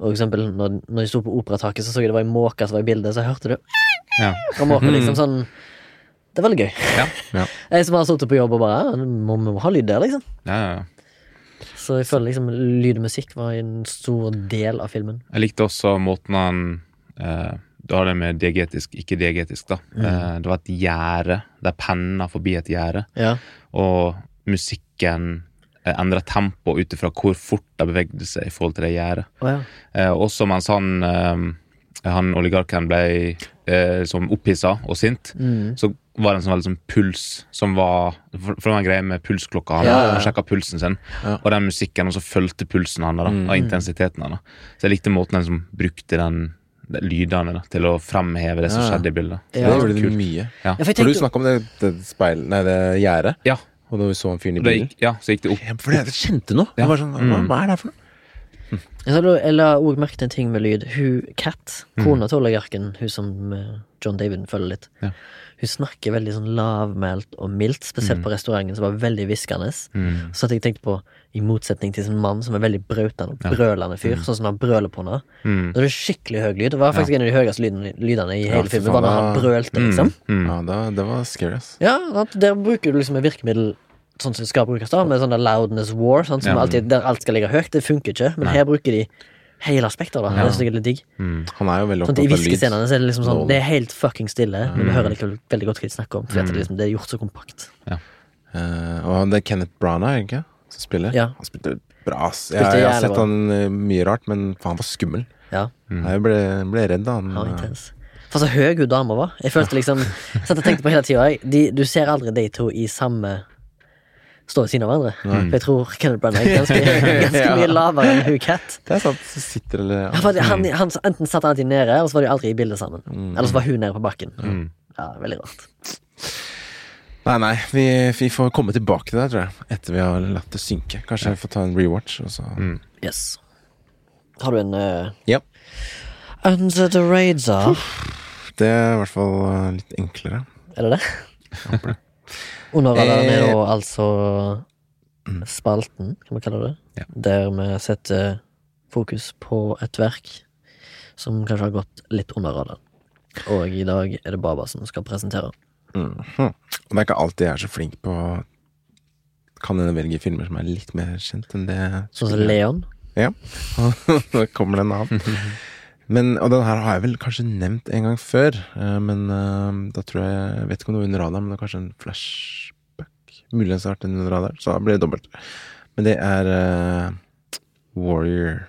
Og for eksempel når, når jeg sto på operataket, så så jeg det var en måke som var i bildet, så jeg hørte det.
Ja.
Og måka liksom sånn Det er veldig gøy.
Ja.
Ja.
Jeg som har sittet på jobb og bare ja, må, må ha lyd der, liksom.
Ja, ja, ja.
Så jeg føler liksom lyd og musikk var en stor del av filmen.
Jeg likte også måten han eh, Du har det med diegetisk, ikke diegetisk, da.
Mm.
Eh, det var et gjerde. Det er penna forbi et gjerde.
Ja.
Og musikken eh, endra tempo ut ifra hvor fort de bevegde seg i forhold til det gjerdet.
Å ja.
Eh, også mens han, eh, han oligarken ble eh, som opphissa og sint,
Mm.
så var det en sånn veldig sånn puls som var For for det var en greie med pulsklokka. Han,
Ja, ja, ja.
han sjekka pulsen sin, og den musikken, og så fulgte pulsen hans da,
Mm.
og intensiteten hans. da. Så jeg likte måten han som brukte den, de lydene da, til å fremheve det som
Ja, ja.
skjedde i bildet.
Det
Ja.
gjorde de mye.
Ja.
Ja, for jeg
For du
tenkte,
snakka om det, det speil... Nei, det gjerdet.
Ja,
Og Og da vi så han fyren i
Da
bilen
gikk, ja, så gikk det opp.
Ja, For jeg kjente noe. Jeg var sånn, hva, hva er det her for noe?
Jeg sa da- jeg la òg merke til en ting med lyd. Hun, Kat, kona til oligarken, hun som eh, John David følger litt, hun snakker veldig sånn lavmælt og mildt, spesielt på restauranten, som var veldig hviskende. Så at jeg tenkte på, i motsetning til en mann som er veldig brautende og brølende fyr,
Mm.
sånn som han brøler på henne,
Mm.
så er det skikkelig høy lyd. Det var faktisk en av de høyeste lydene, lydene i
Ja, Mm.
hele
for
filmen,
faen,
var da han
da-
brølte, liksom.
Mm.
Ja, da, det var scary, ass.
Ja, sant? der bruker du liksom et virkemiddel sånn som det skal brukes, da, med sånn der loudness war, sant, som
Ja.
alltid, der alt skal ligge høyt. Det funker ikke, men her bruker de hele aspektet. da, Det synes jeg er litt digg.
Mm.
Han er jo veldig
Sånn,
opptatt
I
av lyd. Mm.
hviskescenene så er det liksom sånn
Nålen.
Det er helt fucking stille, men vi hører likevel veldig godt hva de snakker om. Fordi at
Mm.
det, liksom, det er gjort så kompakt.
Eh, og det er Kenneth Branagh, er det ikke? Som spiller.
Ja.
Han spilte bra, ass. Jeg,
Spilte
jeg har
jævlig
sett
bra.
han eh, mye rart, men faen, han var skummel.
Ja,
Jeg ble, ble redd da han eh,
han var intens. For så høy hun dama var. Jeg følte liksom Så jeg tenkte på hele tida de, Du ser aldri de to i samme Stå ved siden av hverandre. For jeg tror Kenneth Branagh er ganske, ganske
Ja.
mye lavere enn hun Cat.
Det er sant. Så sitter det
Ja, Mm. for Han, han, enten satt han alltid nede, eller så var de aldri i bildet sammen. Eller så var hun nede på bakken. Mm. Ja, Veldig rart.
Nei, nei. Vi, vi får komme tilbake til det, tror jeg. Etter vi har latt det synke. Kanskje jeg får ta en rewatch. Og så.
Yes. Har du en eh,
Ja.
Under the radar?
Det er i hvert fall eh, litt enklere.
Er det det? Under
Eh,
radaren er jo altså
mm.
spalten, kan man kalle det.
Ja.
Der vi setter fokus på et verk som kanskje har gått litt under radaren. Og i dag er det Baba som skal presentere.
Og Hm. det er ikke alltid jeg er så flink på Kan hende velge filmer som er litt mer kjent enn det
Sånn som Leon.
Ja. Nå kommer den av. Men, og den her har jeg vel kanskje nevnt en gang før, eh, men eh, da tror jeg Jeg vet ikke om det var under radaren, men det er kanskje en flashback. Muligens har det vært en under radaren, så da blir det dobbelt. Men det er eh, Warrior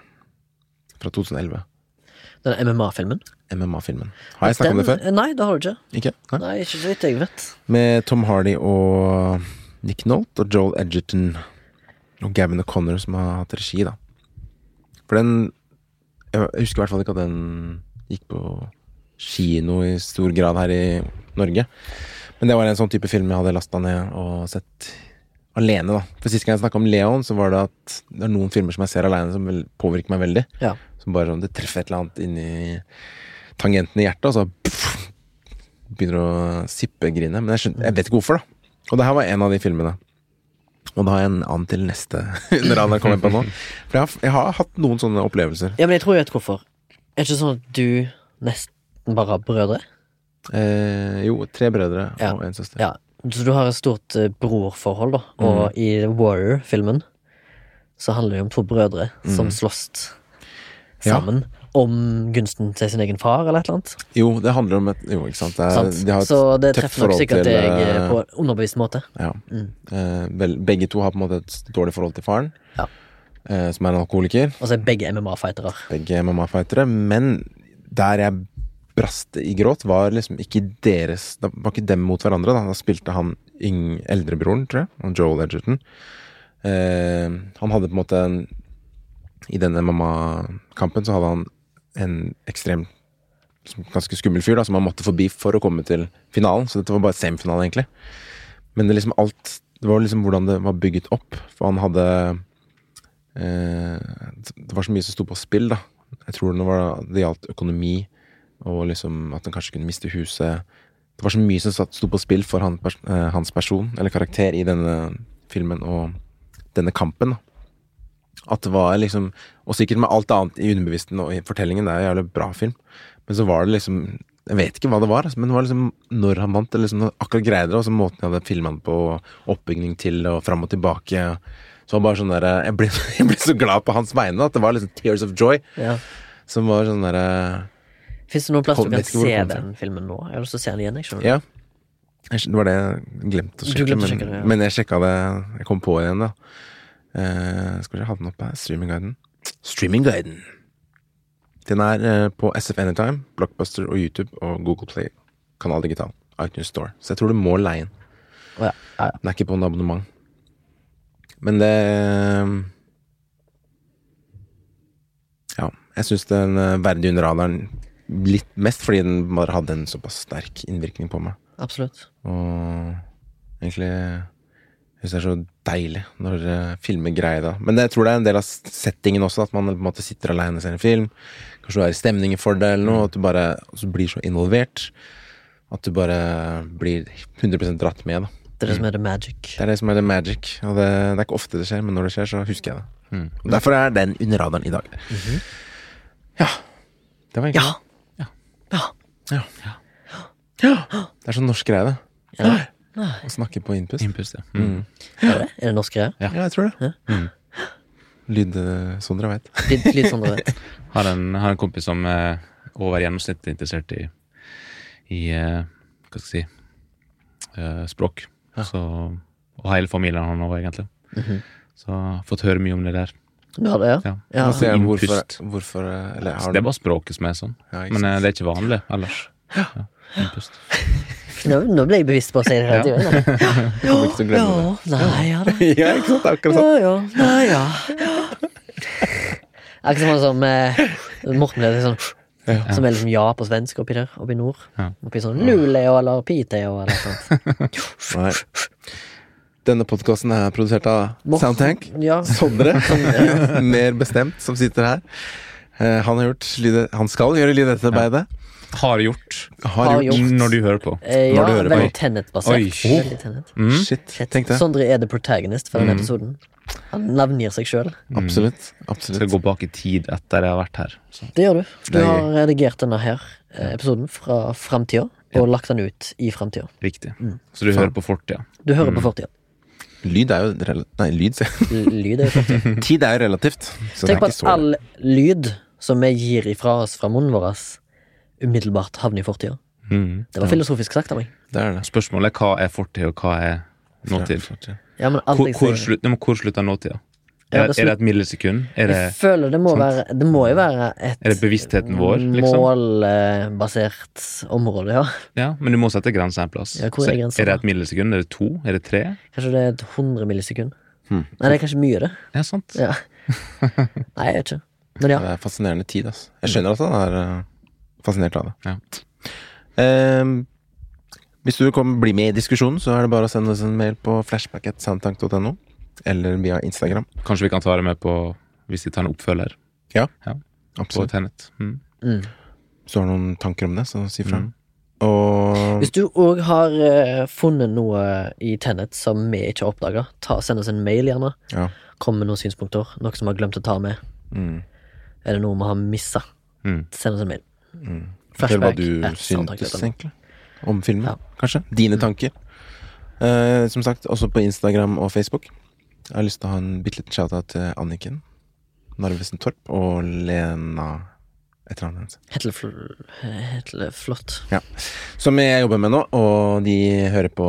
fra 2011.
Den MMA-filmen.
MMA-filmen. Har jeg snakka om det før?
Nei, det har du ikke.
Ikke? Nei?
Nei, ikke så vidt jeg vet.
Med Tom Hardy og Nick Nolte og Joel Edgerton og Gavin O'Connor som har hatt regi, da. For den Jeg husker i hvert fall ikke at den gikk på kino i stor grad her i Norge. Men det var en sånn type film jeg hadde lasta ned og sett alene, da. For sist gang jeg snakka om Leon, så var det at det er noen filmer som jeg ser alene som vel påvirker meg veldig.
Ja.
Som bare sånn, det treffer et eller annet inni tangenten i hjertet, og så pff, begynner å sippe-grine. Men jeg, skjønner, jeg vet ikke hvorfor, da. Og det her var en av de filmene. Og da har jeg en annen til neste. Når han kommer på nå For jeg har, jeg har hatt noen sånne opplevelser.
ja, men jeg tror jeg vet hvorfor. Er det ikke sånn at du nesten bare har brødre?
Eh, jo, tre brødre
Ja.
og en søster.
Ja, så du har et stort eh, brorforhold da Og
Mm.
i Warrior-filmen Så handler det jo om to brødre Som slåss
Mm. Ja.
sammen Om gunsten til sin egen far Eller et eller annet
Jo, det handler om et Jo, ikke sant. Det er,
sant?
Eh, de har et
Så det
tøft
treffer nok
forhold
sikkert
til,
deg eh,
eh,
På Mm. en underbevist måte
Ja. Eh, vel, begge to har på en måte et dårlig forhold til faren,
Ja.
eh, som er en alkoholiker.
Og så er Altså, begge MMA-fightere
begge MMA-fightere, eh, men der jeg braste i gråt, var liksom ikke deres Det var ikke dem mot hverandre, da. Da spilte han yng, eldrebroren, tror jeg, og Joel Edgerton. Eh, han hadde på en måte en I denne MMA-kampen så hadde han en ekstrem som- ganske skummel fyr da, som han måtte forbi for å komme til finalen. Så dette var bare semifinalen, egentlig. Men det liksom alt Det var liksom hvordan det var bygget opp. For han hadde Eh, det var så mye som sto på spill, da. Jeg tror det, var, det gjaldt økonomi, og liksom at han kanskje kunne miste huset. Det var så mye som satt- sto på spill for han, pers eh, hans person, eller karakter, i denne filmen og denne kampen. da. At det var liksom Og sikkert med alt annet i underbevissten og i fortellingen, det er en jævlig bra film, men så var det liksom Jeg vet ikke hva det var, altså, men det var liksom når han vant, eller liksom når han akkurat greide det, og så måten jeg hadde filma den på, og oppbygging til, og fram og tilbake. Så var det bare sånn der, jeg, ble, jeg ble så glad på hans vegne at det var liksom tears of joy.
ja.
Som var sånn derre
Finnes det noen plass
Kom-
du kan
vet ikke hvor
se
det kom fra.
den filmen nå? Jeg har lyst til å se den igjen, jeg skjønner
Ja. Jeg skj- Det var det jeg glemte å
Du
sjekke.
glemte å
men,
sjekke det, ja.
men jeg sjekka det Jeg kom på det igjen, da. Eh, skal vi se, hadde den oppe her. Streamingguiden. Streamingguiden. Den er eh, på SF Anytime, Blockbuster og YouTube og Google Play, Kanal Digital, iTunes Store. Så jeg tror du må leie den.
Å, ja. Ja, ja.
Den er ikke på en abonnement. Men det eh, Ja. Jeg syns den eh, verdig under radaren litt mest fordi den bare hadde en såpass sterk innvirkning på meg.
Absolutt
Og egentlig Jeg Syns det er så deilig når eh, filmer greier det. Men jeg tror det er en del av settingen også, at man på en måte sitter alene og ser en film. Kanskje du er i stemningen for det, eller
Mm.
noe, at du bare og så blir så involvert. At du bare blir 100 dratt med. Da.
Det er det som er the magic.
Det er det som er the magic. Og det, det er ikke ofte det skjer, men når det skjer, så husker jeg det.
Mm.
Og derfor er den under radaren i dag. Ja. Det var
Mhm.
egentlig
Ja. Ja.
ja. Ja. Det er sånn norsk greie, det.
Ja.
Å snakke på innpust.
Impulse. Mm.
Er det, er det norsk greie?
Ja, jeg tror det. Lyd eh, Sondre veit.
Litt, litt sånn dere vet.
Har, en, har en kompis som er over gjennomsnittet interessert i, i eh, hva skal jeg si, eh, språk. Så, og hele familien han òg, egentlig.
Mhm.
Så jeg har fått høre mye om det der.
Ja, det er.
Ja.
Ja.
Altså, jeg, hvorfor,
Innpust.
hvorfor eh, eller,
Så
har
det er
du-
bare språket som er sånn.
Ja, ikke
Men eh,
sant.
det er ikke vanlig ellers. Ja. Innpust.
Nå, nå ble jeg bevisst på å si det hele tiden. Ja,
kommer ikke til å glemme
ja, nei, ja, da.
ja, ikke sant? Det er akkurat sånn.
Ja, ja. Nei, ja. Det er ikke sånn som eh, Morten ble sånn Som er liksom ja på svensk oppi der, oppi nord.
Ja.
Oppi sånn Luleå eller Piteå eller sånt.
sånn. Nei. Denne podkasten er produsert av
Morten-
Soundtank.
Ja.
Sondre, mer bestemt, som sitter her. Eh, Han, har gjort lyd, han skal gjøre lydetterarbeidet.
Har gjort.
Har, gjort.
Har gjort.
Når du hører på.
Eh,
Når
ja,
du hører på.
veldig Tenet-basert.
Oi, shit.
Veldig Tenet.
Shit.
Shit.
Tenk det. Mm.
Sondre er the protagonist for denne episoden. Han navngir seg sjøl.
Absolutt.
Skal
Absolutt.
gå bak i tid etter jeg har vært her. Så.
Det gjør du. Du
Det er
har redigert denne her eh, episoden fra framtida, og lagt den ut i framtida.
Riktig.
Mm.
Så du hører på fortida.
Du hører på fortida.
Lyd er jo rel- Nei, lyd, sier jeg.
L- Lyd er jo fortida.
Tid er jo relativt. Så det er
Tenk på
ikke
at
så
all lyd som vi gir ifra oss fra munnen vår, umiddelbart havner i fortida. Det var filosofisk sagt av meg.
Det er det.
Mm. Spørsmålet er hva er fortid, og hva er nåtid?
Ja, men alt
Hvor,
jeg
hvor,
sier-
slutt, nei, men hvor slutter nåtida?
Ja,
Er,
det
er det et millisekund? Er det,
Jeg føler det må være Det må jo være et
er det bevisstheten vår, liksom?
målbasert område, ja.
Ja, men du må sette grensa en plass.
Ja, hvor er
Så
grensen
er det
da?
et millisekund? Er det to? Er det tre?
Kanskje det er et 100 millisekund.
Hmm.
Nei, det er kanskje mye, det.
Ja, sant.
Ja. Nei, jeg vet ikke. Men ja.
Det er fascinerende tid, altså. Jeg skjønner at han er eh, fascinert av det.
Ja.
Ehm, hvis du kom, blir med i diskusjonen, så er det bare å sende oss en mail på flashback.soundtank.no. Eller via Instagram.
Kanskje vi kan ta det med på hvis vi tar en oppfølger
Ja,
ja, på
absolutt.
Tenet. Mm.
Hvis du har noen tanker om det, så si fra. Og
Hvis du òg har eh, funnet noe i Tenet som vi ikke har oppdaga, send oss en mail, gjerne.
ja.
Kom med noen synspunkter. Noe som vi har glemt å ta med.
Mm.
Er det noe vi har missa?
Mm.
Send oss en mail.
Mm. Fortell hva du
at
syntes,
soundtank.no.
egentlig. Om filmen,
Ja. Mm.
kanskje. Dine tanker. Eh, som sagt, også på Instagram og Facebook. Jeg har lyst til å ha en bitte liten shout-out til Anniken Narvesen Torp og Lena Et eller annet. hennes.
Hetlefl... Hetleflott.
Ja. Som jeg jobber med nå, og de hører på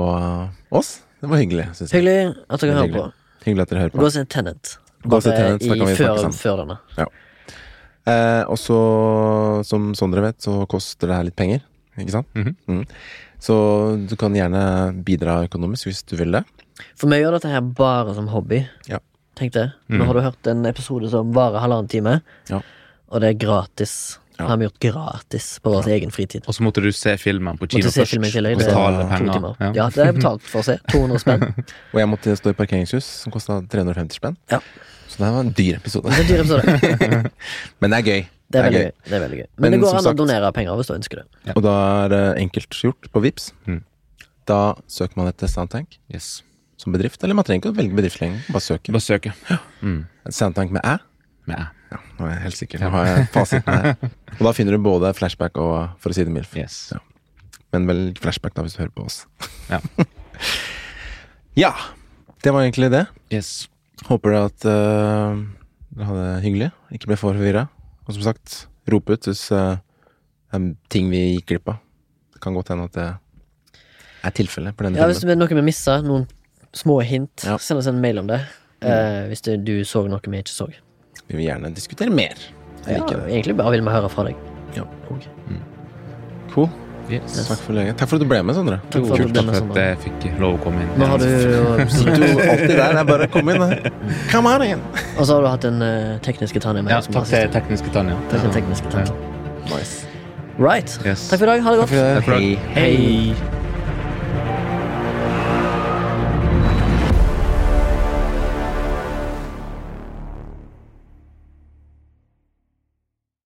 oss. Det var hyggelig. Synes jeg.
Hyggelig at dere hører på.
Hyggelig at dere hører
Gå
på.
og se Tenet.
Gå og se
Bare
Tenet, så kan
i-
vi snakke
før,
sammen.
før denne.
Eh, og så, som Sondre vet, så koster det her litt penger. Ikke sant?
Mhm.
Mm. Så du kan gjerne bidra økonomisk hvis du vil det.
For vi gjør dette her bare som hobby.
Ja. Mm.
Tenk det. Nå har du hørt en episode som varer halvannen time,
Ja.
og det er gratis.
Ja.
Har vi gjort gratis på vår egen fritid.
Og så måtte du se filmen på kino
Måtte se
først.
filmen i tillegg.
og
Det
betale
er to timer.
penger.
Ja. det er betalt for å se. 200 spenn.
Og jeg måtte stå i parkeringshus, som kosta 350 spenn.
Ja.
Så det her var en dyr episode.
Det er en dyr episode.
Men det er gøy.
Det er veldig gøy. Det er veldig gøy. Men,
Men
det går
som
an
sagt-
å donere penger hvis du ønsker det.
Og da er det enkelt gjort på Vips
Mm.
Da søker man etter Soundtank
Yes.
som bedrift. Eller man trenger ikke å velge bedrift lenger. Bare søke.
Bare søke.
Soundtank med æ.
Ja.
Ja, nå er jeg helt sikker. Nå har jeg fasiten her. Og da finner du både flashback og For å si det mildt.
Yes.
Ja. Men vel flashback, da, hvis du hører på oss.
Ja.
ja. Det var egentlig det.
Yes.
Håper dere at eh, dere hadde det hyggelig. Ikke ble for forvirra. Og som sagt, rop ut hvis eh, det er ting vi gikk glipp av. Det kan godt hende at det er tilfellet på denne
Ja, hvis
filmen.
det er noe vi missa, noen små hint,
Ja.
send oss en mail om det. Eh, hvis det, du så noe vi ikke så.
Vi vil gjerne diskutere mer. Jeg
Ja,
liker det.
egentlig bare vil vi høre fra deg.
Ja.
Ok. Mm.
Cool.
yes.
Takk for løyet. Takk for at du ble med, Sondre.
Takk for at du
Kult
ble
takk
med,
for at eh,
Sondre.
jeg fikk lov å komme inn.
Nå har du
Du er alltid der. Det er bare å komme inn. da. Come on in.
Og så har du hatt en eh, teknisk gitar med.
Ja,
som
takk
assistent.
til tekniske Tanja.
Takk til tekniske Tanja.
Nice.
Right.
Yes.
Takk for i dag. Ha det godt.
Takk for det.
Takk for i dag.
Hei.
Hei.